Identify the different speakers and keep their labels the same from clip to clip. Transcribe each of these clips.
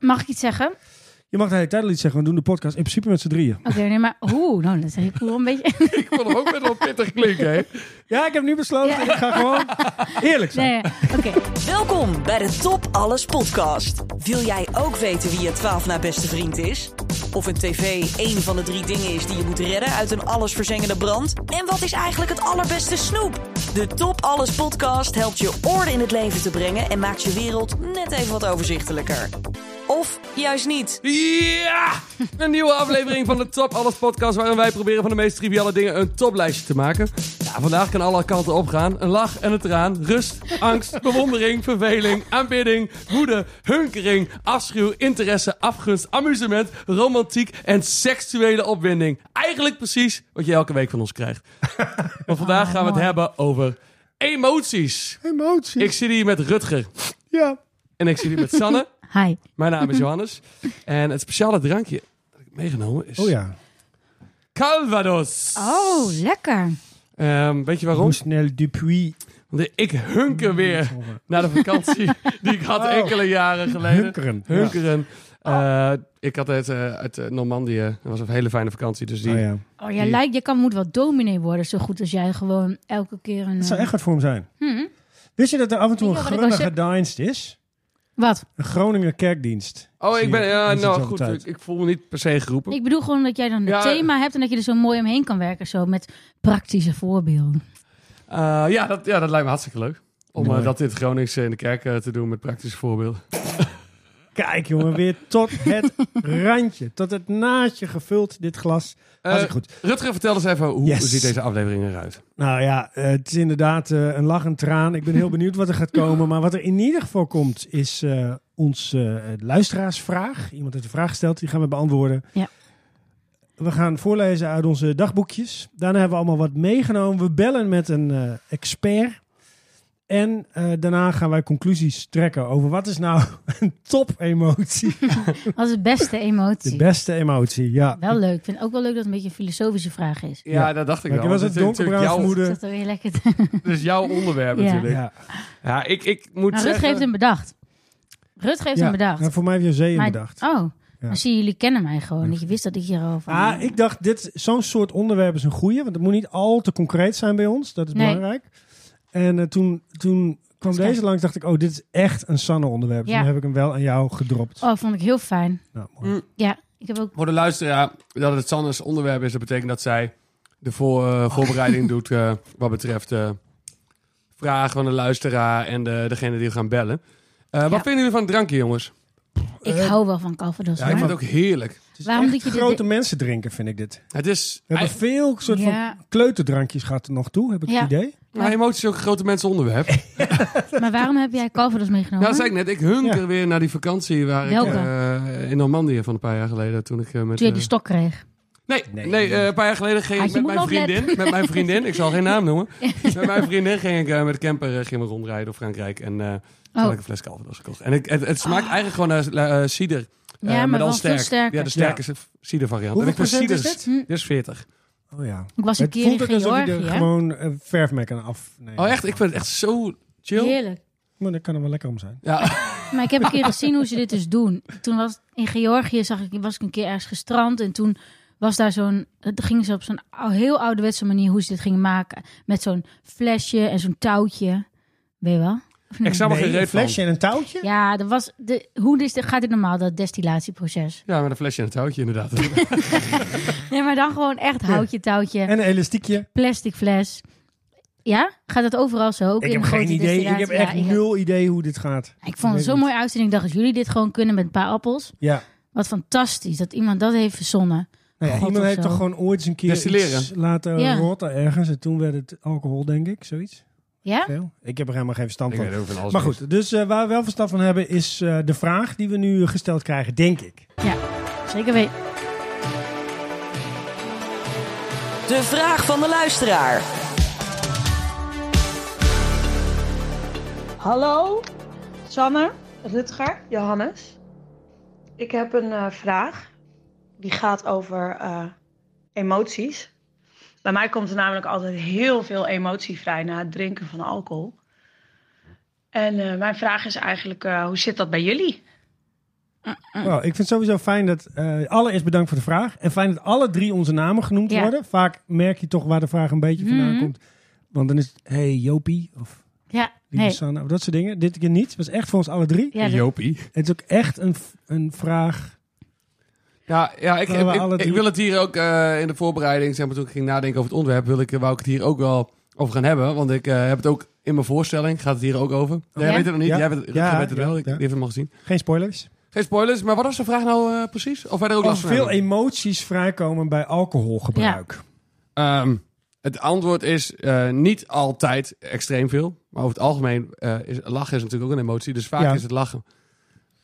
Speaker 1: Mag ik iets zeggen?
Speaker 2: Je mag de hele tijd al iets zeggen. We doen de podcast in principe met z'n drieën.
Speaker 1: Oké, nee, maar hoe? Nou, dat zeg ik wel een beetje.
Speaker 3: Ik vond hem ook best wel pittig klinken, hè?
Speaker 2: Ja, ik heb nu besloten. Ik ga gewoon eerlijk zijn.
Speaker 1: Nee, oké.
Speaker 4: Welkom bij de Top Alles podcast. Wil jij ook weten wie je 12 na beste vriend is? Of een tv één van de drie dingen is die je moet redden uit een allesverzengende brand? En wat is eigenlijk het allerbeste snoep? De Top Alles podcast helpt je orde in het leven te brengen en maakt je wereld net even wat overzichtelijker. Of juist niet.
Speaker 3: Ja! Een nieuwe aflevering van de Top Alles podcast... waarin wij proberen van de meest triviale dingen een toplijstje te maken. Ja, vandaag kan alle kanten opgaan. Een lach en een traan, rust, angst, bewondering, verveling, aanbidding... woede, hunkering, afschuw, interesse, afgunst, amusement... romantiek en seksuele opwinding. Eigenlijk precies wat je elke week van ons krijgt. Maar vandaag gaan we het hebben over emoties.
Speaker 2: Emotie.
Speaker 3: Ik zit hier met Rutger
Speaker 2: Ja.
Speaker 3: en ik zit hier met Sanne...
Speaker 1: Hi.
Speaker 3: Mijn naam
Speaker 2: Mhm.
Speaker 3: is Johannes. en het speciale drankje dat ik heb meegenomen is
Speaker 2: Oh ja.
Speaker 3: Calvados.
Speaker 1: Oh, lekker.
Speaker 3: Ehm, weet je waarom?
Speaker 2: Hoe snel Dupuis
Speaker 3: Want ik hunker weer naar de vakantie die ik had
Speaker 2: Oh.
Speaker 3: enkele jaren geleden.
Speaker 2: hunkeren.
Speaker 3: Hunkeren. Eh, ik had het eh, uit eh, Normandië. Dat was een hele fijne vakantie. Dus die...
Speaker 2: Oh, ja.
Speaker 1: Oh, jij
Speaker 3: Die-
Speaker 1: lijkt, je kan, moet wel dominee worden, zo goed als jij gewoon elke keer een...
Speaker 2: Het zou
Speaker 1: eh,
Speaker 2: echt wat voor hem zijn.
Speaker 1: hm?
Speaker 2: Wist je dat er af en toe een
Speaker 1: Weet je wat ik wel
Speaker 2: grunnige dienst is?
Speaker 1: Wat?
Speaker 2: Een Groninger kerkdienst.
Speaker 3: Oh,
Speaker 2: Zie
Speaker 3: ik
Speaker 2: je,
Speaker 3: ben... Ja,
Speaker 2: die zit
Speaker 3: nou
Speaker 2: er
Speaker 3: goed.
Speaker 2: altijd.
Speaker 3: Ik, ik voel me niet per se geroepen.
Speaker 1: Ik bedoel gewoon dat jij dan een
Speaker 3: Ja.
Speaker 1: thema hebt en dat je er zo mooi omheen kan werken, zo met praktische voorbeelden.
Speaker 3: Eh, ja, dat, ja, dat lijkt me hartstikke leuk. Om eh,
Speaker 2: Mooi.
Speaker 3: dat in het Gronings eh, in de kerk eh, te doen met praktische voorbeelden.
Speaker 2: Kijk jongen, weer tot het randje. Tot het naadje gevuld, dit glas. Hartstikke
Speaker 3: Eh,
Speaker 2: goed.
Speaker 3: Rutger, vertel eens even hoe
Speaker 2: Yes.
Speaker 3: ziet deze aflevering eruit?
Speaker 2: Nou ja, eh, het is inderdaad eh, een lach en traan. Ik ben heel benieuwd wat er gaat komen. Maar wat er in ieder geval komt, is eh ons eh, luisteraarsvraag. Iemand heeft een vraag gesteld, die gaan we beantwoorden.
Speaker 1: Ja.
Speaker 2: We gaan voorlezen uit onze dagboekjes. Daarna hebben we allemaal wat meegenomen. We bellen met een eh, expert. En eh, daarna gaan wij conclusies trekken over wat is nou een top-emotie.
Speaker 1: Dat is de beste emotie.
Speaker 2: De beste emotie, ja.
Speaker 1: Wel leuk. Ik vind het ook wel leuk dat het een beetje een filosofische vraag is.
Speaker 3: Ja,
Speaker 2: Ja.
Speaker 3: dat dacht ik
Speaker 2: Maar
Speaker 3: wel.
Speaker 2: ik was
Speaker 3: Dat
Speaker 2: het
Speaker 3: is natuurlijk
Speaker 2: donkerbruin
Speaker 3: jouw-
Speaker 2: vermoeden.
Speaker 1: Is dat dan weer lekker? Nou,
Speaker 3: Dat is jouw onderwerp
Speaker 1: Ja.
Speaker 3: natuurlijk. Ja,
Speaker 2: ja.
Speaker 3: ik, ik moet
Speaker 1: Nou, Rutger
Speaker 3: zeggen...
Speaker 1: heeft hem bedacht. Rutger heeft
Speaker 2: Ja,
Speaker 1: hem bedacht.
Speaker 2: nou, voor mij heeft José hem
Speaker 1: Maar-
Speaker 2: bedacht.
Speaker 1: Oh,
Speaker 2: Ja.
Speaker 1: dan zie je, jullie kennen mij gewoon. niet. Je wist dat ik hierover...
Speaker 2: Ah, ik dacht, dit, zo'n soort onderwerp is een goeie. Want het moet niet al te concreet zijn bij ons. Dat is
Speaker 1: Nee.
Speaker 2: belangrijk. En eh, toen, toen kwam
Speaker 1: is best-
Speaker 2: deze langs, dacht ik, oh, dit is echt een Sanne onderwerp.
Speaker 1: Ja.
Speaker 2: Toen heb ik hem wel aan jou gedropt.
Speaker 1: Oh, vond ik heel fijn.
Speaker 2: Nou, mooi.
Speaker 3: Mm.
Speaker 1: Ja, ik heb ook...
Speaker 3: Voor de luisteraar, dat het Sanne's onderwerp is, dat betekent dat zij de voor, eh,
Speaker 1: Oh.
Speaker 3: voorbereiding doet eh, wat betreft eh, vragen van de luisteraar en de, degene die we gaan bellen. Eh, wat
Speaker 1: Ja.
Speaker 3: vinden jullie van het drankje, jongens?
Speaker 1: Ik
Speaker 2: Eh,
Speaker 1: hou wel van Calvados.
Speaker 3: Ja, ik
Speaker 1: hoor.
Speaker 3: vind het ook heerlijk.
Speaker 2: Het is
Speaker 1: waarom
Speaker 2: echt
Speaker 1: doet je dit- Ah,
Speaker 2: grote mensen drinken, vind ik dit.
Speaker 3: Het is...
Speaker 2: We hebben veel soort
Speaker 1: Ja.
Speaker 2: van kleuterdrankjes gehad er nog toe, heb ik
Speaker 1: Ja.
Speaker 2: het idee.
Speaker 3: Mijn nou, emoties is ook een grote mensen onderwerp.
Speaker 1: Maar waarom heb jij Calvados meegenomen?
Speaker 3: Nou, dat zei ik net. Ik hunker
Speaker 2: Ja.
Speaker 3: weer naar die vakantie waar
Speaker 1: Welke?
Speaker 3: ik eh, in Normandië van een paar jaar geleden toen ik eh, met...
Speaker 1: Toen je die
Speaker 3: eh,
Speaker 1: stok kreeg.
Speaker 3: Nee, nee,
Speaker 2: Nee.
Speaker 3: eh, een paar jaar geleden ging
Speaker 1: Ah,
Speaker 3: ik
Speaker 1: je
Speaker 3: met
Speaker 1: moet
Speaker 3: mijn,
Speaker 1: nog
Speaker 3: vriendin, met mijn vriendin, ik zal geen naam noemen, met mijn vriendin ging ik eh, met de camper eh, gingen we rondrijden door Frankrijk en eh
Speaker 1: Oh.
Speaker 3: toen had ik een fles Calvados gekocht. En ik, het, het smaakt eigenlijk gewoon naar eh, eh, cider, Eh,
Speaker 1: Ah. ja, maar
Speaker 3: dan
Speaker 1: wel
Speaker 3: sterk.
Speaker 1: veel sterker. Hm,
Speaker 3: Ja, de sterke cider variant.
Speaker 2: Hoeveel
Speaker 3: en ik
Speaker 2: procent is
Speaker 3: ciders- dus
Speaker 2: dit?
Speaker 3: Dit is 40.
Speaker 2: Oh ja.
Speaker 1: Ik was een
Speaker 2: het
Speaker 1: keer in
Speaker 2: voelt ook alsof je
Speaker 1: Georgië.
Speaker 2: er
Speaker 1: hè?
Speaker 2: gewoon eh, verf mee kan afnemen.
Speaker 3: Oh echt, ik vind het echt zo chill.
Speaker 1: Heerlijk.
Speaker 2: Maar dat kan er wel lekker om zijn.
Speaker 3: Ja,
Speaker 1: Maar ik heb een keer gezien hoe ze dit dus doen. Toen was in Georgië zag ik, was ik een keer ergens gestrand en toen was daar zo'n, het gingen ze op zo'n ou- heel ouderwetse manier hoe ze dit gingen maken met zo'n flesje en zo'n touwtje, weet je wel? Of niet?
Speaker 3: ik snap er geen
Speaker 2: Nee, een
Speaker 3: reet van.
Speaker 2: flesje en een touwtje?
Speaker 1: Ja, er was de, hoe is de, gaat dit normaal dat destillatieproces?
Speaker 3: Ja, met een flesje en een touwtje inderdaad.
Speaker 1: Nee, maar dan gewoon echt houtje touwtje,
Speaker 2: En een elastiekje?
Speaker 1: plastic fles. Ja, gaat dat overal zo? Ook
Speaker 2: Ik
Speaker 1: in
Speaker 2: heb geen
Speaker 1: grote
Speaker 2: idee. Ik
Speaker 1: destillaties?
Speaker 2: heb
Speaker 1: Ja,
Speaker 2: echt
Speaker 1: ik-
Speaker 2: nul idee hoe dit gaat.
Speaker 1: Ik vond het
Speaker 2: weet
Speaker 1: zo'n
Speaker 2: niet.
Speaker 1: mooi uitzending. Ik dacht, als jullie dit gewoon kunnen met een paar appels,
Speaker 2: Ja.
Speaker 1: wat fantastisch dat iemand dat heeft verzonnen.
Speaker 2: Nou ja,
Speaker 1: God
Speaker 2: iemand
Speaker 1: of zo.
Speaker 2: heeft toch gewoon ooit eens een keer
Speaker 3: Destilleren.
Speaker 2: iets laten
Speaker 1: Ja.
Speaker 2: rotten ergens. En toen werd het alcohol, denk ik, zoiets.
Speaker 1: Ja?
Speaker 2: Veel. Ik heb er helemaal geen verstand
Speaker 3: ik
Speaker 2: van.
Speaker 3: weet ook van alles.
Speaker 2: Maar
Speaker 3: mee.
Speaker 2: goed, dus eh, waar we wel verstand van hebben is eh, de vraag die we nu gesteld krijgen, denk ik.
Speaker 1: Zeker weten.
Speaker 4: De vraag van de luisteraar.
Speaker 5: Hallo, Sanne, Rutger, Johannes. Ik heb een eh, vraag. Die gaat over eh, emoties. Bij mij komt er namelijk altijd heel veel emotie vrij na het drinken van alcohol. En eh, mijn vraag is eigenlijk, eh, hoe zit dat bij jullie?
Speaker 1: Ah.
Speaker 2: Wow, ik vind het sowieso fijn dat... eh allereerst bedankt voor de vraag. En fijn dat alle drie onze namen genoemd
Speaker 1: Ja.
Speaker 2: worden. Vaak merk je toch waar de vraag een beetje vandaan
Speaker 1: Mhm.
Speaker 2: komt. Want dan is het... Hey Jopie. Of
Speaker 1: Ja,
Speaker 2: Lieve
Speaker 1: nee.
Speaker 2: Sanne. Of dat soort dingen. Dit keer niet. Het was echt voor ons alle drie.
Speaker 1: Ja, dat-
Speaker 3: Jopie.
Speaker 2: Het is ook echt een, v- een vraag...
Speaker 3: Ja, ja ik,
Speaker 2: Waar we
Speaker 3: ik,
Speaker 2: alle
Speaker 3: ik-
Speaker 2: drie-
Speaker 3: ik wil het hier ook eh, in de voorbereiding, zeg maar, toen ik ging nadenken over het onderwerp, wil ik, eh, wou ik het hier ook wel over gaan hebben. Want ik eh, heb het ook in mijn voorstelling, gaat het hier ook over. Jij
Speaker 1: Ja?
Speaker 3: weet het nog niet,
Speaker 2: Oh, Ja.
Speaker 3: jij weet
Speaker 2: Ja,
Speaker 3: het, Rutger weet het
Speaker 2: ja,
Speaker 3: wel, ik,
Speaker 2: ja.
Speaker 3: die heeft hem al gezien.
Speaker 2: Geen spoilers.
Speaker 3: Geen spoilers, maar wat was de vraag nou eh, precies? Of wij er ook
Speaker 2: Of
Speaker 3: last van
Speaker 2: Oh, veel
Speaker 3: hebben?
Speaker 2: emoties vrijkomen bij alcoholgebruik. e-
Speaker 3: Ehm, het antwoord is eh, niet altijd extreem veel. Maar over het algemeen eh, is lachen is natuurlijk ook een emotie. Dus vaak
Speaker 2: Ja.
Speaker 3: is het lachen.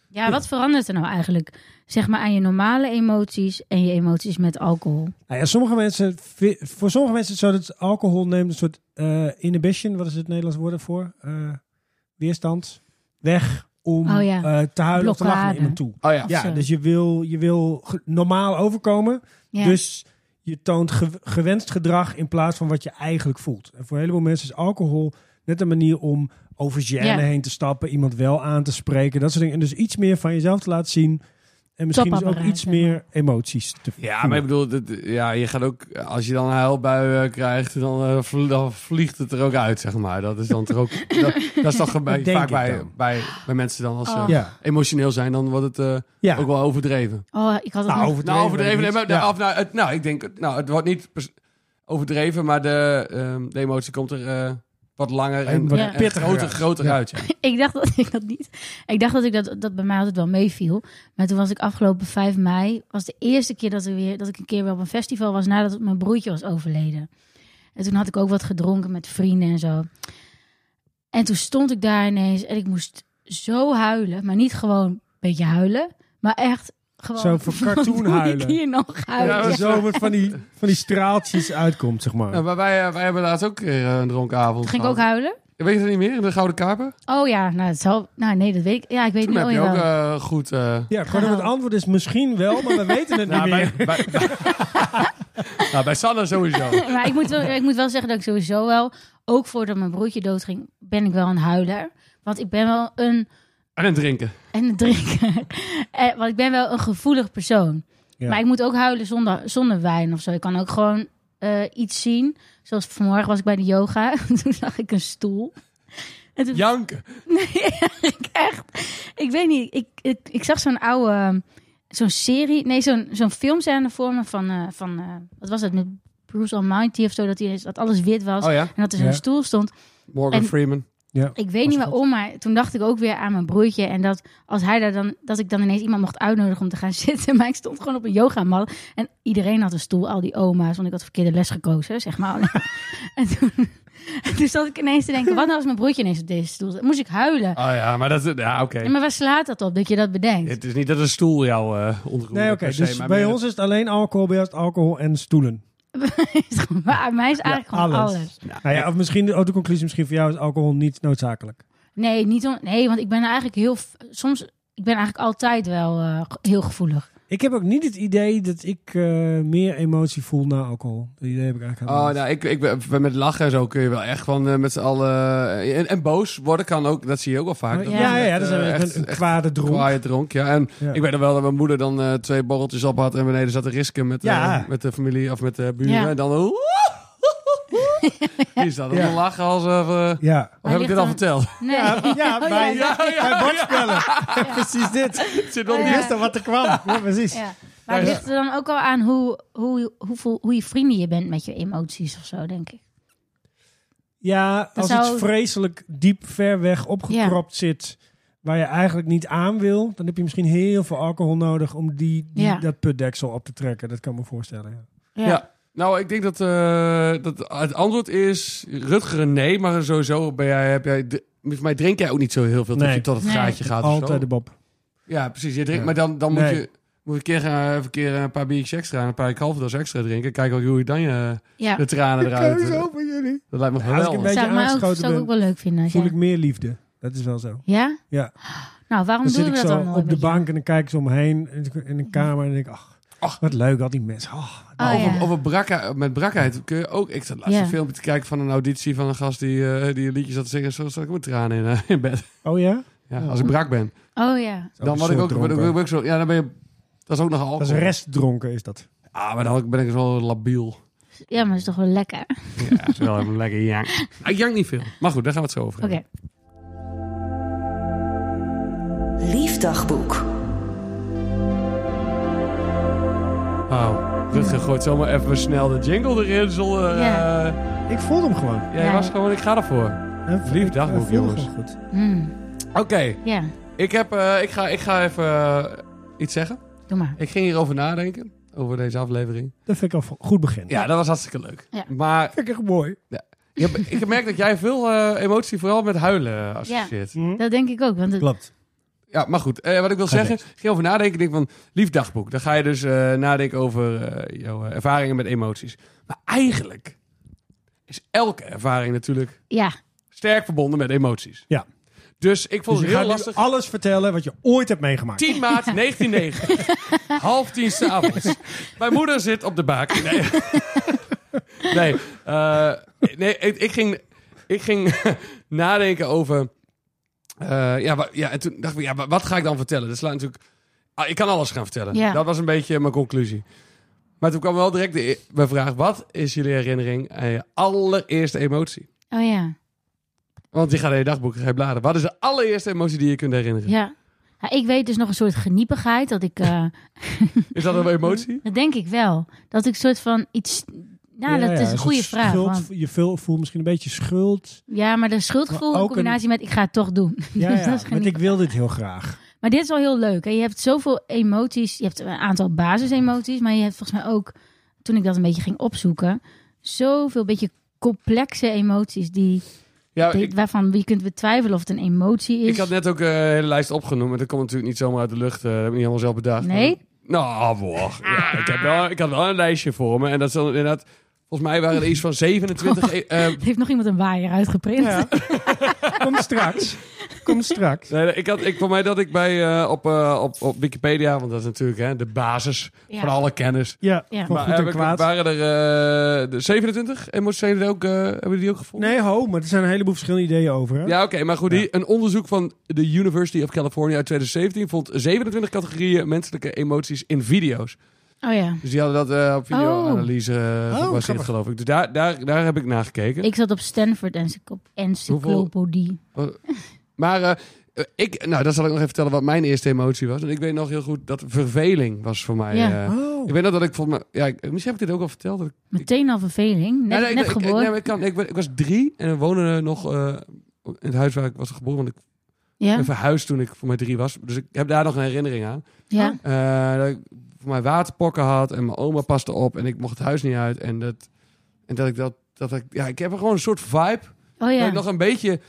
Speaker 1: Ja, wat verandert er nou eigenlijk? Zeg maar aan je normale emoties en je emoties met alcohol.
Speaker 2: Nou ja, sommige mensen, vi- voor sommige mensen is het zo dat alcohol neemt een soort eh, inhibition. Wat is het Nederlands woord ervoor? Eh, weerstand. Weg om
Speaker 1: Oh ja.
Speaker 2: eh, te huilen of te lachen
Speaker 1: Blokkade.
Speaker 2: naar iemand toe.
Speaker 3: Oh ja.
Speaker 1: Ja.
Speaker 2: Ja, dus je wil, je wil ge- normaal overkomen.
Speaker 1: Ja.
Speaker 2: Dus je toont ge- gewenst gedrag in plaats van wat je eigenlijk voelt. En voor een heleboel mensen is alcohol net een manier om over gêne
Speaker 1: Ja.
Speaker 2: heen te stappen, iemand wel aan te spreken, dat soort dingen. En dus iets meer van jezelf te laten zien. En misschien dus ook
Speaker 1: Topapparaat,
Speaker 2: iets
Speaker 1: zeg maar.
Speaker 2: meer emoties te
Speaker 3: Ja,
Speaker 2: voelen.
Speaker 3: maar ik bedoel, dit- ja, je gaat ook, als je dan een huilbui eh, krijgt, dan, eh, vl- dan vliegt het er ook uit, zeg maar. Dat is dan toch ook, dat, dat is toch bij,
Speaker 2: denk
Speaker 3: vaak
Speaker 2: ik
Speaker 3: bij,
Speaker 2: dan.
Speaker 3: bij, bij mensen dan, als ze
Speaker 1: Oh.
Speaker 2: Ja.
Speaker 3: emotioneel zijn, dan wordt het eh,
Speaker 2: Ja.
Speaker 3: ook wel overdreven.
Speaker 1: Oh, ik had het nog...
Speaker 3: Nou, overdreven, nee,
Speaker 2: weet ik
Speaker 3: maar,
Speaker 2: niet. Ja.
Speaker 3: of, nou, het, nou, ik denk, nou, het wordt niet pers- overdreven, maar de, ehm, de emotie komt er eh, wat langer en,
Speaker 2: En wat
Speaker 3: en
Speaker 2: pittiger
Speaker 3: groter,
Speaker 2: uit.
Speaker 3: groter
Speaker 2: Ja.
Speaker 3: uit. Ja.
Speaker 1: Ik dacht dat ik dat niet. Ik dacht dat ik dat, dat bij mij altijd wel meeviel. Maar toen was ik afgelopen 5 mei. Was de eerste keer dat, er weer, dat ik een keer weer op een festival was. Nadat mijn broertje was overleden. En toen had ik ook wat gedronken met vrienden en zo. En toen stond ik daar ineens. En ik moest zo huilen. Maar niet gewoon een beetje huilen. Maar echt gewoon.
Speaker 2: Zo voor
Speaker 1: wat
Speaker 2: cartoon
Speaker 1: doe ik
Speaker 2: huilen.
Speaker 1: hier nog huilen.
Speaker 3: Ja,
Speaker 2: Dat
Speaker 3: maar
Speaker 2: er zo wat van die, van die straaltjes uitkomt, zeg maar.
Speaker 3: Nou, maar wij, eh, wij hebben laatst ook eh, een dronken avond
Speaker 1: Ging ik ook
Speaker 3: gehad.
Speaker 1: huilen?
Speaker 3: Weet je dat niet meer, in de Gouden Kaper?
Speaker 1: Oh ja, nou, het zal, nou nee, dat weet ik. Ja, ik weet
Speaker 3: Toen
Speaker 1: niet.
Speaker 3: heb
Speaker 1: Oh,
Speaker 3: je ook
Speaker 1: jawel.
Speaker 3: eh, goed... eh,
Speaker 2: Ja, gewoon het antwoord is misschien wel, maar we weten het
Speaker 3: Nou,
Speaker 2: niet meer.
Speaker 3: bij, bij, bij, nou, bij Sanne sowieso.
Speaker 1: maar ik moet, wel, ik moet wel zeggen dat ik sowieso wel, ook voordat mijn broertje doodging, ben ik wel een huiler. Want ik ben wel een,
Speaker 3: En het drinken.
Speaker 1: en een drinker. Eh, Want ik ben wel een gevoelig persoon.
Speaker 2: Ja.
Speaker 1: Maar ik moet ook huilen zonder, zonder wijn of zo. Ik kan ook gewoon eh, iets zien. Zoals vanmorgen was ik bij de yoga. Toen zag ik een stoel. En toen
Speaker 3: Janken.
Speaker 1: ik echt. Ik weet niet. Ik, ik, ik zag zo'n oude. ehm, Zo'n serie. Nee, zo'n zo'n filmscène voor me van. eh, van eh, wat was dat? Met Bruce Almighty of zo. Dat, hij, dat alles wit was.
Speaker 3: Oh ja,
Speaker 1: En dat er zo'n
Speaker 2: Ja.
Speaker 1: stoel stond.
Speaker 3: Morgan
Speaker 1: En-
Speaker 3: Freeman.
Speaker 1: Ik weet niet
Speaker 2: goed.
Speaker 1: waarom, maar toen dacht ik ook weer aan mijn broertje. En dat als hij daar dan. Dat ik dan ineens iemand mocht uitnodigen om te gaan zitten. Maar ik stond gewoon op een yogamat. En iedereen had een stoel. Al die oma's. Want ik had verkeerde les gekozen, zeg maar. en toen. en toen zat ik ineens te denken: wat nou als mijn broertje ineens op deze stoel zat? Moest ik huilen?
Speaker 3: Oh ja, maar dat is... Ja, oké.
Speaker 1: Ja, maar waar slaat dat op dat je dat bedenkt?
Speaker 3: Het is niet dat een stoel jou eh onderroert
Speaker 2: Nee, oké.
Speaker 3: per se,
Speaker 2: dus
Speaker 3: maar
Speaker 2: bij
Speaker 3: meer-
Speaker 2: ons is het alleen alcohol, bij jou is het alcohol en stoelen.
Speaker 1: Is gewoon- maar aan mij is eigenlijk gewoon alles.
Speaker 2: Nou ja, of misschien ook de conclusie, misschien voor jou is alcohol niet noodzakelijk.
Speaker 1: Nee, niet om, nee, want ik ben eigenlijk heel. f- Soms. Ik ben eigenlijk altijd wel eh, ge- heel gevoelig.
Speaker 2: Ik heb ook niet het idee dat ik eh, meer emotie voel na alcohol. Dat idee heb ik eigenlijk helemaal
Speaker 3: Oh,
Speaker 2: niet.
Speaker 3: nou, ik, ik, ben- met lachen en zo kun je wel echt van eh, met z'n allen... eh, En, en boos worden kan ook, dat zie je ook wel vaak.
Speaker 1: nou,
Speaker 2: Oh, ja,
Speaker 1: ja.
Speaker 2: ja, ja,
Speaker 3: mensen
Speaker 2: dat is
Speaker 3: echt,
Speaker 2: een,
Speaker 3: eh,
Speaker 2: een,
Speaker 3: echt-
Speaker 2: een kwade dronk.
Speaker 3: Kwaaie dronk, ja. En
Speaker 2: Ja.
Speaker 3: ik weet nog wel dat mijn moeder dan eh, twee borreltjes op had en beneden zat te risken met, eh,
Speaker 2: Ja.
Speaker 3: met de familie of met de buren.
Speaker 1: Ja.
Speaker 3: En dan... Die staat dan
Speaker 2: Ja.
Speaker 3: te lachen als... eh, eh,
Speaker 2: Ja.
Speaker 3: of heb
Speaker 1: ligt
Speaker 3: ik dit al
Speaker 1: dan-
Speaker 3: verteld?
Speaker 1: Nee.
Speaker 2: Ja, ja,
Speaker 1: Oh,
Speaker 2: bij,
Speaker 1: ja,
Speaker 3: ja,
Speaker 2: bij
Speaker 3: ja, ja.
Speaker 2: bordspellen. Precies dit.
Speaker 3: Het zit nog
Speaker 1: Oh,
Speaker 3: niet
Speaker 1: ja.
Speaker 2: Eerst wat er kwam. Ja, precies.
Speaker 1: Ja. Maar het ligt er dan ook wel aan hoe, hoe, hoe, hoe, hoe je vrienden je bent met je emoties of zo, denk ik.
Speaker 2: Ja, als
Speaker 1: zou-
Speaker 2: iets vreselijk diep ver weg opgekropt zit, waar je eigenlijk niet aan wil, dan heb je misschien heel veel alcohol nodig om die, die,
Speaker 1: Ja.
Speaker 2: dat putdeksel op te trekken. Dat kan ik me voorstellen. Ja.
Speaker 1: Ja.
Speaker 3: Ja. Nou, ik denk dat, eh, dat het antwoord is Rutger nee, maar sowieso ben jij, heb jij, dr- volgens mij drink jij ook niet zo heel veel tot
Speaker 2: Nee.
Speaker 3: je tot het
Speaker 1: Nee.
Speaker 3: gaatje gaat of zo.
Speaker 2: Altijd de Bob.
Speaker 3: Ja, precies. Je drinkt,
Speaker 2: Ja.
Speaker 3: maar dan, dan moet
Speaker 2: Nee.
Speaker 3: je moet je een keer, gaan- even een keer een paar biertjes extra en een paar kalverdos extra drinken. Kijk ook hoe je dan je,
Speaker 1: Ja.
Speaker 3: de tranen eruit.
Speaker 2: van jullie.
Speaker 3: Dat lijkt
Speaker 2: Nou, als
Speaker 3: me
Speaker 2: ik een
Speaker 3: geweldig.
Speaker 2: beetje
Speaker 1: zou ik, maar ook,
Speaker 2: aangeschoten
Speaker 1: zou ik
Speaker 2: ben,
Speaker 1: ook wel leuk vinden. als
Speaker 2: Voel
Speaker 1: jij-
Speaker 2: ik meer liefde. Dat is wel zo.
Speaker 1: Ja?
Speaker 2: Ja.
Speaker 1: Nou, waarom
Speaker 2: Dan
Speaker 1: doen
Speaker 2: zit
Speaker 1: we
Speaker 2: ik
Speaker 1: dat dan
Speaker 2: zo
Speaker 1: nooit
Speaker 2: op de
Speaker 1: met jou?
Speaker 2: bank en dan kijk ik zo om me heen in- in een kamer en denk ik, ach,
Speaker 3: Ach.
Speaker 2: wat leuk, al die mensen. Ach, wat
Speaker 1: Oh,
Speaker 2: leuk.
Speaker 1: ja.
Speaker 3: Over, over brakka- met brakheid kun je ook... Ik zat laatst
Speaker 1: Ja.
Speaker 3: een filmpje te kijken van een auditie van een gast die, eh, die een liedje zat te zingen. Zo zat ik met tranen in, eh, in bed.
Speaker 2: oh ja?
Speaker 3: Ja, Als ik brak ben.
Speaker 1: Oh ja.
Speaker 2: Zo'n
Speaker 3: Dan word
Speaker 2: soort
Speaker 3: ik ook, ben, ik-
Speaker 2: dronken.
Speaker 3: ben ik zo, ja, dan ben je, dat is ook nog alcohol.
Speaker 2: Dat is restdronken, is dat.
Speaker 3: Ah, maar dan ben ik zo labiel.
Speaker 1: Ja, maar dat is toch wel lekker.
Speaker 3: Ja, dat is wel even lekker jank. Ik jank niet veel. Maar goed, daar gaan we het zo over
Speaker 1: Oké.
Speaker 3: hebben.
Speaker 4: Liefdagboek.
Speaker 3: Wauw. Oh, Rutger gooit zomaar even snel de jingle erin. Zonder, eh,
Speaker 1: Ja.
Speaker 2: Ik voelde hem gewoon.
Speaker 3: jij
Speaker 1: Ja.
Speaker 3: was gewoon, ik ga ervoor.
Speaker 2: Hè,
Speaker 3: Lief
Speaker 2: ik-
Speaker 3: dagboek,
Speaker 2: ik voelde
Speaker 3: jongens.
Speaker 2: gewoon goed.
Speaker 1: Hmm,
Speaker 3: Oké,
Speaker 1: Ja,
Speaker 3: ik, heb, eh, ik, ga, ik ga even eh, iets zeggen.
Speaker 1: doe maar.
Speaker 3: Ik ging hierover nadenken, over deze aflevering.
Speaker 2: Dat vind ik al een goed begin.
Speaker 3: Ja, dat was hartstikke leuk.
Speaker 1: Ja.
Speaker 3: Maar
Speaker 2: Vind ik echt mooi.
Speaker 3: je hebt- ik heb merkt dat jij veel eh, emotie vooral met huilen associeert. Ja.
Speaker 1: Dat denk ik ook. Want het,
Speaker 2: Klopt.
Speaker 3: maar goed. eh, wat ik wil
Speaker 2: Ga
Speaker 3: zeggen, ik ging over nadenken. Ik denk van, lief dagboek. Dan ga je dus eh, nadenken over eh, jouw eh, ervaringen met emoties. Maar eigenlijk is elke ervaring natuurlijk
Speaker 1: ja,
Speaker 3: sterk verbonden met emoties.
Speaker 2: Ja.
Speaker 3: Dus ik vond
Speaker 2: Dus je
Speaker 3: het
Speaker 2: gaat
Speaker 3: heel
Speaker 2: nu
Speaker 3: lastig.
Speaker 2: alles vertellen wat je ooit hebt meegemaakt.
Speaker 3: 10 maart 1990. Half tien s'avonds. Mijn moeder zit op de baak. Nee, nee, eh, nee ik, ik ging, ik ging nadenken over... eh, ja, wa- ja, en toen dacht ik, ja, wa- wat ga ik dan vertellen? Dat slaat natuurlijk... ah, ik kan alles gaan vertellen.
Speaker 1: Ja.
Speaker 3: Dat was een beetje mijn conclusie. Maar toen kwam wel direct de, e- mijn vraag... Wat is jullie herinnering aan je allereerste emotie?
Speaker 1: oh ja.
Speaker 3: Want je gaat in je dagboek ga je bladeren. Wat is de allereerste emotie die je kunt herinneren?
Speaker 1: ja. Ja, ik weet dus nog een soort geniepigheid. Dat ik, eh,
Speaker 3: Is dat een emotie?
Speaker 1: dat denk ik wel. Dat ik soort van iets... Nou,
Speaker 2: Ja,
Speaker 1: dat
Speaker 2: ja,
Speaker 1: is een
Speaker 2: soort
Speaker 1: goede vraag.
Speaker 2: schuld.
Speaker 1: want-
Speaker 2: je voel- voelt misschien een beetje schuld.
Speaker 1: ja, maar de schuldgevoel
Speaker 2: Maar
Speaker 1: in
Speaker 2: ook een-
Speaker 1: combinatie met ik ga het toch doen.
Speaker 2: Ja,
Speaker 1: Dus dat
Speaker 2: ja.
Speaker 1: is
Speaker 2: want
Speaker 1: geniepig.
Speaker 2: ik wil dit heel graag.
Speaker 1: Maar dit is wel heel leuk. Hè? Je hebt zoveel emoties. Je hebt een aantal basisemoties. Maar je hebt volgens mij ook, toen ik dat een beetje ging opzoeken, zoveel beetje complexe emoties die,
Speaker 3: Ja,
Speaker 1: die-
Speaker 3: ik-
Speaker 1: waarvan je kunt betwijfelen of het een emotie is.
Speaker 3: Ik had net ook eh, een hele lijst opgenoemd, maar dat komt natuurlijk niet zomaar uit de lucht. eh, dat heb ik niet helemaal zelf bedacht.
Speaker 1: Nee?
Speaker 3: Nou, boah. Ja, ik, heb wel, ik had wel een lijstje voor me. En dat is dan inderdaad... Volgens mij waren er iets van 27... e- eh,
Speaker 1: Heeft nog iemand een waaier uitgeprint?
Speaker 2: Ja. Kom straks. Kom straks.
Speaker 3: nee, nee, ik had, ik, voor mij dat ik bij, eh, op, eh, op, op Wikipedia, want dat is natuurlijk hè, de basis
Speaker 1: Ja.
Speaker 3: van alle kennis.
Speaker 2: Ja,
Speaker 1: Ja.
Speaker 2: van
Speaker 3: Maar
Speaker 2: goed
Speaker 3: heb
Speaker 2: en
Speaker 3: ik-
Speaker 2: kwaad.
Speaker 3: waren er eh, de 27 emoties? Zijn die ook, eh, hebben jullie die ook gevonden?
Speaker 2: Nee, ho, maar er zijn een heleboel verschillende ideeën over. Hè?
Speaker 3: Ja, oké, maar goed. die- een onderzoek van de University of California uit 2017 vond 27 categorieën menselijke emoties in video's.
Speaker 1: Oh ja.
Speaker 3: Dus die hadden dat eh, op videoanalyse eh,
Speaker 2: Oh,
Speaker 3: gebaseerd,
Speaker 2: grappig.
Speaker 3: geloof ik. Dus daar, daar, daar heb ik naar gekeken.
Speaker 1: Ik zat op Stanford en ik op encyclopedie.
Speaker 3: Maar eh, ik, nou, daar zal ik nog even vertellen wat mijn eerste emotie was. En ik weet nog heel goed dat verveling was voor mij.
Speaker 1: Ja.
Speaker 3: eh.
Speaker 2: Oh.
Speaker 3: Ik weet nog dat ik volgens mij... Ja, ik- misschien heb ik dit ook al verteld. Dat ik,
Speaker 1: Meteen al verveling. Net,
Speaker 3: Ja, nee,
Speaker 1: net
Speaker 3: ik, ik-
Speaker 1: geboren.
Speaker 3: nee, maar ik, kan, ik, ben- ik was drie en we woonden nog eh, in het huis waar ik was geboren. Want ik
Speaker 1: ja?
Speaker 3: ben verhuisd toen ik voor mij drie was. Dus ik heb daar nog een herinnering aan.
Speaker 1: Ja?
Speaker 3: Eh, dat ik voor mij waterpokken had en mijn oma paste op en ik mocht het huis niet uit. En dat, en dat ik dat, dat ik, ja, ik heb er gewoon een soort vibe.
Speaker 1: Oh
Speaker 3: Dat
Speaker 1: ja.
Speaker 3: ik nog een beetje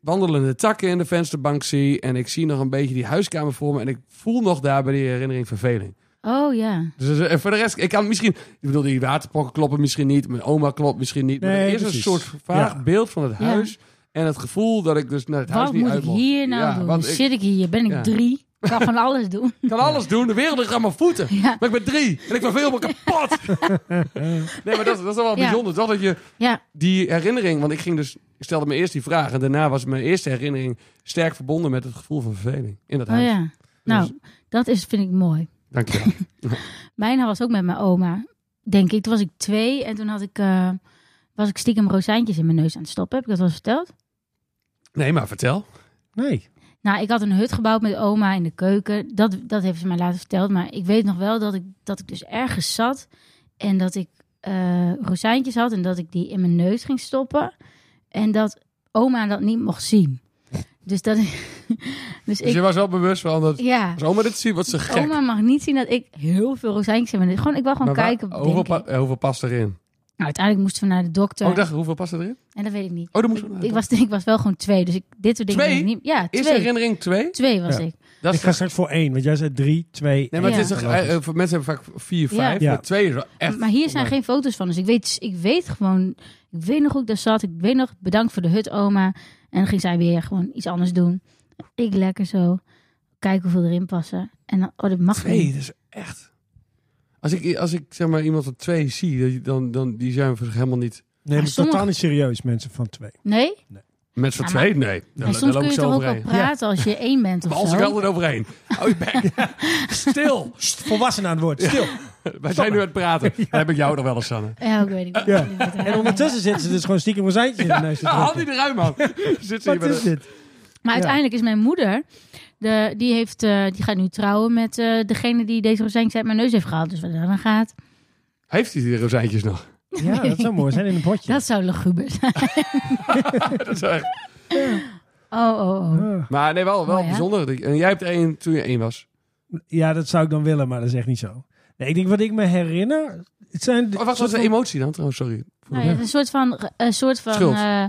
Speaker 3: wandelende takken in de vensterbank zie en ik zie nog een beetje die huiskamer voor me en ik voel nog daar bij die herinnering verveling.
Speaker 1: Oh ja.
Speaker 3: Dus eh, en voor de rest, ik kan misschien, ik bedoel, die waterpokken kloppen misschien niet, mijn oma klopt misschien niet. maar
Speaker 2: Nee,
Speaker 3: er is een
Speaker 2: precies.
Speaker 3: soort vaag
Speaker 2: Ja.
Speaker 3: beeld van het
Speaker 1: Ja.
Speaker 3: huis en het gevoel dat ik dus naar het huis
Speaker 1: Wat
Speaker 3: niet
Speaker 1: moet ik
Speaker 3: uit mocht.
Speaker 1: hier nou
Speaker 3: Ja,
Speaker 1: doen?
Speaker 3: want ik
Speaker 1: Zit ik hier? Ben ik
Speaker 3: Ja.
Speaker 1: drie? Ik kan van alles doen.
Speaker 3: kan alles doen, de wereld ligt aan mijn voeten.
Speaker 1: Ja.
Speaker 3: Maar ik ben drie en ik verveel me kapot. nee, maar dat, dat is wel
Speaker 1: Ja.
Speaker 3: bijzonder, toch? Dat je
Speaker 1: Ja.
Speaker 3: die herinnering, want ik ging dus, ik stelde me eerst die vraag en daarna was mijn eerste herinnering sterk verbonden met het gevoel van verveling in dat
Speaker 1: Oh
Speaker 3: huis. Dus
Speaker 1: ja. Nou, dat is, vind ik mooi.
Speaker 3: Dankjewel.
Speaker 1: Mijn was ook met mijn oma, denk ik. Toen was ik twee en toen had ik, eh, was ik stiekem rozijntjes in mijn neus aan het stoppen. Heb ik dat wel eens verteld?
Speaker 3: Nee, maar vertel.
Speaker 2: Nee.
Speaker 1: Nou, ik had een hut gebouwd met oma in de keuken. Dat, dat heeft ze mij later verteld. Maar ik weet nog wel dat ik, dat ik dus ergens zat. En dat ik eh, rozijntjes had. En dat ik die in mijn neus ging stoppen. En dat oma dat niet mocht zien. Dus dat ik... Dus
Speaker 3: Dus je
Speaker 1: ik...
Speaker 3: was wel bewust van dat.
Speaker 1: Ja,
Speaker 3: Als oma dit ziet, wat ze gek.
Speaker 1: oma mag niet zien dat ik heel veel rozijntjes in mijn neus... Gewoon, ik wil gewoon
Speaker 3: Maar waar-
Speaker 1: kijken. denk
Speaker 3: hoeveel,
Speaker 1: ik.
Speaker 3: pa- eh, hoeveel past erin?
Speaker 1: Nou, uiteindelijk moesten we naar de dokter.
Speaker 3: Oh, ik dacht, hoeveel past erin?
Speaker 1: En dat weet ik niet.
Speaker 3: Oh, dan moest
Speaker 1: Ik, ik was, ik was wel gewoon twee, dus ik, dit soort dingen...
Speaker 3: Twee?
Speaker 1: weet ik Niet, ja,
Speaker 3: Is
Speaker 1: twee.
Speaker 3: herinnering twee?
Speaker 1: Twee was
Speaker 2: Ja.
Speaker 1: ik.
Speaker 3: Dat
Speaker 2: Ik
Speaker 3: is
Speaker 2: ga straks voor één, want jij zei drie, twee.
Speaker 3: Nee, maar het is
Speaker 1: Ja.
Speaker 3: toch, eh, eh, voor mensen hebben vaak vier,
Speaker 1: Ja.
Speaker 3: vijf.
Speaker 2: Ja.
Speaker 3: maar Twee is wel echt.
Speaker 1: Maar hier zijn geen foto's van. Dus ik weet, ik weet gewoon, ik weet nog hoe ik daar zat. Ik weet nog, bedankt voor de hut, oma. En dan ging zij weer gewoon iets anders doen. Ik lekker zo. Kijken hoeveel erin passen. En dan, oh, dat mag
Speaker 3: Twee,
Speaker 1: niet.
Speaker 3: dat is echt. Als ik, als ik zeg maar iemand van twee zie, dat je- dan, dan die zijn voor zich helemaal niet.
Speaker 2: Nee, maar
Speaker 1: Ah, sommige-
Speaker 2: totaal niet serieus, mensen van twee.
Speaker 1: Nee?
Speaker 2: Nee.
Speaker 3: Met z'n
Speaker 1: Ja, maar-
Speaker 3: twee? Nee. Daar-
Speaker 1: en
Speaker 3: daar
Speaker 1: soms
Speaker 3: loop
Speaker 1: kun
Speaker 3: ik
Speaker 1: je
Speaker 3: zo
Speaker 1: toch ook wel
Speaker 3: overheen.
Speaker 1: praten als je één bent
Speaker 3: Maar
Speaker 1: of
Speaker 3: als
Speaker 1: zo.
Speaker 3: ik altijd overheen. Hou je bek. Ja. Stil.
Speaker 2: Sst, volwassenen aan het woord. Stil.
Speaker 3: Wij zijn nu aan het praten. Dan heb ik jou nog wel eens, Sanne.
Speaker 1: Ja, ik weet het.
Speaker 2: Ja. En ondertussen zitten ze dus gewoon stiekem een zijntje in de neus te
Speaker 3: Ja, haal
Speaker 2: drukken.
Speaker 3: die eruit, man. Zit ze hier
Speaker 2: Wat
Speaker 3: met
Speaker 2: is
Speaker 3: een-
Speaker 2: dit?
Speaker 1: Maar
Speaker 2: Ja.
Speaker 1: uiteindelijk is mijn moeder, de, die, heeft, eh, die gaat nu trouwen met eh, degene die deze rozijntjes uit mijn neus heeft gehaald. Dus wat dat dan gaat,
Speaker 3: Heeft hij die rozijntjes nog?
Speaker 2: Ja, dat zou mooi zijn in een potje.
Speaker 1: dat zou luguber zijn.
Speaker 3: Dat is echt-
Speaker 1: Oh, oh, oh.
Speaker 2: Ah.
Speaker 3: Maar nee, wel, wel
Speaker 1: Mooi, hè?
Speaker 3: bijzonder. Die- En jij hebt er één toen je één was.
Speaker 2: Ja, dat zou ik dan willen, maar dat is echt niet zo. Nee, ik denk wat ik me herinner. Het zijn de-
Speaker 3: Oh, wacht, wat is de emotie dan? trouwens? sorry.
Speaker 1: Nou, ja, het is een soort van, een soort van
Speaker 3: Schuld.
Speaker 1: eh,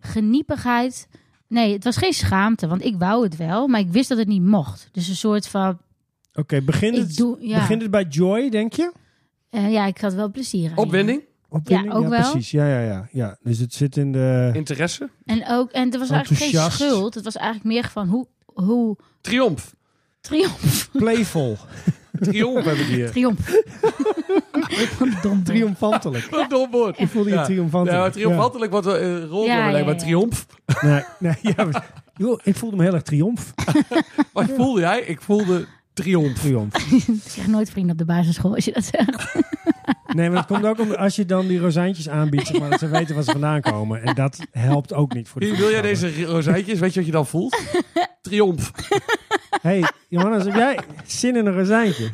Speaker 1: geniepigheid. Nee, het was geen schaamte, want ik wou het wel, maar ik wist dat het niet mocht. Dus een soort van,
Speaker 2: Oké, begint,
Speaker 1: ik
Speaker 2: het,
Speaker 1: doe, ja,
Speaker 2: begint het bij Joy, denk je?
Speaker 1: Eh, ja ik had wel plezier aan.
Speaker 3: Opwinding,
Speaker 2: Opwinding?
Speaker 1: ook wel.
Speaker 2: precies. Ja, ja, ja, ja. Dus het zit in de...
Speaker 3: interesse,
Speaker 1: En, ook, en er was eigenlijk geen
Speaker 2: Enthousiast.
Speaker 1: schuld, het was eigenlijk meer van hoe, hoe
Speaker 3: triomf.
Speaker 1: triomf,
Speaker 2: Playful.
Speaker 3: Triomf heb ik hier.
Speaker 1: triomf. Dom.
Speaker 2: Triomfantelijk.
Speaker 3: Wat een dom woord.
Speaker 2: Ik voelde je
Speaker 3: Ja. Ja, maar
Speaker 2: triomfantelijk.
Speaker 3: triomfantelijk wordt wel een eh, rol
Speaker 1: Ja,
Speaker 3: door
Speaker 1: ja,
Speaker 3: maar
Speaker 1: ja.
Speaker 3: triomf.
Speaker 2: Ja. Nee, nee, ja, maar- Joh, ik voelde me heel erg triomf.
Speaker 3: Wat voelde jij? Ik voelde triomf.
Speaker 2: triomf.
Speaker 1: Ik krijg nooit vrienden op de basisschool als je dat zegt.
Speaker 2: Nee, maar dat komt ook omdat als je dan die rozijntjes aanbiedt, zeg maar, dat ze weten waar ze vandaan komen. En dat helpt ook niet voor de
Speaker 3: Hier, Wil jij
Speaker 2: vriendschappen.
Speaker 3: deze rozijntjes? Weet je wat je dan voelt? Triomf.
Speaker 2: hey, Johannes, heb jij zin in een rozijntje?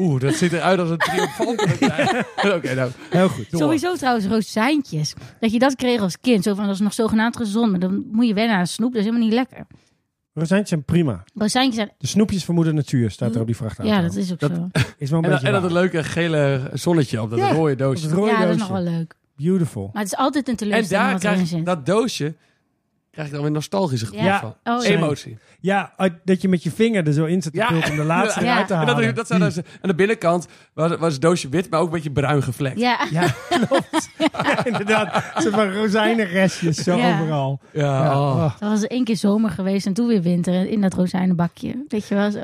Speaker 3: Oeh, dat ziet eruit als een triomfantelijk. Oké, nou.
Speaker 2: Heel goed. door.
Speaker 1: Sowieso trouwens rozijntjes. Dat je dat kreeg als kind. Zo van, dat is nog zogenaamd gezond. Maar dan moet je wennen aan snoep. Dat is helemaal niet lekker.
Speaker 2: Rozijntjes zijn prima.
Speaker 1: Rozijntjes zijn...
Speaker 2: De snoepjes van moeder natuur staat er op die vrachtauto.
Speaker 1: Ja, dat is ook
Speaker 3: Nou, Dat-
Speaker 1: zo.
Speaker 2: Is wel een
Speaker 3: En, dan-
Speaker 2: beetje
Speaker 3: en dat
Speaker 2: waar.
Speaker 3: een leuke gele zonnetje op dat
Speaker 2: Ja.
Speaker 3: rode
Speaker 2: Op het
Speaker 3: doosje.
Speaker 2: rode
Speaker 1: Ja, dat is
Speaker 2: doosje.
Speaker 1: nog wel leuk.
Speaker 2: Beautiful.
Speaker 1: Maar het is altijd een
Speaker 3: En
Speaker 1: teleurstelling
Speaker 3: daar
Speaker 1: wat erin
Speaker 3: krijg
Speaker 1: zit.
Speaker 3: ik dat doosje krijg ik dan weer nostalgische gevoel
Speaker 1: Ja.
Speaker 3: van.
Speaker 1: Oh, ja.
Speaker 3: Emotie.
Speaker 2: Ja, uit- dat je met je vinger er zo in zit te
Speaker 3: Ja.
Speaker 2: pulpen om de laatste
Speaker 1: Ja.
Speaker 2: eruit te
Speaker 3: En
Speaker 2: halen.
Speaker 3: dat, dat zijn dus, aan de binnenkant was, was het doosje wit, maar ook een beetje bruin gevlekt.
Speaker 1: Ja,
Speaker 2: Ja, klopt. Ja, inderdaad. Ze van rozijnenrestjes zo
Speaker 1: Ja.
Speaker 2: overal.
Speaker 3: Ja,
Speaker 2: Ja,
Speaker 3: oh.
Speaker 2: oh.
Speaker 1: dat was één keer zomer geweest en toen weer winter in dat rozijnenbakje. Weet je wel, zo,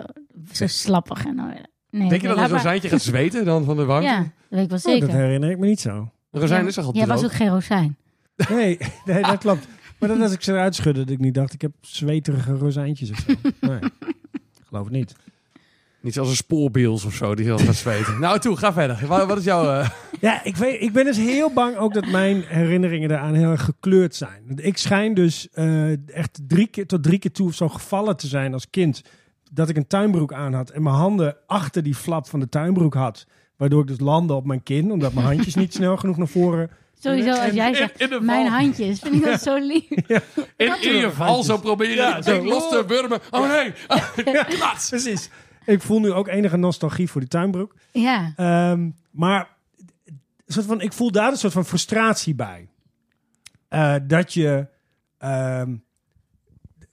Speaker 1: zo slappig. En, dan- nee,
Speaker 3: Denk je dat
Speaker 1: laat
Speaker 3: een
Speaker 1: maar.
Speaker 3: rozijntje gaat zweten dan van de warmte?
Speaker 1: Ja, dat weet ik wel
Speaker 2: Oh,
Speaker 1: zeker.
Speaker 2: dat herinner ik me niet zo.
Speaker 3: Een rozijn is toch al
Speaker 1: Jij
Speaker 3: droog?
Speaker 1: was ook geen rozijn.
Speaker 2: Nee, nee dat klopt. Maar dat als ik ze eruit schudde, dat ik niet dacht, ik heb zweterige rozijntjes of zo. Nee, ik geloof het niet.
Speaker 3: Niet zoals een spoorbiels of zo die heel gaat zweten. nou, toe, ga verder. Wat, wat is jouw... eh,
Speaker 2: Ja, ik, weet, ik ben dus heel bang ook dat mijn herinneringen daaraan heel erg gekleurd zijn. Want Ik schijn dus eh, echt drie keer tot drie keer toe of zo gevallen te zijn als kind. Dat ik een tuinbroek aan had en mijn handen achter die flap van de tuinbroek had. Waardoor ik dus landde op mijn kin, omdat mijn handjes niet snel genoeg naar voren.
Speaker 1: Sowieso als jij
Speaker 3: in,
Speaker 1: zegt,
Speaker 3: in de
Speaker 1: mijn
Speaker 3: val.
Speaker 1: handjes. Vind ik dat zo lief.
Speaker 3: In, in je val zo proberen
Speaker 2: Ja,
Speaker 3: dat
Speaker 2: zo.
Speaker 3: ding los te wurmen. Oh nee!
Speaker 2: Precies. Ik voel nu ook enige nostalgie voor die tuinbroek.
Speaker 1: Ja.
Speaker 2: Ehm, maar een soort van, ik voel daar een soort van frustratie bij. Eh, dat je. ehm,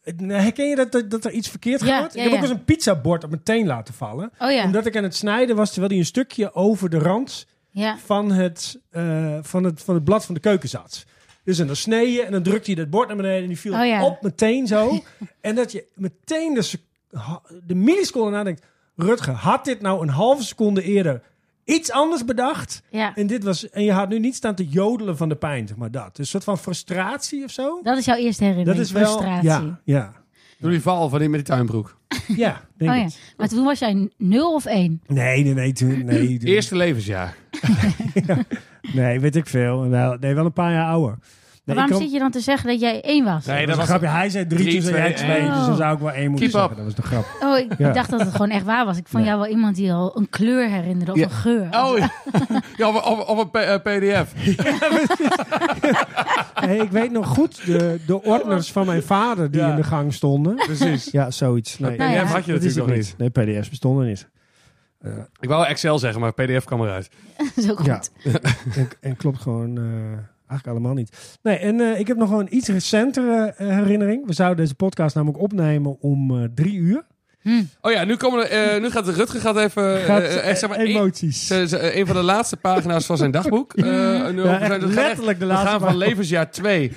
Speaker 2: het- nou, herken je dat, dat, dat er iets verkeerd
Speaker 1: Ja,
Speaker 2: gaat?
Speaker 1: ja,
Speaker 2: ik heb
Speaker 1: ja.
Speaker 2: ook eens een pizzabord op mijn teen laten vallen.
Speaker 1: Oh ja.
Speaker 2: Omdat ik aan het snijden was, terwijl hij een stukje over de rand
Speaker 1: Ja.
Speaker 2: van het, eh, van het, van het blad van de keuken zat. Dus en dan snee je en dan drukte hij dat bord naar beneden en die viel
Speaker 1: Oh ja.
Speaker 2: op meteen zo. en dat je meteen de, sec- ha- de milliseconde nadenkt. Rutger, had dit nou een halve seconde eerder iets anders bedacht?
Speaker 1: ja.
Speaker 2: En, dit was, en je had nu niet staan te jodelen van de pijn, zeg maar dat. Dus een soort van frustratie of zo.
Speaker 1: Dat is jouw eerste herinnering.
Speaker 2: Dat is wel...
Speaker 1: Frustratie. Oh
Speaker 2: Ja, ja,
Speaker 3: Doe die val van die met die tuinbroek.
Speaker 2: ja denk
Speaker 1: Oh ja.
Speaker 2: ik.
Speaker 1: Maar toen was jij 0 of 1?
Speaker 2: Nee, nee, nee. toen- nee, toen-
Speaker 3: Eerste levensjaar.
Speaker 2: Nee, weet ik veel. Nou, Nee, wel een paar jaar ouder. Nee,
Speaker 1: waarom
Speaker 2: ik kan-
Speaker 1: zit je dan te zeggen dat jij 1 was?
Speaker 3: Nee,
Speaker 2: Nee, dat was een grapje. Hij zei drie,
Speaker 3: Drie,
Speaker 2: toen zei jij
Speaker 3: twee,
Speaker 2: twee.
Speaker 1: één.
Speaker 2: Dus dan zou ik wel één moeten
Speaker 3: Keep
Speaker 2: zeggen. Dat was de grap.
Speaker 1: Oh, ik
Speaker 2: Ja.
Speaker 1: dacht dat het gewoon echt waar was. Ik vond
Speaker 2: Nee.
Speaker 1: jou wel iemand die al een kleur herinnerde of
Speaker 3: Ja.
Speaker 1: een geur.
Speaker 3: Oh ja, ja of, of, of een P- eh, pdf.
Speaker 2: Hey, ik weet nog goed de, de ordners van mijn vader die
Speaker 3: Ja.
Speaker 2: in de gang stonden.
Speaker 3: Precies.
Speaker 2: Ja, zoiets. Nee,
Speaker 1: Nou ja.
Speaker 3: PDF had je
Speaker 2: dat is
Speaker 3: natuurlijk
Speaker 2: het
Speaker 3: nog niet.
Speaker 2: niet. Nee, PDF's bestonden niet.
Speaker 3: Ik wou Excel zeggen, maar PDF kwam eruit.
Speaker 1: Dat is ook goed.
Speaker 2: Ja. En, en klopt gewoon eh, eigenlijk allemaal niet. Nee, en eh, ik heb nog wel een iets recentere eh, herinnering. We zouden deze podcast namelijk opnemen om eh, drie uur.
Speaker 1: Hm.
Speaker 3: Oh ja, nu, komen er, eh, nu gaat Rutger gaat even... eh,
Speaker 2: Gaat,
Speaker 3: eh, echt, zeg maar,
Speaker 2: eh,
Speaker 3: één-
Speaker 2: emoties.
Speaker 3: Ze- ze- een van de laatste pagina's van zijn dagboek. Eh, nu
Speaker 2: Ja,
Speaker 3: we zijn-
Speaker 2: echt
Speaker 3: we gaan
Speaker 2: letterlijk de laatste
Speaker 3: We gaan van
Speaker 2: pagina.
Speaker 3: levensjaar 2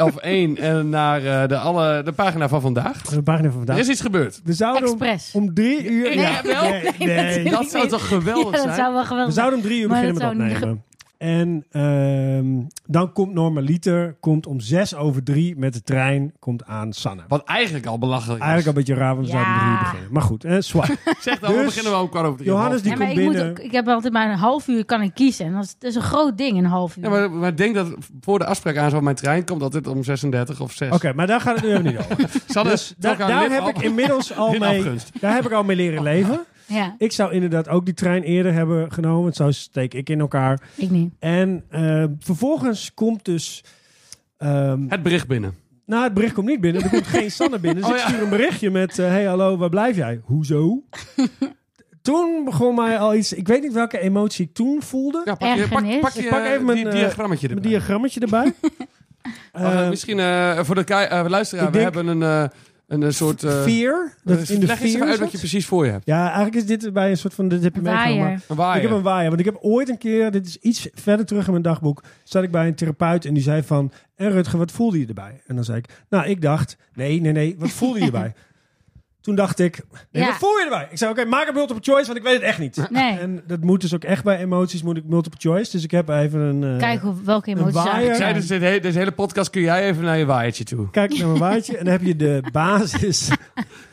Speaker 3: of 1 en naar eh, de, alle, de pagina van vandaag.
Speaker 2: De pagina van
Speaker 3: Er
Speaker 2: vandaag.
Speaker 3: is iets gebeurd.
Speaker 2: We zouden om,
Speaker 1: Expres.
Speaker 2: om drie uur...
Speaker 3: Ik
Speaker 2: ja,
Speaker 3: heb wel-
Speaker 2: nee, nee.
Speaker 1: natuurlijk
Speaker 3: Dat zou toch geweldig
Speaker 1: Ja, dat
Speaker 3: zijn?
Speaker 1: zou wel
Speaker 2: We
Speaker 1: geweldig zijn.
Speaker 2: zouden om drie uur
Speaker 1: Maar
Speaker 2: beginnen
Speaker 1: dat
Speaker 2: met
Speaker 1: zou niet
Speaker 2: opnemen. En ehm, dan komt normaliter komt om zes over drie met de trein komt aan Sanne.
Speaker 3: Wat eigenlijk al belachelijk is.
Speaker 2: Eigenlijk een beetje raar, want we zouden
Speaker 1: Ja.
Speaker 2: om drie beginnen. Maar goed, eh, zwaar.
Speaker 3: Zeg dan, we
Speaker 2: Dus,
Speaker 3: beginnen we om kwart over drie.
Speaker 2: Johannes die
Speaker 1: Ja, maar
Speaker 2: komt
Speaker 1: ik, moet
Speaker 2: binnen.
Speaker 1: ook, ik heb altijd maar een half uur kan ik kiezen. En dat is, dat is een groot ding, een half uur.
Speaker 3: Ja, maar, maar ik denk dat voor de afspraak aan zo'n mijn trein komt altijd om 36 of 6.
Speaker 2: Oké, maar daar gaat het nu even niet over.
Speaker 3: Sanne,
Speaker 2: Dus
Speaker 3: trok
Speaker 2: daar,
Speaker 3: haar
Speaker 2: daar
Speaker 3: lip
Speaker 2: heb
Speaker 3: op.
Speaker 2: ik inmiddels al
Speaker 3: In
Speaker 2: mee,
Speaker 3: afgunst.
Speaker 2: daar heb ik al mee leren leven.
Speaker 1: Ja,
Speaker 2: Ik zou inderdaad ook die trein eerder hebben genomen. want Zo steek ik in elkaar.
Speaker 1: ik niet.
Speaker 2: En eh, vervolgens komt dus... ehm,
Speaker 3: Het bericht binnen.
Speaker 2: nou, het bericht komt niet binnen. Er komt geen Sanne binnen. Dus
Speaker 3: Oh,
Speaker 2: ik
Speaker 3: ja.
Speaker 2: stuur een berichtje met... eh, hey, hallo, waar blijf jij? Hoezo? toen begon mij al iets... Ik weet niet welke emotie ik toen voelde.
Speaker 3: Ja, pak, je, pak,
Speaker 1: Ergernis.
Speaker 3: pak je,
Speaker 2: Ik pak even mijn,
Speaker 3: die
Speaker 2: eh,
Speaker 3: diagrammetje erbij.
Speaker 2: Een diagrammetje erbij.
Speaker 3: Wacht,
Speaker 2: Eh,
Speaker 3: misschien eh, voor de ki- eh, luisteraar,
Speaker 2: ik
Speaker 3: we
Speaker 2: denk-
Speaker 3: hebben een, eh, een, eh, soort... eh,
Speaker 2: Fear. Dat is in de
Speaker 3: leg eens even
Speaker 2: fear.
Speaker 3: uit
Speaker 2: is
Speaker 3: wat je
Speaker 2: het?
Speaker 3: precies voor je hebt.
Speaker 2: Ja, eigenlijk is dit bij een soort van... Dit heb je meegenomen.
Speaker 1: Waaier.
Speaker 3: Een waaier.
Speaker 2: Ik heb een waaier, want ik heb ooit een keer, dit is iets verder terug in mijn dagboek, zat ik bij een therapeut en die zei van, en Rutger, wat voelde je erbij? En dan zei ik, nou, ik dacht, nee, nee, nee, wat voelde je erbij? Toen dacht ik, nee,
Speaker 1: Ja.
Speaker 2: wat voel je erbij? Ik zei, oké, maak een multiple choice, want ik weet het echt niet.
Speaker 1: Nee,
Speaker 2: En dat moet dus ook echt bij emoties, moet ik multiple choice. Dus ik heb even een... eh,
Speaker 1: kijk hoe, welke
Speaker 2: een
Speaker 1: emoties er
Speaker 2: waaier.
Speaker 1: eigenlijk
Speaker 3: Ik zei,
Speaker 1: zijn.
Speaker 3: dus dit he- deze hele podcast kun jij even naar je waaiertje toe.
Speaker 2: Kijk naar mijn waaitje en dan heb je de basis.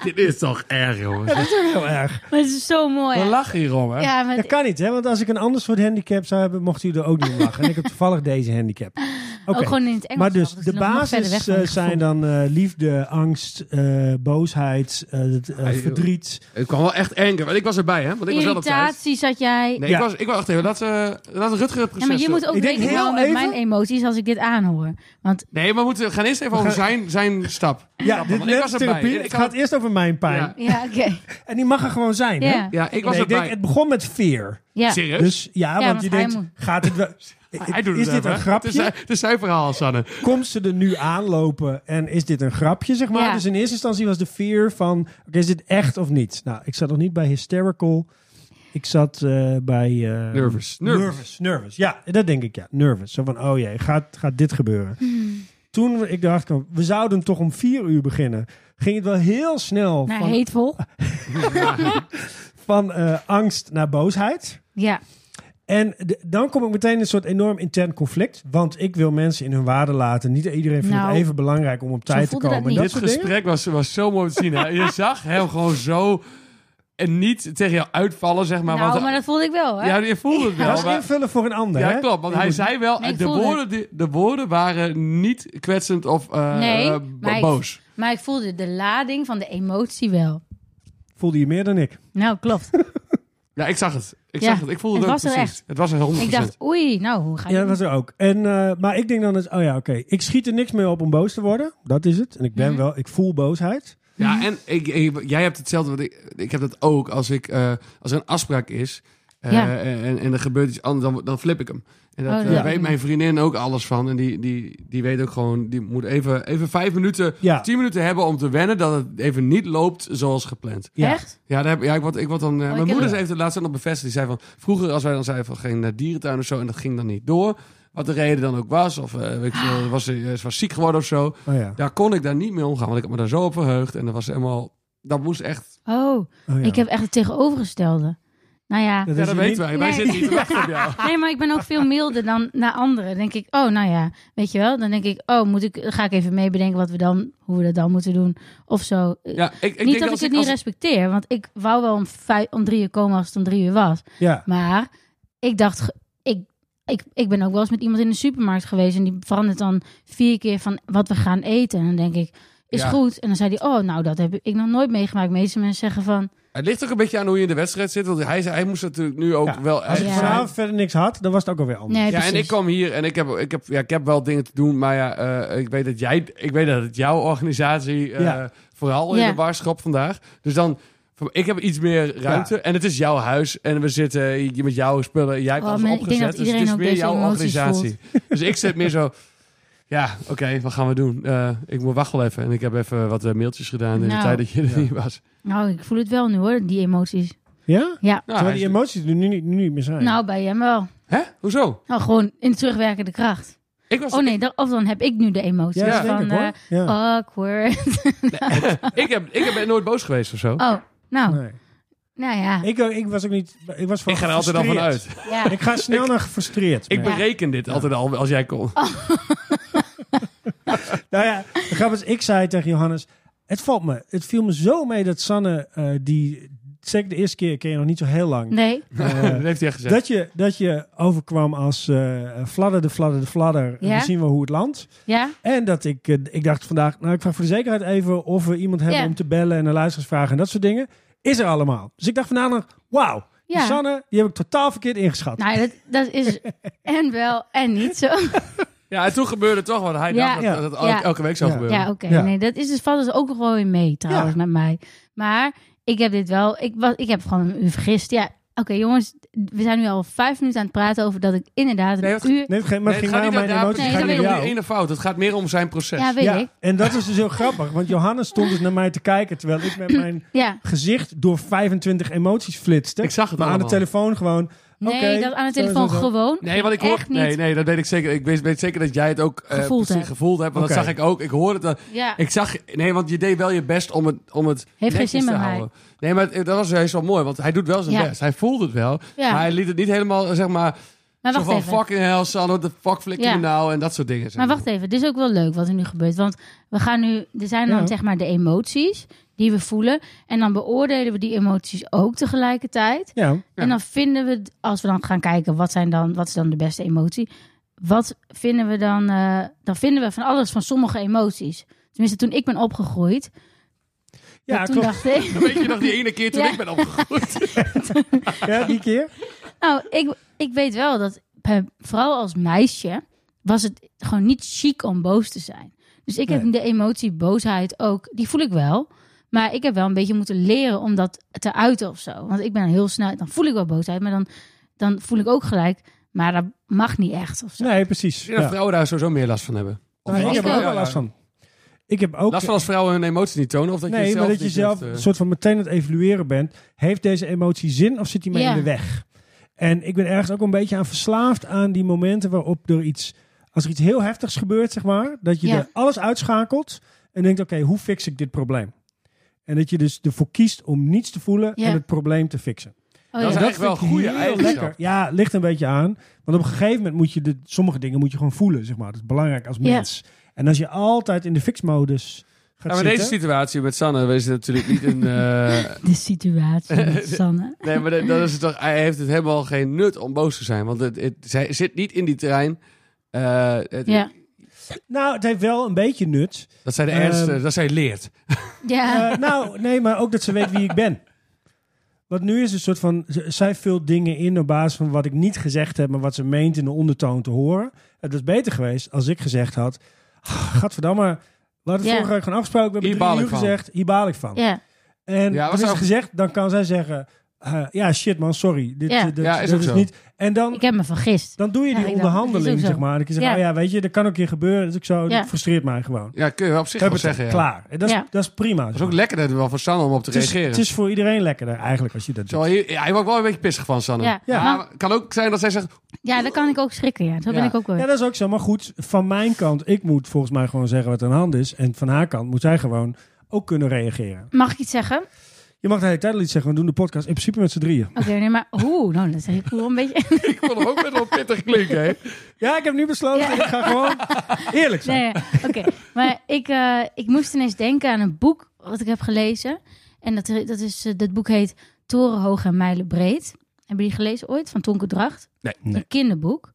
Speaker 3: Dit is toch erg, jongens.
Speaker 2: Heel erg.
Speaker 1: Maar het is zo mooi.
Speaker 3: We
Speaker 1: hè?
Speaker 3: lachen hierom, hè?
Speaker 1: Ja, maar
Speaker 2: Dat kan niet, hè? Want als ik een ander soort handicap zou hebben, mocht u er ook niet om lachen. En ik heb toevallig deze handicap. Oké.
Speaker 1: ook Oh, gewoon in het Engels.
Speaker 2: Maar dus,
Speaker 1: zelf, dat
Speaker 2: de
Speaker 1: is nog- nog verder weg
Speaker 2: basis
Speaker 1: van
Speaker 2: eh,
Speaker 1: het gevoel.
Speaker 2: zijn dan eh, liefde, angst, eh, boosheid, eh, het, eh,
Speaker 3: Ah, joh.
Speaker 2: verdriet.
Speaker 3: Het kwam wel echt anger. Want ik was erbij, hè? Want ik was wel op tijd.
Speaker 1: Irritatie zat jij.
Speaker 3: Nee,
Speaker 2: Ja.
Speaker 3: ik was... Ik wacht even. Laat, eh laat Rutger het proces
Speaker 1: Ja, maar je
Speaker 3: doen.
Speaker 1: moet ook
Speaker 2: Ik denk
Speaker 1: rekening houden met
Speaker 2: heel
Speaker 1: mijn emoties als ik dit aanhoor. Want
Speaker 3: Nee, maar we moeten, we gaan eerst even over zijn, zijn stap.
Speaker 2: Ja, dit
Speaker 3: ik
Speaker 2: net
Speaker 3: was
Speaker 2: als
Speaker 3: erbij.
Speaker 2: therapie.
Speaker 3: Ik
Speaker 2: Het
Speaker 3: had-
Speaker 2: gaat eerst over mijn pijn.
Speaker 3: Ja.
Speaker 1: ja, oké.
Speaker 2: En die mag er gewoon zijn, hè?
Speaker 1: Ja.
Speaker 3: Ja, ik was
Speaker 2: Nee, ik
Speaker 3: erbij.
Speaker 2: denk, het begon met fear.
Speaker 1: Ja.
Speaker 3: Serieus?
Speaker 2: Dus ja, want,
Speaker 1: want
Speaker 2: je
Speaker 1: hij
Speaker 2: denkt,
Speaker 1: moet-
Speaker 2: gaat het wel...
Speaker 3: Hij doet
Speaker 2: is
Speaker 3: het
Speaker 2: dit
Speaker 3: even,
Speaker 2: een
Speaker 3: hè?
Speaker 2: grapje?
Speaker 3: Het is, het is zijn verhaal, Sanne.
Speaker 2: Komt ze er nu aanlopen en is dit een grapje, zeg maar?
Speaker 1: Ja.
Speaker 2: Dus in eerste instantie was de fear van, oké, is dit echt of niet? Nou, ik zat nog niet bij hysterical. Ik zat eh, bij... eh,
Speaker 3: Nervous. Nervous.
Speaker 2: Nervous. nervous, Ja, dat denk ik ja. Nervous. Zo van, oh jee, gaat, gaat dit gebeuren? Toen ik dacht, we zouden toch om vier uur beginnen. Ging het wel heel snel
Speaker 1: Naar
Speaker 2: van,
Speaker 1: heetvol.
Speaker 2: van eh, angst naar boosheid.
Speaker 1: Ja.
Speaker 2: En d- dan kom ik meteen in een soort enorm intern conflict. Want ik wil mensen in hun waarde laten. Niet iedereen vindt
Speaker 1: Nou,
Speaker 2: het even belangrijk om op tijd te
Speaker 1: voelde dat
Speaker 2: komen. En
Speaker 1: niet.
Speaker 2: dat
Speaker 3: Dit
Speaker 2: soort dingen.
Speaker 3: gesprek was, was zo mooi te zien. Hè? Je zag hem gewoon zo... En niet tegen jou uitvallen, zeg maar.
Speaker 1: nou,
Speaker 3: want,
Speaker 1: maar dat voelde ik wel, hè?
Speaker 3: ja, je voelde het
Speaker 2: Dat
Speaker 3: wel.
Speaker 2: is
Speaker 3: maar-
Speaker 2: invullen voor een ander.
Speaker 3: ja,
Speaker 2: hè?
Speaker 3: klopt. Want
Speaker 2: Je
Speaker 3: hij
Speaker 2: moet-
Speaker 3: zei wel...
Speaker 1: Nee, ik
Speaker 3: de,
Speaker 1: voelde
Speaker 3: woorden, die- de woorden waren niet kwetsend of eh,
Speaker 1: Nee,
Speaker 3: eh, bo-
Speaker 1: maar ik-
Speaker 3: boos.
Speaker 1: Maar ik voelde de lading van de emotie wel.
Speaker 2: Voelde je meer dan ik.
Speaker 1: Nou, klopt.
Speaker 3: Ja, ik zag het. Ik
Speaker 1: Ja,
Speaker 3: zag het. Ik voelde het,
Speaker 1: het
Speaker 3: ook
Speaker 1: was er
Speaker 3: precies. Het was er 100%.
Speaker 1: ik dacht, oei, nou, hoe ga je...
Speaker 2: Ja, dat was er ook. En, eh, maar ik denk dan eens, oh ja, oké. Ik schiet er niks mee op om boos te worden. Dat is het. En ik ben
Speaker 1: Mhm.
Speaker 2: wel, ik voel boosheid.
Speaker 3: Ja, en ik, ik- jij hebt hetzelfde. Want ik, ik heb dat ook als, ik, eh, als er een afspraak is. eh,
Speaker 1: Ja.
Speaker 3: en, en er gebeurt iets anders, dan, dan flip ik hem. En dat,
Speaker 1: Oh,
Speaker 3: eh,
Speaker 1: ja.
Speaker 3: weet mijn vriendin ook alles van. En die, die, die weet ook gewoon, die moet even, even vijf minuten,
Speaker 2: Ja.
Speaker 3: tien minuten hebben om te wennen dat het even niet loopt zoals gepland.
Speaker 2: Ja.
Speaker 1: Echt?
Speaker 3: Ja, daar heb, ja ik, word, ik word dan.
Speaker 1: Oh,
Speaker 3: eh,
Speaker 1: ik
Speaker 3: mijn
Speaker 1: heb
Speaker 3: moeder
Speaker 1: het-
Speaker 3: heeft het laatst ook nog bevestigd. Die zei van vroeger, als wij dan zeiden van geen eh, dierentuin of zo, en dat ging dan niet door. Wat de reden dan ook was, of eh, weet ik veel,
Speaker 1: Ah.
Speaker 3: was, ze was ziek geworden of zo.
Speaker 2: Oh ja.
Speaker 3: Daar kon ik daar niet mee omgaan, want ik had me daar zo op verheugd. En dat was helemaal... Dat moest echt...
Speaker 1: Oh,
Speaker 2: Oh ja.
Speaker 1: ik heb echt het tegenovergestelde. Nou ja.
Speaker 2: Dat
Speaker 3: Ja,
Speaker 2: is je
Speaker 3: dat weten
Speaker 2: niet-
Speaker 3: wij. Wij
Speaker 1: Nee.
Speaker 3: zitten niet te wachten op jou.
Speaker 1: Nee, maar ik ben ook veel milder dan naar anderen. Dan denk ik, oh, nou ja, weet je wel? Dan denk ik, oh, moet ik, dan ga ik even meebedenken wat we dan, hoe we dat dan moeten doen of zo.
Speaker 3: Ja, ik, ik denk
Speaker 1: niet dat,
Speaker 3: als
Speaker 1: ik het niet
Speaker 3: als
Speaker 1: respecteer, want ik wou wel om, vijf, om drie uur komen als het om drie uur was.
Speaker 2: Ja.
Speaker 1: Maar ik dacht, ge- ik, ik, ik ben ook wel eens met iemand in de supermarkt geweest en die verandert dan vier keer van wat we gaan eten. En dan denk ik, is
Speaker 3: Ja.
Speaker 1: goed. En dan zei hij, oh, nou, dat heb ik nog nooit meegemaakt. Meeste mensen zeggen van,
Speaker 3: Het ligt ook een beetje aan hoe je in de wedstrijd zit. Want hij, zei- hij moest natuurlijk nu ook
Speaker 2: Ja.
Speaker 3: wel...
Speaker 2: Als ik
Speaker 1: Ja.
Speaker 2: vanavond verder niks had, dan was het ook alweer anders.
Speaker 1: nee,
Speaker 3: Ja, en
Speaker 1: precies.
Speaker 3: ik kwam hier en ik heb, ik heb, ja, ik heb wel dingen te doen. Maar ja, eh, ik, weet dat jij, ik weet dat het jouw organisatie eh,
Speaker 2: Ja.
Speaker 3: vooral in
Speaker 1: Ja.
Speaker 3: de waarschap vandaag. Dus dan, van- ik heb iets meer ruimte. En het is jouw huis en we zitten hier met jouw spullen. Jij hebt
Speaker 1: Oh,
Speaker 3: alles
Speaker 1: man, ik
Speaker 3: opgezet,
Speaker 1: denk dat
Speaker 3: dus het
Speaker 1: iedereen
Speaker 3: is
Speaker 1: ook
Speaker 3: meer
Speaker 1: deze
Speaker 3: jouw
Speaker 1: emoties
Speaker 3: organisatie. Dus ik zit meer zo... Ja, oké, wat gaan we doen? Eh, ik moet wachten wel even. En ik heb even wat eh, mailtjes gedaan in de
Speaker 1: Nou.
Speaker 3: tijd dat je er
Speaker 2: Ja.
Speaker 3: niet was.
Speaker 1: Nou, ik voel het wel nu hoor, die emoties.
Speaker 2: Ja?
Speaker 1: Ja,
Speaker 3: Nou,
Speaker 2: Terwijl
Speaker 3: hij
Speaker 2: die
Speaker 3: is-
Speaker 2: emoties er nu niet, nu niet meer zijn.
Speaker 1: nou, bij hem wel.
Speaker 3: Hè? Hoezo?
Speaker 1: Nou, gewoon in terugwerkende kracht.
Speaker 3: Ik was,
Speaker 1: Oh nee, dan, of dan heb ik nu de emoties
Speaker 2: ja, dat denk
Speaker 1: van
Speaker 2: ik hoor.
Speaker 1: eh,
Speaker 2: Ja.
Speaker 1: awkward. nou.
Speaker 3: ik, heb, ik heb nooit boos geweest of zo.
Speaker 1: Oh, nou,
Speaker 2: Nee.
Speaker 1: Nou ja,
Speaker 2: Ik, eh, ik was ook niet... Ik, was van
Speaker 3: Ik ga er altijd al van
Speaker 2: gefrustreerd.
Speaker 3: uit.
Speaker 1: ja.
Speaker 2: Ik ga snel naar gefrustreerd.
Speaker 3: Ik
Speaker 2: merk
Speaker 3: bereken dit altijd al als jij komt.
Speaker 1: Oh.
Speaker 2: Nou ja, de grap is, ik zei tegen Johannes, het valt me, het viel me zo mee dat Sanne, eh, die zeker de eerste keer ken je nog niet zo heel lang,
Speaker 1: nee.
Speaker 2: eh,
Speaker 3: dat heeft hij echt gezegd.
Speaker 2: dat, je, dat je overkwam als eh fladder de fladder de fladder,
Speaker 1: Ja.
Speaker 2: en we zien wel hoe het landt.
Speaker 1: Ja,
Speaker 2: En dat ik, eh, ik dacht vandaag, nou ik vraag voor de zekerheid even of we iemand hebben
Speaker 1: Ja.
Speaker 2: om te bellen en een luisteraarsvraag en dat soort dingen. Is er allemaal. Dus ik dacht vandaag nog, wauw, die
Speaker 1: ja.
Speaker 2: Sanne, die heb ik totaal verkeerd ingeschat.
Speaker 1: Nou, dat, dat is en wel en niet zo.
Speaker 3: Ja, en toen gebeurde toch wat hij
Speaker 1: Ja.
Speaker 3: dacht dat,
Speaker 2: Ja.
Speaker 3: dat het el-
Speaker 1: Ja.
Speaker 3: elke week zou
Speaker 2: Ja.
Speaker 3: gebeuren.
Speaker 1: Ja,
Speaker 3: Ja.
Speaker 1: oké.
Speaker 2: Ja.
Speaker 1: Nee, dat is dus valt dus ook nog wel weer mee trouwens
Speaker 2: Ja.
Speaker 1: met mij. Maar ik heb dit wel. Ik, was, ik heb gewoon u vergist. Ja, oké jongens, we zijn nu al vijf minuten aan het praten over dat ik inderdaad een
Speaker 3: Nee, dat-
Speaker 1: uur.
Speaker 2: Nee, het ging- maar het
Speaker 3: het
Speaker 2: ging
Speaker 3: gaat
Speaker 2: mij om mijn
Speaker 3: niet om David,
Speaker 2: emoties,
Speaker 1: Nee,
Speaker 2: het
Speaker 1: dat
Speaker 2: gaat
Speaker 3: het gaat
Speaker 2: niet
Speaker 3: niet
Speaker 2: om
Speaker 1: weet
Speaker 3: om
Speaker 1: ik.
Speaker 3: die
Speaker 2: jou.
Speaker 3: ene fout. Het gaat meer om zijn proces.
Speaker 1: Ja, weet
Speaker 2: Ja,
Speaker 1: ik.
Speaker 2: en dat is dus heel grappig, want Johannes stond dus naar mij te kijken terwijl ik met mijn
Speaker 1: Ja.
Speaker 2: gezicht door 25 emoties flitste.
Speaker 3: Ik zag het
Speaker 2: Maar aan de
Speaker 3: allemaal.
Speaker 2: telefoon gewoon.
Speaker 1: Nee,
Speaker 2: Oké,
Speaker 1: dat aan de
Speaker 2: zo,
Speaker 1: telefoon
Speaker 2: zo, zo.
Speaker 1: gewoon.
Speaker 3: Nee, want ik hoor,
Speaker 1: Echt niet.
Speaker 3: nee, nee, dat weet ik zeker. Ik weet, weet zeker dat jij het ook eh,
Speaker 1: Gevoeld
Speaker 3: precies
Speaker 1: hebt.
Speaker 3: gevoeld hebt. Want
Speaker 2: Oké.
Speaker 3: dat zag ik ook. Ik hoorde het. eh,
Speaker 1: Ja.
Speaker 3: Ik zag, nee, want je deed wel je best om het, om het
Speaker 1: geen
Speaker 3: netjes
Speaker 1: zin
Speaker 3: te
Speaker 1: bij mij.
Speaker 3: houden. Nee, maar het- dat was juist wel mooi, want hij doet wel zijn
Speaker 1: Ja.
Speaker 3: best. Hij voelt het wel,
Speaker 1: Ja.
Speaker 3: maar hij liet het niet helemaal, eh, zeg maar,
Speaker 1: maar
Speaker 3: zo
Speaker 1: wacht
Speaker 3: van
Speaker 1: even.
Speaker 3: fucking hell, Sanne, de fuck flikker
Speaker 1: Ja.
Speaker 3: je nou en dat soort dingen. zeg
Speaker 1: Maar wacht even, dit is ook wel leuk wat er nu gebeurt. Want we gaan nu, er zijn dan
Speaker 2: Ja.
Speaker 1: zeg maar de emoties die we voelen. En dan beoordelen we die emoties ook tegelijkertijd.
Speaker 2: Ja,
Speaker 3: Ja.
Speaker 1: En dan vinden we, als we dan gaan kijken, wat, zijn dan, wat is dan de beste emotie? Wat vinden we dan? eh, dan vinden we van alles van sommige emoties. Tenminste, toen ik ben opgegroeid,
Speaker 2: ja
Speaker 1: toen
Speaker 2: klopt.
Speaker 1: dacht ik.
Speaker 3: Weet je nog die ene keer toen
Speaker 1: Ja.
Speaker 3: ik ben opgegroeid?
Speaker 2: Ja, die keer.
Speaker 1: Nou, ik, ik weet wel dat, bij- vooral als meisje, was het gewoon niet chic om boos te zijn. Dus ik heb
Speaker 2: Nee.
Speaker 1: de emotie boosheid ook, die voel ik wel. Maar ik heb wel een beetje moeten leren om dat te uiten of zo. Want ik ben heel snel, dan voel ik wel boosheid, maar dan, dan voel ik ook gelijk, maar dat mag niet echt of zo.
Speaker 2: Nee, precies.
Speaker 3: Ik denk dat
Speaker 2: Ja.
Speaker 3: vrouwen daar sowieso meer last van hebben. Of
Speaker 2: Nou, ik
Speaker 1: was
Speaker 2: heb
Speaker 1: het-
Speaker 2: er ook
Speaker 1: Ja,
Speaker 2: wel last van. Ik heb ook.
Speaker 3: Last van als vrouwen hun emoties niet tonen of dat je
Speaker 2: nee,
Speaker 3: zelf
Speaker 2: maar dat je
Speaker 3: niet
Speaker 2: zelf
Speaker 3: durft,
Speaker 2: een
Speaker 3: eh,
Speaker 2: soort van meteen aan het evalueren bent. Heeft deze emotie zin of zit die mij
Speaker 1: Ja.
Speaker 2: in de weg? En ik ben ergens ook een beetje aan verslaafd aan die momenten waarop er iets, als er iets heel heftigs gebeurt, zeg maar, dat je
Speaker 1: Ja.
Speaker 2: er alles uitschakelt en denkt: oké, hoe fix ik dit probleem? En dat je dus ervoor kiest om niets te voelen
Speaker 1: Ja.
Speaker 2: en het probleem te fixen.
Speaker 1: Oh,
Speaker 3: Dat
Speaker 1: ja.
Speaker 3: is echt wel een
Speaker 2: vind ik
Speaker 3: goede
Speaker 2: heel
Speaker 3: eigenschap.
Speaker 2: lekker. Ja, het ligt een beetje aan. Want op een gegeven moment moet je de, sommige dingen moet je gewoon voelen, zeg maar. Dat is belangrijk als
Speaker 1: Ja.
Speaker 2: mens. En als je altijd in de fixmodus gaat
Speaker 3: Ja, maar
Speaker 2: zitten.
Speaker 3: deze situatie met Sanne is natuurlijk niet een... eh,
Speaker 1: De situatie met Sanne.
Speaker 3: Nee, maar dat, dat is het toch, hij heeft het helemaal geen nut om boos te zijn. Want het, het, zij zit niet in die trein. eh, het-
Speaker 1: Ja.
Speaker 2: Nou, het heeft wel een beetje nut.
Speaker 3: Dat zij de ergste,
Speaker 2: Ehm.
Speaker 3: dat zij leert.
Speaker 1: Ja.
Speaker 2: Eh, nou, nee, maar ook dat ze weet wie ik ben. Want nu is het een soort van, z- zij vult dingen in op basis van wat ik niet gezegd heb, maar wat ze meent in de ondertoon te horen. Het was beter geweest als ik gezegd had, "Ah, gadverdamme, we hadden
Speaker 1: Ja.
Speaker 2: vorige week gewoon afgesproken, we
Speaker 3: Hier
Speaker 2: hebben
Speaker 3: baal
Speaker 2: drie
Speaker 3: ik
Speaker 2: uur
Speaker 3: van.
Speaker 2: gezegd, hier baal ik van.
Speaker 1: ja.
Speaker 2: En
Speaker 3: Ja,
Speaker 2: ja,
Speaker 3: was
Speaker 2: is
Speaker 3: ook-
Speaker 2: gezegd, dan kan zij zeggen... eh, ja, shit man, sorry. Dit,
Speaker 1: Ja.
Speaker 2: eh, dit,
Speaker 3: Ja, is
Speaker 2: dit
Speaker 3: ook zo.
Speaker 2: niet. En dan,
Speaker 1: Ik heb me vergist.
Speaker 2: dan doe je
Speaker 1: Ja, ik
Speaker 2: die
Speaker 1: dacht, dat
Speaker 2: onderhandeling,
Speaker 1: is ook zo.
Speaker 2: zeg maar. Dan kun je zeggen,
Speaker 1: Ja.
Speaker 2: oh ja, weet je, dat kan ook hier gebeuren. Dat is ook zo,
Speaker 1: Ja.
Speaker 2: dat frustreert mij gewoon.
Speaker 3: Ja, kun je wel op zich
Speaker 2: Heb
Speaker 3: wel
Speaker 2: het,
Speaker 3: zeggen. Ja.
Speaker 2: klaar. En dat, is,
Speaker 1: Ja.
Speaker 2: dat is prima.
Speaker 3: Dat
Speaker 2: zeg
Speaker 3: is ook
Speaker 2: maar.
Speaker 3: lekker dat wel voor Sanne om op te
Speaker 2: het, is,
Speaker 3: reageren.
Speaker 2: het is voor iedereen lekkerder eigenlijk als je dat doet.
Speaker 3: Terwijl hij, hij wordt wel een beetje pissig van Sanne.
Speaker 1: Ja.
Speaker 2: Ja.
Speaker 3: Maar het kan ook zijn dat zij zegt...
Speaker 1: Ja, daar kan ik ook schrikken. Ja. Zo
Speaker 3: Ja.
Speaker 1: ben ik ook eh. wel.
Speaker 2: Ja, dat is ook zo. Maar goed, van mijn kant, ik moet volgens mij gewoon zeggen wat aan de hand is. En van haar kant moet zij gewoon ook kunnen reageren.
Speaker 1: Mag ik iets zeggen?
Speaker 2: Je mag de hele tijd al iets zeggen. We doen de podcast in principe met z'n drieën.
Speaker 1: Oké, nee, maar hoe? Nou, dat is ik wel een beetje.
Speaker 3: Ik vond hem ook best wel pittig klinken. Hè.
Speaker 2: Ja, ik heb nu besloten.
Speaker 1: Ja.
Speaker 2: Ik ga gewoon eerlijk zijn.
Speaker 1: Nee, ja. oké. Maar ik, eh, ik moest ineens denken aan een boek wat ik heb gelezen. En dat, dat, is, eh, dat boek heet Torenhoog en Mijlenbreed. Hebben jullie gelezen ooit? Van Tonke Dracht?
Speaker 3: Nee.
Speaker 1: Een kinderboek.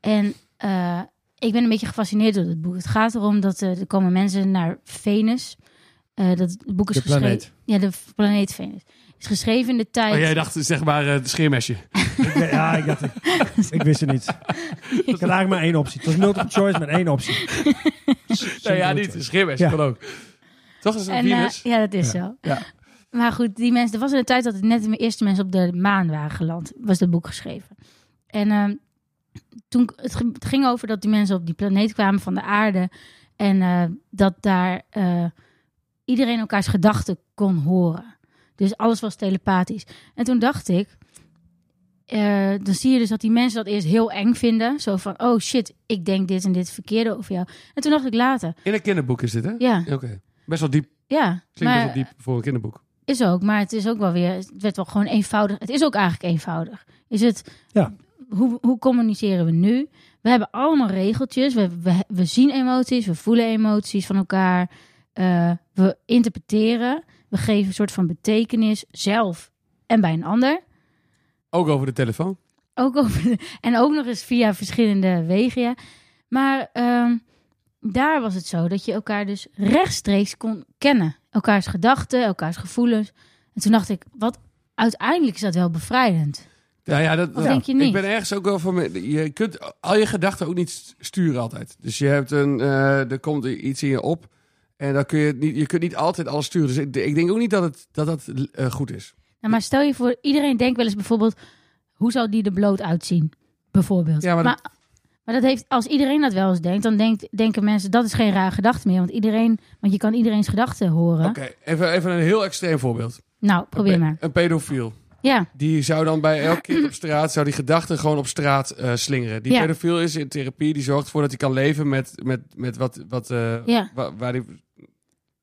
Speaker 1: En eh, ik ben een beetje gefascineerd door dat boek. Het gaat erom dat eh, er komen mensen naar Venus. Eh dat het boek is
Speaker 2: De
Speaker 1: geschreven.
Speaker 2: planeet.
Speaker 1: Ja, de v- planeet Venus. Is geschreven in de tijd.
Speaker 3: Oh, jij dacht zeg maar eh, het scheermesje.
Speaker 2: Ik ben- ja, ik, dacht, ik, ik wist het niet. Ik had eigenlijk maar één optie. Het was multiple choice met één optie.
Speaker 3: Nee, ja,
Speaker 2: Simpele
Speaker 3: niet.
Speaker 2: choice.
Speaker 3: Een scheermesje
Speaker 2: Ja.
Speaker 3: kan ook. Toch is het
Speaker 1: En,
Speaker 3: een
Speaker 1: eh,
Speaker 3: virus?
Speaker 1: ja, dat is zo.
Speaker 3: Ja.
Speaker 1: Maar goed, die mensen, er was een tijd dat het net de eerste mensen op de maan waren geland, was dat boek geschreven. En ehm, toen, het ge- het ging over dat die mensen op die planeet kwamen van de aarde en eh, dat daar eh, iedereen elkaars gedachten kon horen. Dus alles was telepathisch. En toen dacht ik, eh, dan zie je dus dat die mensen dat eerst heel eng vinden. Zo van, oh shit, ik denk dit en dit verkeerde over jou. En toen dacht ik later,
Speaker 3: In een kinderboek is dit, hè?
Speaker 1: ja,
Speaker 3: Oké. Best wel diep.
Speaker 1: ja.
Speaker 3: Klinkt best wel diep voor een kinderboek.
Speaker 1: Is ook, maar het is ook wel weer, het werd wel gewoon eenvoudig. Het is ook eigenlijk eenvoudig. Is het,
Speaker 2: Ja.
Speaker 1: hoe, hoe communiceren we nu? We hebben allemaal regeltjes, we, we, we zien emoties, we voelen emoties van elkaar. eh, we interpreteren, we geven een soort van betekenis zelf en bij een ander.
Speaker 3: Ook over de telefoon.
Speaker 1: Ook over de- en ook nog eens via verschillende wegen. ja. Maar ehm, daar was het zo dat je elkaar dus rechtstreeks kon kennen. Elkaars gedachten, elkaars gevoelens. En toen dacht ik, wat uiteindelijk is dat wel bevrijdend.
Speaker 3: Ja, ja, dat,
Speaker 1: Of
Speaker 3: ja.
Speaker 1: denk je
Speaker 3: Ik
Speaker 1: niet?
Speaker 3: ben ergens ook wel van. me- Je kunt al je gedachten ook niet st- sturen altijd. Dus je hebt een, eh, er komt iets in je op. En dan kun je het niet, je kunt niet altijd alles sturen. Dus ik, ik denk ook niet dat het, dat, dat eh, goed is.
Speaker 1: Nou, maar stel je voor, iedereen denkt wel eens bijvoorbeeld... hoe zou die er bloot uitzien? Bijvoorbeeld.
Speaker 3: Ja, maar dat-
Speaker 1: maar, maar dat heeft, als iedereen dat wel eens denkt... dan denkt, denken mensen, dat is geen raar gedachte meer. Want, iedereen, want je kan iedereen's gedachten horen.
Speaker 3: Oké, even, even een heel extreem voorbeeld.
Speaker 1: Nou, probeer
Speaker 3: een, pe-
Speaker 1: maar.
Speaker 3: Een pedofiel.
Speaker 1: Ja,
Speaker 3: Die zou dan bij elk kind op straat, zou die gedachten gewoon op straat eh, slingeren. Die
Speaker 1: Ja.
Speaker 3: pedofiel is in therapie, die zorgt ervoor dat hij kan leven met, met, met wat, wat, eh,
Speaker 1: Ja.
Speaker 3: wa- waar hij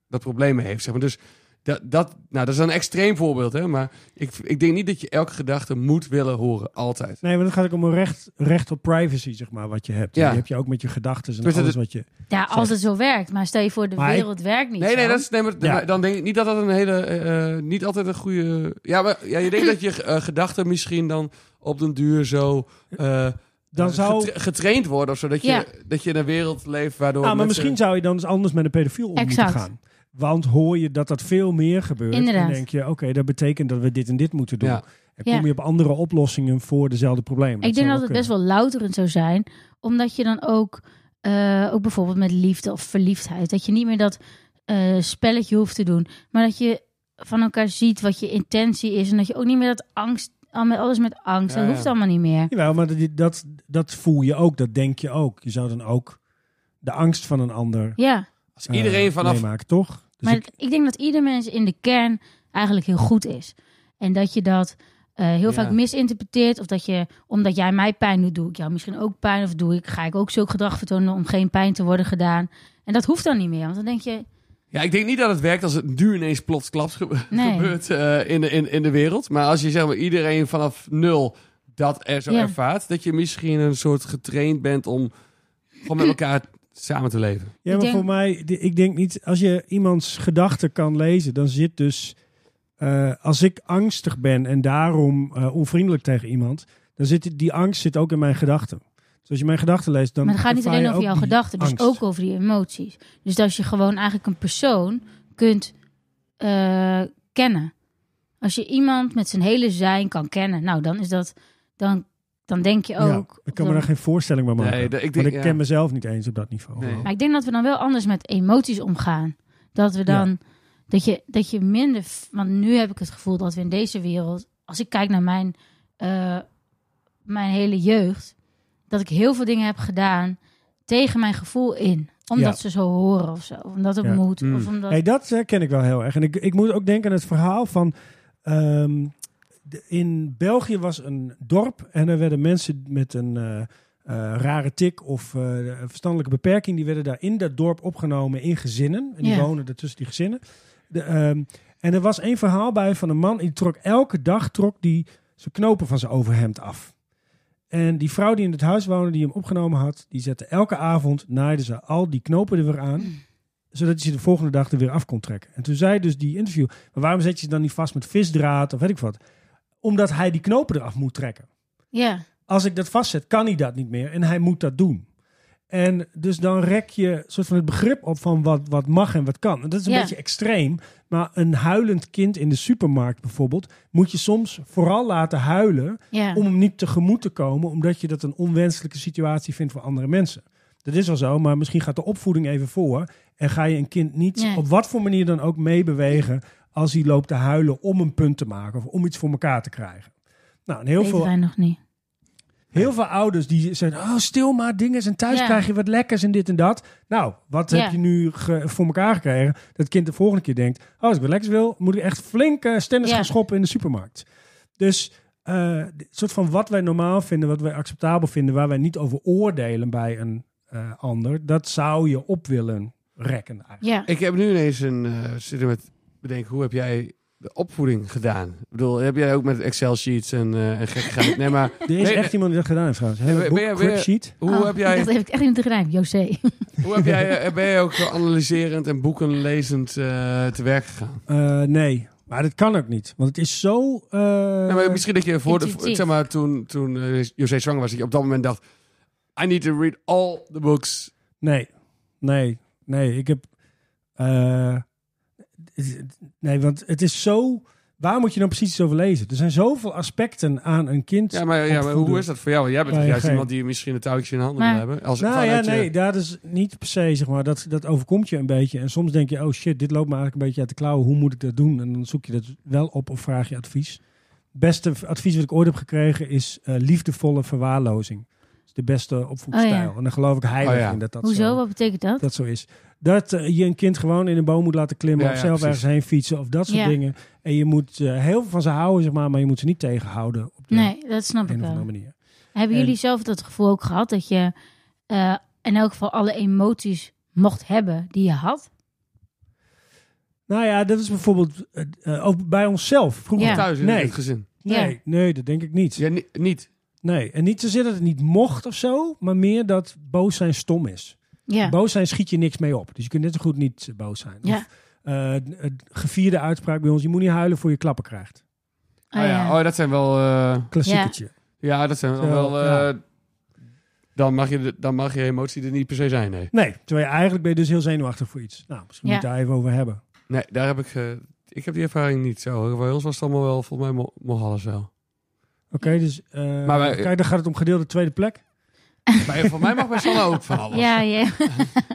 Speaker 3: dat probleem mee heeft. Zeg maar. Dus dat, dat, nou, dat is een extreem voorbeeld, hè? maar ik, ik denk niet dat je elke gedachte moet willen horen, altijd.
Speaker 2: Nee, want het gaat ook om een recht, recht op privacy, zeg maar, wat je hebt.
Speaker 3: Ja.
Speaker 2: Die heb je ook met je gedachten en
Speaker 3: Dus dat
Speaker 2: alles
Speaker 3: het-
Speaker 2: wat je...
Speaker 1: ja als het zo werkt. Maar stel je voor, de
Speaker 2: Maar ik-
Speaker 1: wereld werkt niet
Speaker 3: Nee, nee,
Speaker 1: zo.
Speaker 3: dat is, nee maar
Speaker 2: Ja.
Speaker 3: maar dan denk ik niet dat dat een hele, eh, eh, niet altijd een goede... Ja, maar ja, je denkt dat je eh, gedachten misschien dan op den duur zo... eh,
Speaker 2: Dan
Speaker 3: eh,
Speaker 2: zou...
Speaker 3: getra- getraind worden of zo. Dat je,
Speaker 1: Ja.
Speaker 3: dat je in een wereld leeft waardoor.
Speaker 2: Ah, maar
Speaker 3: mensen-
Speaker 2: misschien zou je dan eens anders met een pedofiel om
Speaker 1: Exact.
Speaker 2: moeten gaan. Want hoor je dat dat veel meer gebeurt,
Speaker 1: Inderdaad.
Speaker 2: dan denk je, oké, dat betekent dat we dit en dit moeten doen.
Speaker 3: Ja.
Speaker 2: En
Speaker 1: Ja.
Speaker 2: kom je op andere oplossingen voor dezelfde problemen.
Speaker 1: Ik denk
Speaker 2: zou
Speaker 1: dat het
Speaker 2: kunnen.
Speaker 1: best wel louterend zou zijn. Omdat je dan ook, eh, ook bijvoorbeeld met liefde of verliefdheid. Dat je niet meer dat eh, spelletje hoeft te doen. Maar dat je van elkaar ziet wat je intentie is. En dat je ook niet meer dat angst, al met alles met angst.
Speaker 3: Ja,
Speaker 1: dat
Speaker 3: ja.
Speaker 1: hoeft allemaal niet meer.
Speaker 2: Jawel, maar dat, dat, dat voel je ook, dat denk je ook. Je zou dan ook de angst van een ander
Speaker 1: Ja,
Speaker 3: Als iedereen
Speaker 2: eh,
Speaker 3: vanaf.
Speaker 2: meemaken, toch? Dus
Speaker 1: maar
Speaker 2: ik-
Speaker 1: ik... denk dat ieder mens in de kern eigenlijk heel goed is. En dat je dat eh, heel
Speaker 3: Ja.
Speaker 1: vaak misinterpreteert. Of dat je, omdat jij mij pijn doet, doe ik jou misschien ook pijn. Of doe ik, ga ik ook zulk gedrag vertonen om geen pijn te worden gedaan. En dat hoeft dan niet meer. Want dan denk je,
Speaker 3: Ja, ik denk niet dat het werkt als het nu ineens plotsklaps gebe-
Speaker 1: Nee.
Speaker 3: gebeurt eh, in, de, in, in de wereld. Maar als je zeg maar iedereen vanaf nul dat er zo
Speaker 1: Ja.
Speaker 3: ervaart, dat je misschien een soort getraind bent om gewoon met elkaar samen te leven.
Speaker 2: Ja, maar
Speaker 1: denk-
Speaker 2: voor mij, de- ik denk niet, als je iemands gedachten kan lezen, dan zit dus, eh, als ik angstig ben en daarom eh, onvriendelijk tegen iemand, dan zit die- die angst zit ook in mijn gedachten. Dus als je mijn gedachten leest, dan.
Speaker 1: Maar het gaat niet
Speaker 2: ervaar je
Speaker 1: alleen over
Speaker 2: ook
Speaker 1: jouw
Speaker 2: die
Speaker 1: gedachten, dus
Speaker 2: angst.
Speaker 1: ook over die emoties. Dus dat je gewoon eigenlijk een persoon kunt eh, kennen. Als je iemand met zijn hele zijn kan kennen, nou dan is dat, dan, dan denk je
Speaker 2: Ja,
Speaker 1: ook.
Speaker 2: ik kan me daar geen voorstelling bij maken.
Speaker 3: Nee, dat- ik
Speaker 2: ik
Speaker 3: denk-
Speaker 2: Want ik
Speaker 3: ja.
Speaker 2: ken mezelf niet eens op dat niveau.
Speaker 3: Nee.
Speaker 2: gewoon.
Speaker 1: Maar ik denk dat we dan wel anders met emoties omgaan. Dat we dan, dat, je, dat je minder, f- want nu heb ik het gevoel dat we in deze wereld, als ik kijk naar mijn, eh, mijn hele jeugd, dat ik heel veel dingen heb gedaan tegen mijn gevoel in. Omdat
Speaker 2: Ja.
Speaker 1: ze zo horen of zo. Of omdat het
Speaker 2: Ja.
Speaker 1: moet.
Speaker 3: Mm.
Speaker 1: Of omdat...
Speaker 2: Hey, dat eh, ken ik wel heel erg. En ik, ik moet ook denken aan het verhaal van. ehm, de- in België was een dorp en er werden mensen met een eh, eh, rare tik of eh, een verstandelijke beperking. die werden daar in dat dorp opgenomen in gezinnen. En die
Speaker 1: Ja.
Speaker 2: wonen er tussen die gezinnen. De, ehm, en er was één verhaal bij van een man die trok elke dag trok die zijn knopen van zijn overhemd af. En die vrouw die in het huis woonde, die hem opgenomen had, die zette elke avond, naaide ze al die knopen er weer aan zodat je ze de volgende dag er weer af kon trekken. En toen zei dus die interview, maar waarom zet je ze dan niet vast met visdraad of weet ik wat? Omdat hij die knopen eraf moet trekken.
Speaker 1: Ja.
Speaker 2: Als ik dat vastzet, kan hij dat niet meer en hij moet dat doen. En dus dan rek je soort van het begrip op van wat, wat mag en wat kan. En dat is een
Speaker 1: Ja.
Speaker 2: beetje extreem, maar een huilend kind in de supermarkt bijvoorbeeld, moet je soms vooral laten huilen
Speaker 1: ja.
Speaker 2: om hem niet tegemoet te komen, omdat je dat een onwenselijke situatie vindt voor andere mensen. Dat is wel zo, maar misschien gaat de opvoeding even voor en ga je een kind niet
Speaker 1: Nee.
Speaker 2: op wat voor manier dan ook meebewegen als hij loopt te huilen om een punt te maken of om iets voor elkaar te krijgen. Nou, en heel,
Speaker 1: Weten
Speaker 2: veel,
Speaker 1: wij nog niet.
Speaker 2: heel veel ouders die zeggen, oh stil maar dingen en thuis
Speaker 1: Ja.
Speaker 2: krijg je wat lekkers en dit en dat. Nou, wat
Speaker 1: Ja.
Speaker 2: heb je nu ge- voor elkaar gekregen? Dat het kind de volgende keer denkt, oh, als ik wat lekkers wil, moet ik echt flink eh, stennis
Speaker 1: Ja.
Speaker 2: gaan schoppen in de supermarkt. Dus eh, dit soort van wat wij normaal vinden, wat wij acceptabel vinden, waar wij niet over oordelen bij een eh, ander, dat zou je op willen rekken eigenlijk.
Speaker 1: Ja.
Speaker 3: Ik heb nu ineens een eh, zitten met bedenken, hoe heb jij de opvoeding gedaan? Ik bedoel, heb jij ook met Excel-sheets en, eh en gekkigheid? Nee, maar
Speaker 2: Er is
Speaker 3: Nee,
Speaker 2: echt iemand die dat gedaan heeft trouwens. Hele
Speaker 3: ben-
Speaker 2: boek,
Speaker 3: ben je- ben je-
Speaker 2: Cribsheet.
Speaker 3: hoe,
Speaker 1: Oh,
Speaker 3: heb
Speaker 1: Ik
Speaker 3: jij,
Speaker 1: dacht, heb ik echt niet gedaan. José.
Speaker 3: hoe heb jij, eh, ben jij ook zo analyserend en boekenlezend eh, te werk gegaan?
Speaker 2: Eh, nee, maar dat kan ook niet. Want het is zo... eh,
Speaker 3: Nee, maar misschien dat je voor de,
Speaker 1: intuïtief.
Speaker 3: zeg maar, toen, toen eh, José zwanger was, dat je op dat moment dacht, I need to read all the books.
Speaker 2: Nee, nee, nee. Ik heb. eh, het- nee, want het is zo. Waar moet je nou precies iets over lezen? Er zijn zoveel aspecten aan een kind.
Speaker 3: Ja, maar, ja, maar
Speaker 2: opvoeden.
Speaker 3: hoe is dat voor jou? Want Jij bent toch
Speaker 2: Nee,
Speaker 3: juist
Speaker 2: geen.
Speaker 3: iemand die misschien een touwtje in handen
Speaker 1: Maar-
Speaker 3: wil hebben. Als,
Speaker 2: Nou ja,
Speaker 3: vanuit je-
Speaker 2: nee, dat is niet per se, zeg maar. Dat, dat overkomt je een beetje. En soms denk je, oh shit, dit loopt me eigenlijk een beetje uit de klauwen. Hoe moet ik dat doen? En dan zoek je dat wel op of vraag je advies. beste v- advies wat ik ooit heb gekregen is eh, liefdevolle verwaarlozing. Dat is de beste opvoedstijl.
Speaker 1: Oh ja.
Speaker 2: En dan geloof ik heilig
Speaker 3: Oh ja.
Speaker 2: in dat dat
Speaker 1: Hoezo?
Speaker 2: zo
Speaker 1: Wat betekent dat?
Speaker 2: dat zo is. Dat eh, je een kind gewoon in een boom moet laten klimmen
Speaker 3: Ja,
Speaker 2: of
Speaker 3: ja,
Speaker 2: zelf
Speaker 3: precies.
Speaker 2: ergens heen fietsen of dat soort
Speaker 1: Ja.
Speaker 2: dingen. En je moet eh, heel veel van ze houden, zeg maar, maar je moet ze niet tegenhouden op de
Speaker 1: Nee, dat snap
Speaker 2: een
Speaker 1: ik
Speaker 2: of andere
Speaker 1: wel.
Speaker 2: manier.
Speaker 1: Hebben
Speaker 2: En-
Speaker 1: jullie zelf dat gevoel ook gehad dat je eh, in elk geval alle emoties mocht hebben die je had?
Speaker 2: Nou ja, dat is bijvoorbeeld eh, eh, ook bij onszelf. Vroeger
Speaker 1: Ja.
Speaker 3: Thuis in
Speaker 2: Nee.
Speaker 3: het gezin.
Speaker 1: Ja.
Speaker 2: Nee, nee, dat denk ik niet.
Speaker 3: Ja, ni- niet.
Speaker 2: Nee, en niet zozeer dat het niet mocht of zo, maar meer dat boos zijn stom is.
Speaker 1: Ja.
Speaker 2: Boos zijn schiet je niks mee op. Dus je kunt net zo goed niet eh, boos zijn.
Speaker 1: Ja.
Speaker 2: Of, eh, het gevierde uitspraak bij ons, je moet niet huilen voor je klappen krijgt. Ah,
Speaker 3: Oh, ja. oh, dat zijn wel... eh,
Speaker 2: Klassiekertje.
Speaker 3: ja, dat zijn
Speaker 2: Zo,
Speaker 3: wel... eh,
Speaker 2: ja.
Speaker 3: dan, mag je, de- dan mag je emotie er niet per se zijn, nee.
Speaker 2: Nee, terwijl je eigenlijk ben je dus heel zenuwachtig voor iets. Nou, misschien
Speaker 1: Ja.
Speaker 2: moet je het daar even over hebben.
Speaker 3: Nee, daar heb ik... eh, ik heb die ervaring niet zo. hoor. Bij ons was het allemaal wel... Volgens mij mo- mocht alles wel.
Speaker 2: Oké, dus eh,
Speaker 3: Maar wij-
Speaker 2: kijk, dan gaat het om gedeelde tweede plek.
Speaker 3: Maar voor mij mag bij Sanne ook van alles.
Speaker 1: Ja, ja.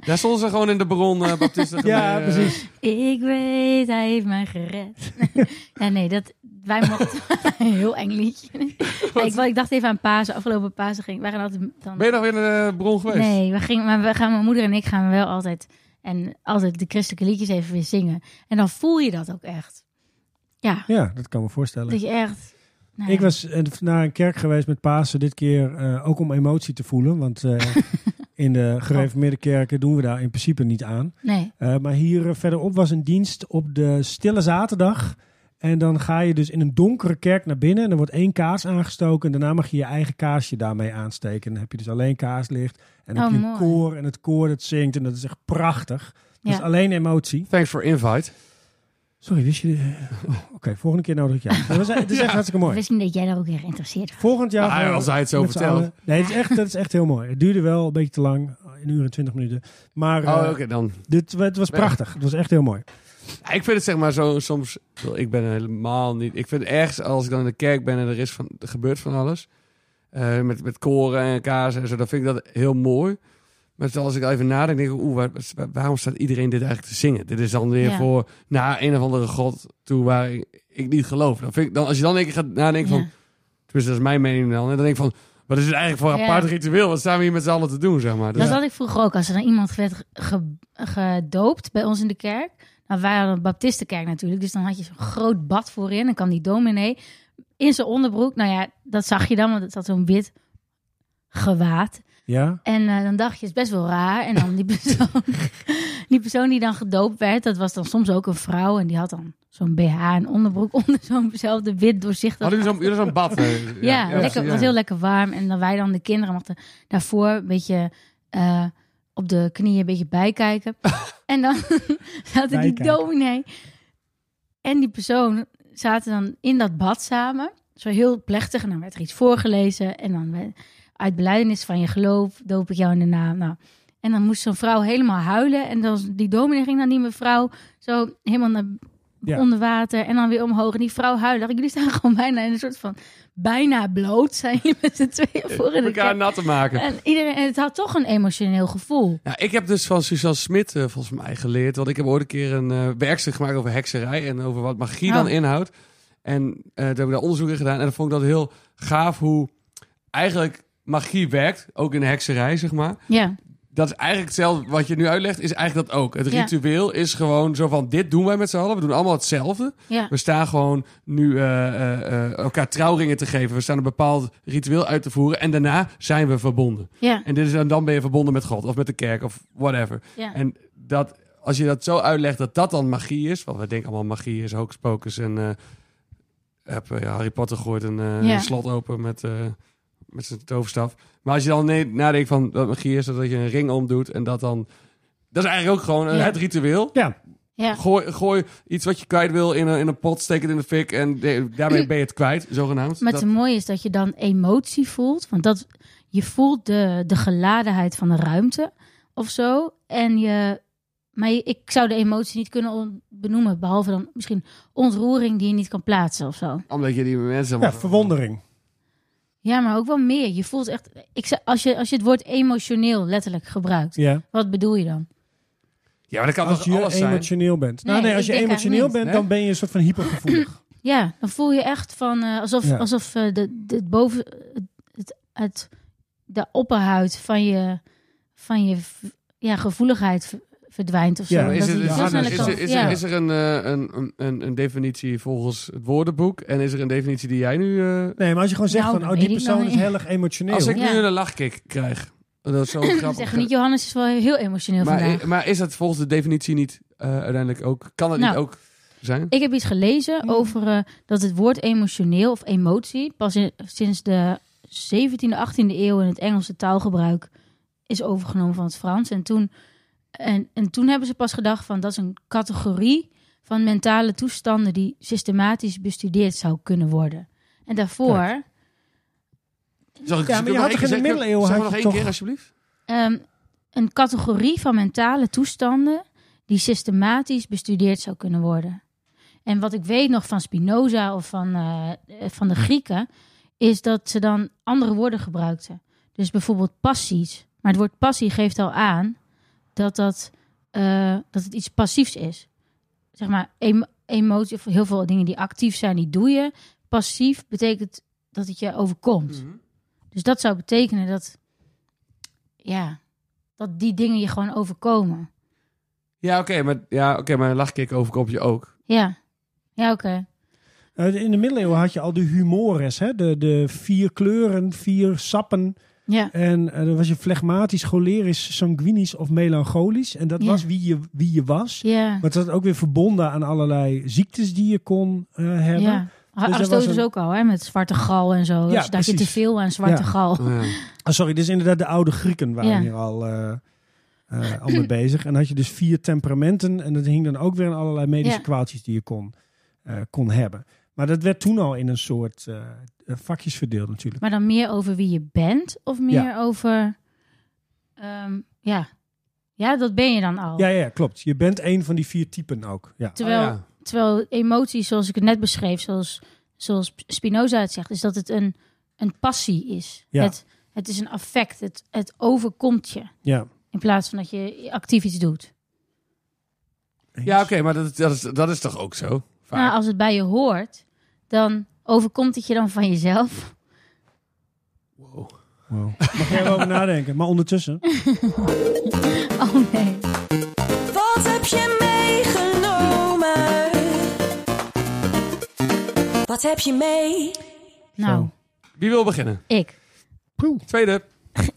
Speaker 3: Daar stonden ze gewoon in de bron, eh Baptiste.
Speaker 2: Ja,
Speaker 3: gemeen, eh,
Speaker 2: precies.
Speaker 1: Ik weet, hij heeft mij gered. ja, nee, dat, wij mochten heel eng liedje. Nee, ik, wel, ik dacht even aan Pasen. Afgelopen Pasen ging, wij gaan altijd dan...
Speaker 3: Ben je nog weer naar de bron geweest?
Speaker 1: Nee, we gingen, maar we gaan, mijn moeder en ik gaan wel altijd... En altijd de christelijke liedjes even weer zingen. En dan voel je dat ook echt. Ja,
Speaker 2: Ja, dat kan me voorstellen.
Speaker 1: dat je echt... nou
Speaker 2: Ik
Speaker 1: ja.
Speaker 2: was eh, naar een kerk geweest met Pasen, dit keer eh, ook om emotie te voelen. Want eh, in de gereformeerde kerken doen we daar in principe niet aan.
Speaker 1: Nee,
Speaker 2: Eh, maar hier eh, verderop was een dienst op de stille zaterdag. En dan ga je dus in een donkere kerk naar binnen. En er wordt één kaars aangestoken. En daarna mag je je eigen kaarsje daarmee aansteken. En dan heb je dus alleen kaarslicht. En dan
Speaker 1: Oh,
Speaker 2: heb je
Speaker 1: mooi.
Speaker 2: een koor. En het koor dat zingt. En dat is echt prachtig. Dat
Speaker 1: Ja.
Speaker 2: is alleen emotie.
Speaker 3: Thanks for invite.
Speaker 2: Sorry, wist je... eh, oh, Oké, volgende keer nodig ik jou. Maar we zijn- Het is echt hartstikke
Speaker 1: ik
Speaker 2: mooi.
Speaker 1: wist niet dat jij daar ook weer geïnteresseerd was.
Speaker 2: Volgend jaar...
Speaker 3: Nou,
Speaker 2: gaan we
Speaker 3: als hij het zo
Speaker 2: met z'n
Speaker 3: vertelt.
Speaker 2: allen- Nee, het is echt, dat is echt heel mooi. Het duurde wel een beetje te lang. Een uur en twintig minuten. Maar eh,
Speaker 3: Oh, oké, dan.
Speaker 2: dit, het was prachtig. Het was echt heel mooi.
Speaker 3: Ja, ik vind het zeg maar zo soms... Ik ben helemaal niet... Ik vind het ergens als ik dan in de kerk ben en er, is van, er gebeurt van alles. eh, met, met koren en kazen en zo. Dan vind ik dat heel mooi. Maar terwijl als ik even nadenk, denk ik... Oeh, waar- waar- waarom staat iedereen dit eigenlijk te zingen? Dit is dan weer
Speaker 1: Ja.
Speaker 3: voor naar een of andere god toe waar ik, ik niet geloof. Dan vind ik, dan, als je dan een keer gaat nadenken van...
Speaker 1: Ja.
Speaker 3: Tenminste, dat is mijn mening dan. En dan denk ik van... Wat is het eigenlijk voor een
Speaker 1: Ja.
Speaker 3: apart ritueel? Wat staan we hier met z'n allen te doen, zeg maar? Dus-
Speaker 1: Dat had ik vroeger ook. Als er dan iemand werd ge- ge- gedoopt bij ons in de kerk. Nou, wij hadden een baptistenkerk natuurlijk. Dus dan had je zo'n groot bad voorin. Dan kwam die dominee in zijn onderbroek. Nou ja, dat zag je dan, want het had zo'n wit gewaad.
Speaker 2: Ja?
Speaker 1: En eh, dan dacht je, het is best wel raar. En dan die persoon, die persoon die dan gedoopt werd, dat was dan soms ook een vrouw. En die had dan zo'n BH en onderbroek onder zo'nzelfde wit doorzichtig
Speaker 3: Hadden jullie zo'n jullie zo'n bad? eh, hè?
Speaker 1: ja, lekker,
Speaker 3: precies,
Speaker 1: het was heel lekker warm. En dan wij dan de kinderen mochten daarvoor een beetje eh, op de knieën een beetje bijkijken. en dan zaten die
Speaker 2: Bijkijken.
Speaker 1: dominee en die persoon zaten dan in dat bad samen. Zo heel plechtig. En dan werd er iets voorgelezen. En dan we- uit belijdenis van je geloof doop ik jou in de naam. Nou, en dan moest zo'n vrouw helemaal huilen. En dan, die dominee ging dan die mevrouw zo helemaal naar
Speaker 2: Ja.
Speaker 1: onder water. En dan weer omhoog. En die vrouw huilde. Dacht ik, Jullie staan gewoon bijna in een soort van... Bijna bloot zijn jullie met z'n tweeën voor in de
Speaker 3: elkaar
Speaker 1: kerk.
Speaker 3: nat te maken.
Speaker 1: En iedereen, en het had toch een emotioneel gevoel.
Speaker 3: Ja, ik heb dus van Suzanne Smit eh, volgens mij geleerd. Want ik heb ooit een keer een eh werkstuk gemaakt over hekserij. En over wat magie dan
Speaker 1: Oh.
Speaker 3: inhoudt. En eh, toen heb ik daar onderzoek in gedaan. En dan vond ik dat heel gaaf hoe eigenlijk magie werkt. Ook in hekserij, zeg maar.
Speaker 1: Ja,
Speaker 3: Dat is eigenlijk hetzelfde wat je nu uitlegt. Is eigenlijk dat ook. Het
Speaker 1: Ja.
Speaker 3: ritueel is gewoon zo van dit doen wij met z'n allen. We doen allemaal hetzelfde.
Speaker 1: ja.
Speaker 3: We staan gewoon nu eh, eh, eh, elkaar trouwringen te geven. We staan een bepaald ritueel uit te voeren. En daarna zijn we verbonden.
Speaker 1: ja,
Speaker 3: En dit is, dan- dan ben je verbonden met God of met de kerk of whatever.
Speaker 1: ja.
Speaker 3: En dat Als je dat zo uitlegt dat dat dan magie is. Want wij denken allemaal magie is hocus pocus. En eh, heb eh, Harry Potter gooit een eh,
Speaker 1: Ja.
Speaker 3: slot open met, eh, met zijn toverstaf. Maar als je dan nee- nadenkt van dat magie is, dat je een ring omdoet en dat dan... Dat is eigenlijk ook gewoon eh,
Speaker 1: Ja.
Speaker 3: het ritueel.
Speaker 2: Ja,
Speaker 1: Ja.
Speaker 3: Gooi, gooi iets wat je kwijt wil in een, in een pot, steek het in de fik en de- daarmee ben je het kwijt, zogenaamd.
Speaker 1: Maar
Speaker 3: Dat-
Speaker 1: het mooie is dat je dan emotie voelt. Want dat, je voelt de, de geladenheid van de ruimte of zo. En je, maar je- ik zou de emotie niet kunnen on- benoemen. Behalve dan misschien ontroering die je niet kan plaatsen of zo.
Speaker 3: Omdat je die mensen...
Speaker 2: ja verwondering.
Speaker 1: Ja, maar ook wel meer. Je voelt echt. Ik zou, als, je, als je het woord emotioneel letterlijk gebruikt,
Speaker 2: Ja.
Speaker 1: wat bedoel je dan?
Speaker 3: Ja, maar dat kan
Speaker 2: Als
Speaker 3: toch
Speaker 2: je
Speaker 3: alles zijn?
Speaker 2: emotioneel bent. nou,
Speaker 1: Nee,
Speaker 2: nee, als
Speaker 1: ik
Speaker 2: je
Speaker 1: denk
Speaker 2: emotioneel
Speaker 1: eigenlijk
Speaker 2: bent,
Speaker 3: niet.
Speaker 2: dan ben je een soort van hypergevoelig.
Speaker 1: Ja, dan voel je echt van eh, alsof,
Speaker 2: Ja.
Speaker 1: alsof eh, de, de, het boven het, het, het- de opperhuid van je, van je v- ja, gevoeligheid v- verdwijnt of zo.
Speaker 2: Ja,
Speaker 1: Omdat
Speaker 3: Is,
Speaker 1: die
Speaker 3: het, is,
Speaker 2: Ja,
Speaker 1: heel
Speaker 3: is,
Speaker 1: snel
Speaker 2: harnas.
Speaker 1: kan-
Speaker 3: is, is- is-
Speaker 1: ja.
Speaker 3: is er een, eh, een, een- een, een definitie volgens het woordenboek? En is er een definitie die jij nu... eh,
Speaker 2: Nee, maar als je gewoon zegt
Speaker 1: Nou,
Speaker 2: van,
Speaker 1: dat
Speaker 2: oh, die
Speaker 1: weet ik nou
Speaker 2: persoon is
Speaker 1: niet.
Speaker 2: heel erg emotioneel.
Speaker 3: Als ik
Speaker 1: Ja.
Speaker 3: nu een lachkick krijg, dat is zo
Speaker 1: Dan
Speaker 3: grappig.
Speaker 1: zeggen niet, Johannes is wel heel emotioneel vandaag.
Speaker 3: maar, maar is dat volgens de definitie niet eh, uiteindelijk ook... Kan het niet
Speaker 1: Nou.
Speaker 3: ook zijn?
Speaker 1: Ik heb iets gelezen over eh, dat het woord emotioneel of emotie pas in- sinds de 17e, 18e eeuw in het Engelse taalgebruik is overgenomen van het Frans. En toen, en, en toen hebben ze pas gedacht van dat is een categorie van mentale toestanden die systematisch bestudeerd zou kunnen worden. En daarvoor,
Speaker 3: Zal ik,
Speaker 2: Ja, maar je had toch in de middeleeuwen
Speaker 3: Zeg
Speaker 2: had
Speaker 3: maar nog
Speaker 2: je
Speaker 3: één
Speaker 2: toch-
Speaker 3: keer, alsjeblieft.
Speaker 1: ehm, een categorie van mentale toestanden die systematisch bestudeerd zou kunnen worden. En wat ik weet nog van Spinoza of van, eh, eh, van de Grieken, is dat ze dan andere woorden gebruikten. Dus bijvoorbeeld passies. Maar het woord passie geeft al aan dat, dat, eh, dat het iets passiefs is. Zeg maar, em- emotie, of heel veel dingen die actief zijn, die doe je. Passief betekent dat het je overkomt.
Speaker 3: Mm.
Speaker 1: Dus dat zou betekenen dat, ja, dat die dingen je gewoon overkomen.
Speaker 3: Ja, oké, maar, ja, oké, maar een lachkick overkomt je ook.
Speaker 1: Ja, ja oké.
Speaker 2: Eh, in de middeleeuwen had je al de humores, hè? De, de vier kleuren, vier sappen.
Speaker 1: Ja.
Speaker 2: En eh, dan was je flegmatisch, cholerisch, sanguinisch of melancholisch. En dat
Speaker 1: Ja.
Speaker 2: was wie je, wie je was.
Speaker 1: Ja,
Speaker 2: Maar het was ook weer verbonden aan allerlei ziektes die je kon eh, hebben.
Speaker 1: ja.
Speaker 2: er was
Speaker 1: Aristoteles
Speaker 2: een-
Speaker 1: ook al, hè, met zwarte gal en zo. dus dat je te
Speaker 2: precies.
Speaker 1: veel aan zwarte
Speaker 2: Ja.
Speaker 1: gal.
Speaker 3: Oh, Ja.
Speaker 2: Ah, sorry, dus inderdaad de oude Grieken waren
Speaker 1: Ja.
Speaker 2: hier al, eh, eh, al mee bezig. En dan had je dus vier temperamenten. En dat hing dan ook weer aan allerlei medische
Speaker 1: Ja.
Speaker 2: kwaaltjes die je kon, eh, kon hebben. Maar dat werd toen al in een soort eh, vakjes verdeeld natuurlijk.
Speaker 1: Maar dan meer over wie je bent of meer over, ehm, ja. ja, dat ben je dan al.
Speaker 2: Ja, ja, klopt. Je bent een van die vier typen ook. Ja.
Speaker 1: Terwijl,
Speaker 3: Oh, ja.
Speaker 1: terwijl emoties, zoals ik het net beschreef, zoals, zoals Spinoza het zegt, is dat het een, een passie is.
Speaker 2: Ja.
Speaker 1: Het, het is een affect, het, het overkomt je.
Speaker 2: ja.
Speaker 1: In plaats van dat je actief iets doet.
Speaker 3: Ja, oké, maar dat, dat, is, dat is toch ook zo? Vaak.
Speaker 1: Nou, als het bij je hoort, dan overkomt het je dan van jezelf.
Speaker 3: Wow.
Speaker 2: Wow. Mag jij erover nadenken? Maar ondertussen.
Speaker 1: Oh nee.
Speaker 4: Wat heb je meegenomen? Wat heb je mee?
Speaker 1: Nou,
Speaker 2: Zo.
Speaker 3: Wie wil beginnen?
Speaker 1: ik.
Speaker 2: Poeh.
Speaker 3: Tweede.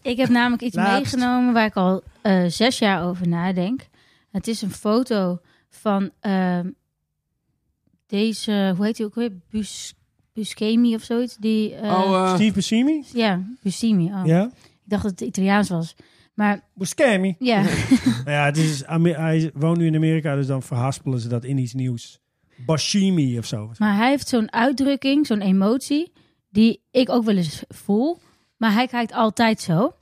Speaker 1: Ik heb namelijk iets
Speaker 2: Laatst.
Speaker 1: meegenomen waar ik al eh, zes jaar over nadenk. Het is een foto van ehm, deze, hoe heet hij ook weer? Bus, Buscemi of zoiets. Die, eh,
Speaker 3: oh, eh,
Speaker 2: Steve Buscemi?
Speaker 1: Ja, Buscemi. Oh.
Speaker 2: Ja.
Speaker 1: Ik dacht dat het Italiaans was. Maar
Speaker 2: Buscemi.
Speaker 1: ja,
Speaker 2: Nou ja, het is, Ame- hij woont nu in Amerika, dus dan verhaspelen ze dat in iets nieuws. Bashimi of zo.
Speaker 1: maar hij heeft zo'n uitdrukking, zo'n emotie, die ik ook wel eens voel. Maar hij kijkt altijd zo.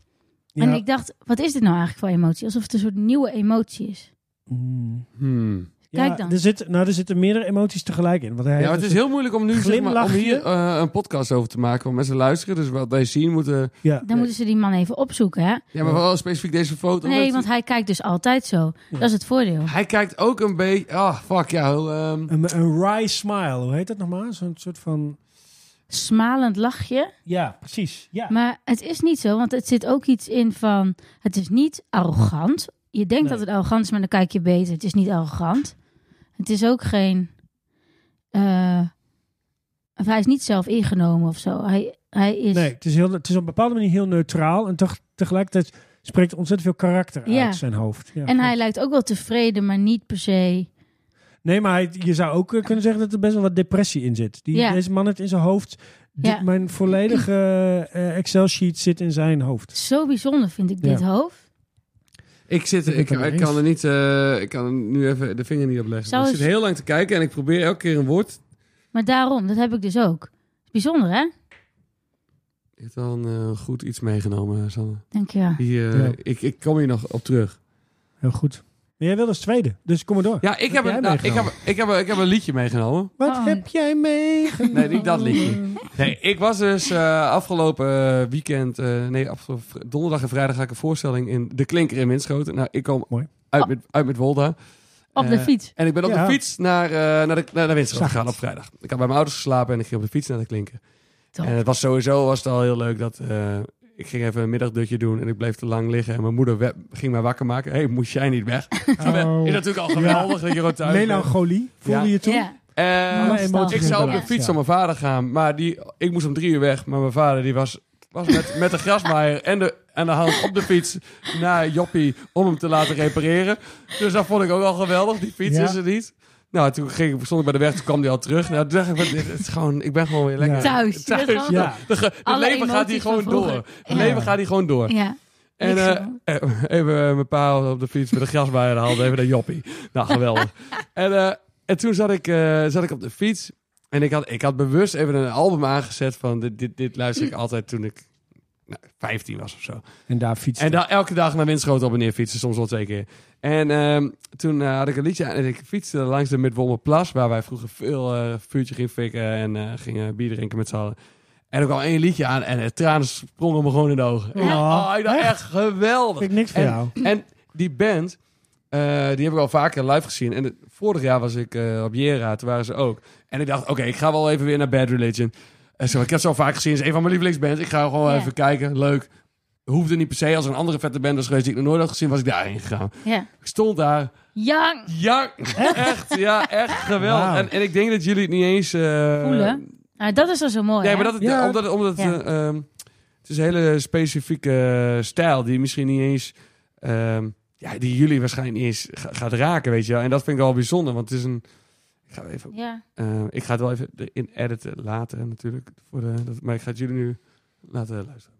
Speaker 1: En
Speaker 2: Ja.
Speaker 1: ik dacht, wat is dit nou eigenlijk voor emotie? Alsof het een soort nieuwe emotie is.
Speaker 2: Mm.
Speaker 3: hmm.
Speaker 2: Ja,
Speaker 1: Kijk dan.
Speaker 2: Er, zit, nou, er zitten meerdere emoties tegelijk in. Want hij
Speaker 3: Ja, maar het is heel moeilijk om nu zeg maar, om
Speaker 2: Glimlachje.
Speaker 3: hier eh, een podcast over te maken. Want mensen luisteren, dus wat wij zien moeten...
Speaker 2: ja.
Speaker 1: Dan moeten ze die man even opzoeken, hè?
Speaker 3: Ja, maar wel specifiek deze foto.
Speaker 1: Nee,
Speaker 3: omdat-
Speaker 1: want hij kijkt dus altijd zo. Dat is het voordeel.
Speaker 3: Hij kijkt ook een beetje... Ah, fuck, ja. hoe, ehm,
Speaker 2: Een, een wry smile, hoe heet dat nog maar? Zo'n soort van...
Speaker 1: Smalend lachje.
Speaker 2: Ja, precies. Ja.
Speaker 1: Maar het is niet zo, want het zit ook iets in van... Het is niet arrogant. Je denkt
Speaker 2: Nee.
Speaker 1: dat het arrogant is, maar dan kijk je beter. Het is niet arrogant. Het is ook geen... eh, of hij is niet zelf ingenomen of zo. Hij, hij is...
Speaker 2: Nee, het is, heel, het is op een bepaalde manier heel neutraal. En toch, tegelijkertijd spreekt ontzettend veel karakter
Speaker 1: Ja.
Speaker 2: uit zijn hoofd. Ja,
Speaker 1: En
Speaker 2: klopt.
Speaker 1: hij lijkt ook wel tevreden, maar niet per se.
Speaker 2: Nee, maar hij- je zou ook eh, kunnen zeggen dat er best wel wat depressie in zit. Die,
Speaker 1: Ja.
Speaker 2: Deze man heeft in zijn hoofd... dit-
Speaker 1: Ja.
Speaker 2: Mijn volledige eh, Excel-sheet zit in zijn hoofd.
Speaker 1: Zo bijzonder vind ik dit
Speaker 2: Ja.
Speaker 1: hoofd.
Speaker 3: Ik, zit,
Speaker 2: Ik ben
Speaker 3: ik,
Speaker 2: het ermee
Speaker 3: ik kan er niet, eh, ik kan er nu even de vinger niet op leggen.
Speaker 1: Zou
Speaker 3: ik
Speaker 1: het-
Speaker 3: zit heel lang te kijken en ik probeer elke keer een woord.
Speaker 1: Maar daarom, dat heb ik dus ook. Bijzonder, hè?
Speaker 3: Je hebt al een eh, goed iets meegenomen, eh, Sanne.
Speaker 1: Denk je. ja.
Speaker 3: Die, eh,
Speaker 2: Ja.
Speaker 3: ik, ik kom hier nog op terug.
Speaker 2: Heel goed. Maar jij wilde als tweede, dus kom maar door.
Speaker 3: Ja, ik heb,
Speaker 2: jij
Speaker 3: een, nou, ik, heb,
Speaker 2: meegenomen?
Speaker 3: ik, heb, ik heb een liedje meegenomen.
Speaker 2: Wat
Speaker 1: Oh.
Speaker 2: heb jij meegenomen?
Speaker 3: Nee, niet dat liedje. Nee, ik was dus eh, afgelopen eh, weekend, eh, nee, afgelopen vri- donderdag en vrijdag ga ik een voorstelling in De Klinker in Winschoten. Nou, ik kom
Speaker 2: Mooi.
Speaker 3: Uit, met, uit met Wolda.
Speaker 1: Op de
Speaker 3: Eh,
Speaker 1: fiets.
Speaker 3: En ik ben op
Speaker 2: Ja.
Speaker 3: de fiets naar, eh, naar, de, naar, naar Winschoten
Speaker 2: Zag
Speaker 3: gegaan
Speaker 2: het.
Speaker 3: op vrijdag. Ik had bij mijn ouders geslapen en ik ging op de fiets naar de klinker.
Speaker 1: Top.
Speaker 2: Eh,
Speaker 3: En het was sowieso was het al heel leuk dat eh, ik ging even een middagdutje doen en ik bleef te lang liggen. En mijn moeder we- ging mij wakker maken. Hé, hey, moest jij niet weg?
Speaker 2: Oh.
Speaker 3: Is natuurlijk al geweldig dat je gewoon thuis bent.
Speaker 2: Melancholie, voelde
Speaker 3: Ja.
Speaker 2: je toen?
Speaker 1: Ja.
Speaker 3: Eh,
Speaker 1: Alle
Speaker 2: emoties
Speaker 3: ik zou op
Speaker 2: eruit,
Speaker 3: de fiets
Speaker 2: ja.
Speaker 3: van mijn vader gaan, maar die, ik moest om drie uur weg. Maar mijn vader die was, was met, met de grasmaaier en de, aan de hand op de fiets naar Joppie om hem te laten repareren. Dus dat vond ik ook al geweldig, die fiets
Speaker 2: Ja.
Speaker 3: is er niet. Nou, toen ging, ik- stond ik bij de weg, toen kwam die al terug. Nou, toen dacht ik, van, dit is gewoon, ik ben gewoon weer lekker
Speaker 2: Ja.
Speaker 1: Thuis. Je bent gewoon-
Speaker 2: Ja.
Speaker 3: De ge- het
Speaker 1: Alle
Speaker 3: leven gaat
Speaker 1: emoties
Speaker 3: hier
Speaker 1: van
Speaker 3: gewoon
Speaker 1: vroeger.
Speaker 3: door. Het
Speaker 1: Ja.
Speaker 3: leven gaat hier gewoon door.
Speaker 1: Ja.
Speaker 3: En
Speaker 1: Ik
Speaker 3: eh,
Speaker 1: snap
Speaker 3: eh, even eh, mijn pa op de fiets met een grasmaaier haalde even naar Joppie. Nou, geweldig. en, eh, en toen zat ik, eh, zat ik op de fiets. En ik had, ik had bewust even een album aangezet van... Dit, dit, dit luister ik altijd toen ik nou, 15 was of zo.
Speaker 2: En daar fietste.
Speaker 3: En daar elke dag naar Winschoten op en neer fietsen, soms wel twee keer. En ehm, toen eh, had ik een liedje aan en ik fietste langs de Midwolmerplas... waar wij vroeger veel eh, vuurtje gingen fikken en eh, gingen bier drinken met z'n allen. En er kwam één liedje aan en de tranen sprongen me gewoon in de ogen.
Speaker 2: Ja.
Speaker 3: Oh, ik dacht echt geweldig.
Speaker 2: Vind ik niks van
Speaker 3: En-
Speaker 2: jou.
Speaker 3: En die band, eh, die heb ik al vaker live gezien. En het- vorig jaar was ik eh, op Jera, toen waren ze ook. En ik dacht, oké, ik ga wel even weer naar Bad Religion. En zo, ik heb ze al vaak gezien, het is een van mijn lievelingsbands. Ik ga gewoon
Speaker 1: Ja.
Speaker 3: even kijken, leuk. Hoefde niet per se, als er een andere vette band was geweest die ik nog nooit had gezien, was ik daarheen gegaan.
Speaker 1: Ja.
Speaker 3: Ik stond daar,
Speaker 1: Yang.
Speaker 3: ja, echt, ja, echt geweldig.
Speaker 2: Wauw.
Speaker 3: En, en ik denk dat jullie het niet eens... eh,
Speaker 1: Voelen. Nou, dat is al zo mooi.
Speaker 3: Nee,
Speaker 1: hè?
Speaker 3: maar dat, het-
Speaker 2: Ja.
Speaker 3: omdat, omdat het,
Speaker 1: Ja.
Speaker 3: eh, ehm, het is een hele specifieke eh, stijl die misschien niet eens, ehm, ja, die jullie waarschijnlijk niet eens ga- gaat raken, weet je wel. En dat vind ik wel bijzonder, want het is een, ik ga, even,
Speaker 1: Ja.
Speaker 3: eh, ik ga het wel even in editen later natuurlijk, voor de, dat, maar ik ga het jullie nu laten luisteren.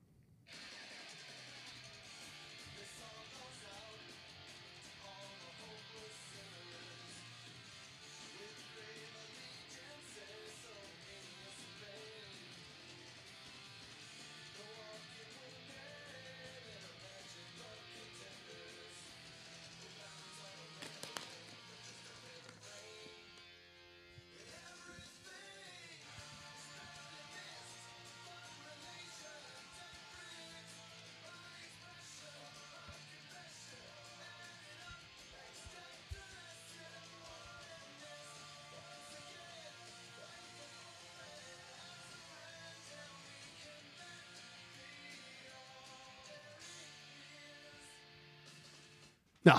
Speaker 3: Nou,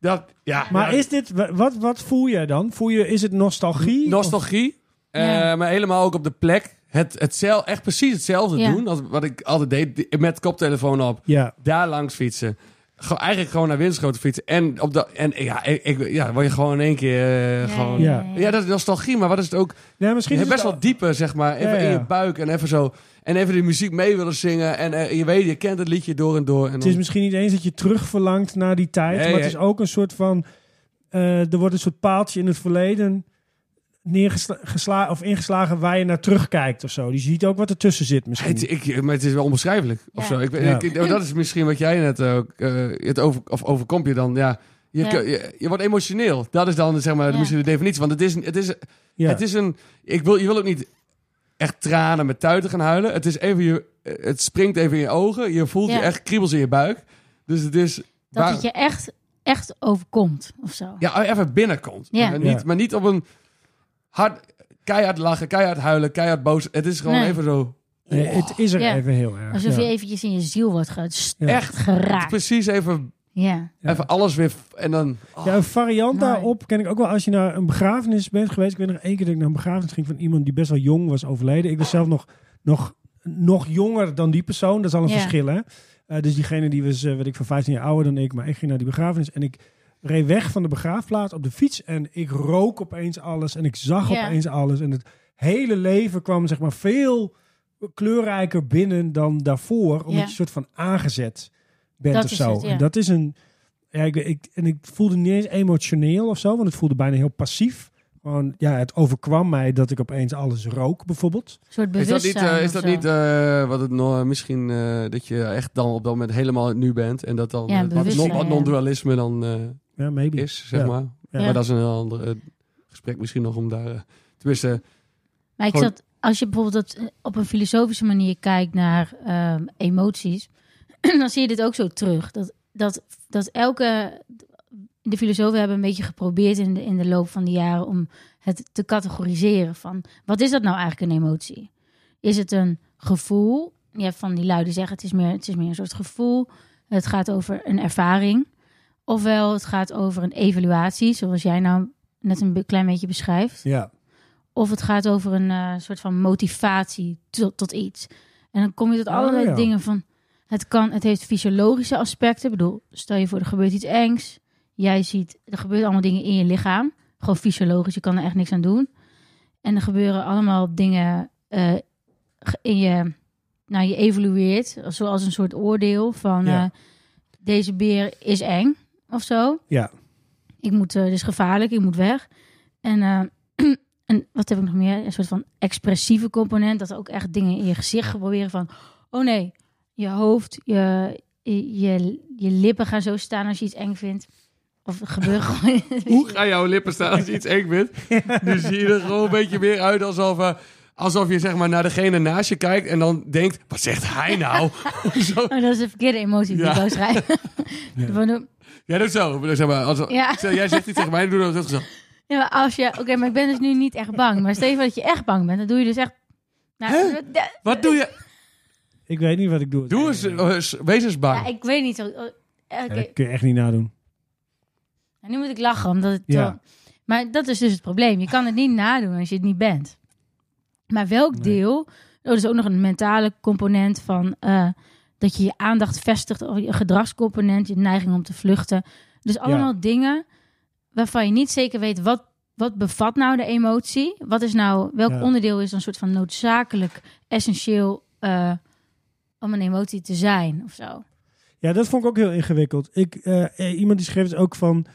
Speaker 3: dat, ja.
Speaker 2: Maar
Speaker 3: ja,
Speaker 2: is dit, wa- wat, wat voel jij dan? Voel je, is het nostalgie?
Speaker 3: nostalgie, eh,
Speaker 1: Ja.
Speaker 3: maar helemaal ook op de plek. Het, het cel, echt precies hetzelfde
Speaker 1: Ja.
Speaker 3: doen als wat ik altijd deed, met koptelefoon op.
Speaker 2: Of- Ja.
Speaker 3: daar langs fietsen. Ge- eigenlijk gewoon naar Winschoten fietsen. En, op de, en ja, ik, ik- ja, word je gewoon in één keer... eh, gewoon... ja.
Speaker 2: ja.
Speaker 3: dat is nostalgie, maar wat is het ook?
Speaker 2: Nee, misschien is
Speaker 3: best
Speaker 2: het al-
Speaker 3: wel dieper, zeg maar. Even
Speaker 2: Ja, ja.
Speaker 3: in je buik en even zo... En even de muziek mee willen zingen. En eh, je weet, je kent het liedje door en door. En
Speaker 2: Het
Speaker 3: dan-
Speaker 2: is misschien niet eens dat je terugverlangt naar die tijd.
Speaker 3: Nee,
Speaker 2: maar het
Speaker 3: hè?
Speaker 2: is ook een soort van... eh, er wordt een soort paaltje in het verleden neergeslagen of ingeslagen waar je naar terugkijkt of zo. Die ziet ook wat ertussen zit misschien.
Speaker 3: Het, ik, maar het is wel onbeschrijfelijk. Of
Speaker 1: Ja.
Speaker 3: zo. Ik, ben-
Speaker 2: Ja.
Speaker 3: ik- oh, dat is misschien wat jij net ook. eh, het over, of overkomt je dan. Ja, je,
Speaker 1: Ja.
Speaker 3: je, je wordt emotioneel. Dat is dan zeg maar,
Speaker 1: Ja.
Speaker 3: misschien de definitie. Want het is, het is
Speaker 2: ja.
Speaker 3: Het is een. Ik wil, je wil ook niet echt tranen met tuiten gaan huilen. Het is even je. Het springt even in je ogen. Je voelt
Speaker 1: Ja.
Speaker 3: je echt kriebels in je buik. Dus het is.
Speaker 1: Dat
Speaker 3: waar-
Speaker 1: het je echt, echt overkomt of zo.
Speaker 3: Ja, oh, even binnenkomt.
Speaker 1: Ja.
Speaker 3: Maar, niet,
Speaker 2: Ja.
Speaker 3: maar niet op een hard. Keihard lachen, keihard huilen, keihard boos. Het is gewoon
Speaker 1: Nee.
Speaker 3: even zo.
Speaker 2: Nee, het is er
Speaker 1: Ja.
Speaker 2: even heel erg.
Speaker 1: Alsof
Speaker 2: ja.
Speaker 1: je eventjes in je ziel wordt gest-
Speaker 2: Ja.
Speaker 3: Echt
Speaker 1: geraakt.
Speaker 3: precies even,
Speaker 1: Ja.
Speaker 2: Ja.
Speaker 3: even alles weer. f- En dan. oh,
Speaker 2: Ja, een variant
Speaker 1: Mooi.
Speaker 2: daarop ken ik ook wel. Als je naar een begrafenis bent geweest. Ik weet nog één keer dat ik naar een begrafenis ging van iemand die best wel jong was overleden. Ik was zelf nog, nog nog jonger dan die persoon. Dat is al een
Speaker 1: Ja.
Speaker 2: verschil, hè? Eh, dus diegene die was, eh, weet ik veel, 15 jaar ouder dan ik. Maar ik ging naar die begrafenis en ik reed weg van de begraafplaats op de fiets. En ik rook opeens alles en ik zag
Speaker 1: Ja.
Speaker 2: opeens alles. En het hele leven kwam, zeg maar, veel kleurrijker binnen dan daarvoor. Omdat
Speaker 1: Ja.
Speaker 2: je een soort van aangezet bent
Speaker 1: Dat
Speaker 2: of
Speaker 1: is
Speaker 2: zo.
Speaker 1: het, ja.
Speaker 2: En dat is een... Ja, ik, ik- en ik voelde niet eens emotioneel of zo, want het voelde bijna heel passief. Gewoon, ja, het overkwam mij dat ik opeens alles rook, bijvoorbeeld.
Speaker 1: Een soort
Speaker 3: Is dat
Speaker 1: bewustzijn
Speaker 3: niet, eh, is
Speaker 1: of
Speaker 3: dat
Speaker 1: zo.
Speaker 3: niet eh, wat het nog, misschien eh, dat je echt dan op dat moment helemaal het nu bent en dat dan
Speaker 1: Ja,
Speaker 3: eh, wat het
Speaker 1: bewustzijn,
Speaker 3: non- wat
Speaker 1: ja.
Speaker 3: non-dualisme dan eh,
Speaker 2: Ja, maybe.
Speaker 3: is, zeg
Speaker 2: Ja.
Speaker 3: maar.
Speaker 2: Ja.
Speaker 3: Maar dat is een heel ander eh, gesprek misschien nog om daar... eh, tenminste,
Speaker 1: Maar ik
Speaker 3: Gewoon-
Speaker 1: zat, als je bijvoorbeeld dat eh, op een filosofische manier kijkt naar ehm, emoties, dan zie je dit ook zo terug. Dat, dat, dat elke. De filosofen hebben een beetje geprobeerd in de, in de loop van de jaren om het te categoriseren van wat is dat nou eigenlijk een emotie? Is het een gevoel? Je hebt van die lui die zeggen het is meer, het is meer een soort gevoel. Het gaat over een ervaring. Ofwel het gaat over een evaluatie, zoals jij nou net een be- klein beetje beschrijft.
Speaker 2: Ja.
Speaker 1: Of het gaat over een eh, soort van motivatie to- tot iets. En dan kom je tot
Speaker 2: Oh,
Speaker 1: allerlei
Speaker 2: ja.
Speaker 1: dingen van... Het, kan, het heeft fysiologische aspecten. Ik bedoel, stel je voor, er gebeurt iets engs. Jij ziet, er gebeuren allemaal dingen in je lichaam. Gewoon fysiologisch, je kan er echt niks aan doen. En er gebeuren allemaal dingen eh, ge- in je... Nou, je evolueert, zoals een soort oordeel van...
Speaker 2: Ja.
Speaker 1: eh, deze beer is eng, of zo
Speaker 2: Ja.
Speaker 1: ik moet, eh, dit is gevaarlijk, ik moet weg. En, eh, en wat heb ik nog meer? Een soort van expressieve component, dat er ook echt dingen in je gezicht proberen van, oh nee, je hoofd, je, je, je lippen gaan zo staan als je iets eng vindt. Of er gebeurt gewoon...
Speaker 3: hoe gaan jouw lippen staan als je iets eng bent? Nu zie je er gewoon een beetje meer uit alsof, eh, alsof je zeg maar, naar degene naast je kijkt en dan denkt, wat zegt hij nou? Zo.
Speaker 1: Oh, dat is de verkeerde emotie die
Speaker 3: Ja.
Speaker 1: ik wou schrijven.
Speaker 2: Ja.
Speaker 1: Van, eh,
Speaker 3: Jij doet zo. Zeg maar, als,
Speaker 1: Ja.
Speaker 3: Stel, jij zegt iets tegen mij, dan doe je dat zo.
Speaker 1: Ja, maar als je... Oké, maar ik ben dus nu niet echt bang. Maar stel je voor dat je echt bang bent, dan doe je dus echt... Nou, de-
Speaker 3: Wat doe je?
Speaker 2: Ik weet niet wat ik doe.
Speaker 3: Doe eens, eh, eens- wees eens bang.
Speaker 1: ja, ik weet niet zo... oh, oké.
Speaker 2: Ja, dat kun je echt niet nadoen.
Speaker 1: En Nou, nu moet ik lachen, omdat het...
Speaker 2: Ja.
Speaker 1: eh, maar dat is dus het probleem. Je kan het niet nadoen als je het niet bent. Maar welk
Speaker 2: Nee.
Speaker 1: deel... Oh, er is ook nog een mentale component van... eh, dat je je aandacht vestigt of je gedragscomponent, je neiging om te vluchten. Dus allemaal dingen waarvan je niet zeker weet wat, wat bevat nou de emotie. Wat is nou, welk
Speaker 2: Ja.
Speaker 1: onderdeel is een soort van noodzakelijk, essentieel eh, om een emotie te zijn of zo.
Speaker 2: Ja, dat vond ik ook heel ingewikkeld. Ik, eh, eh, iemand die schreef het ook van...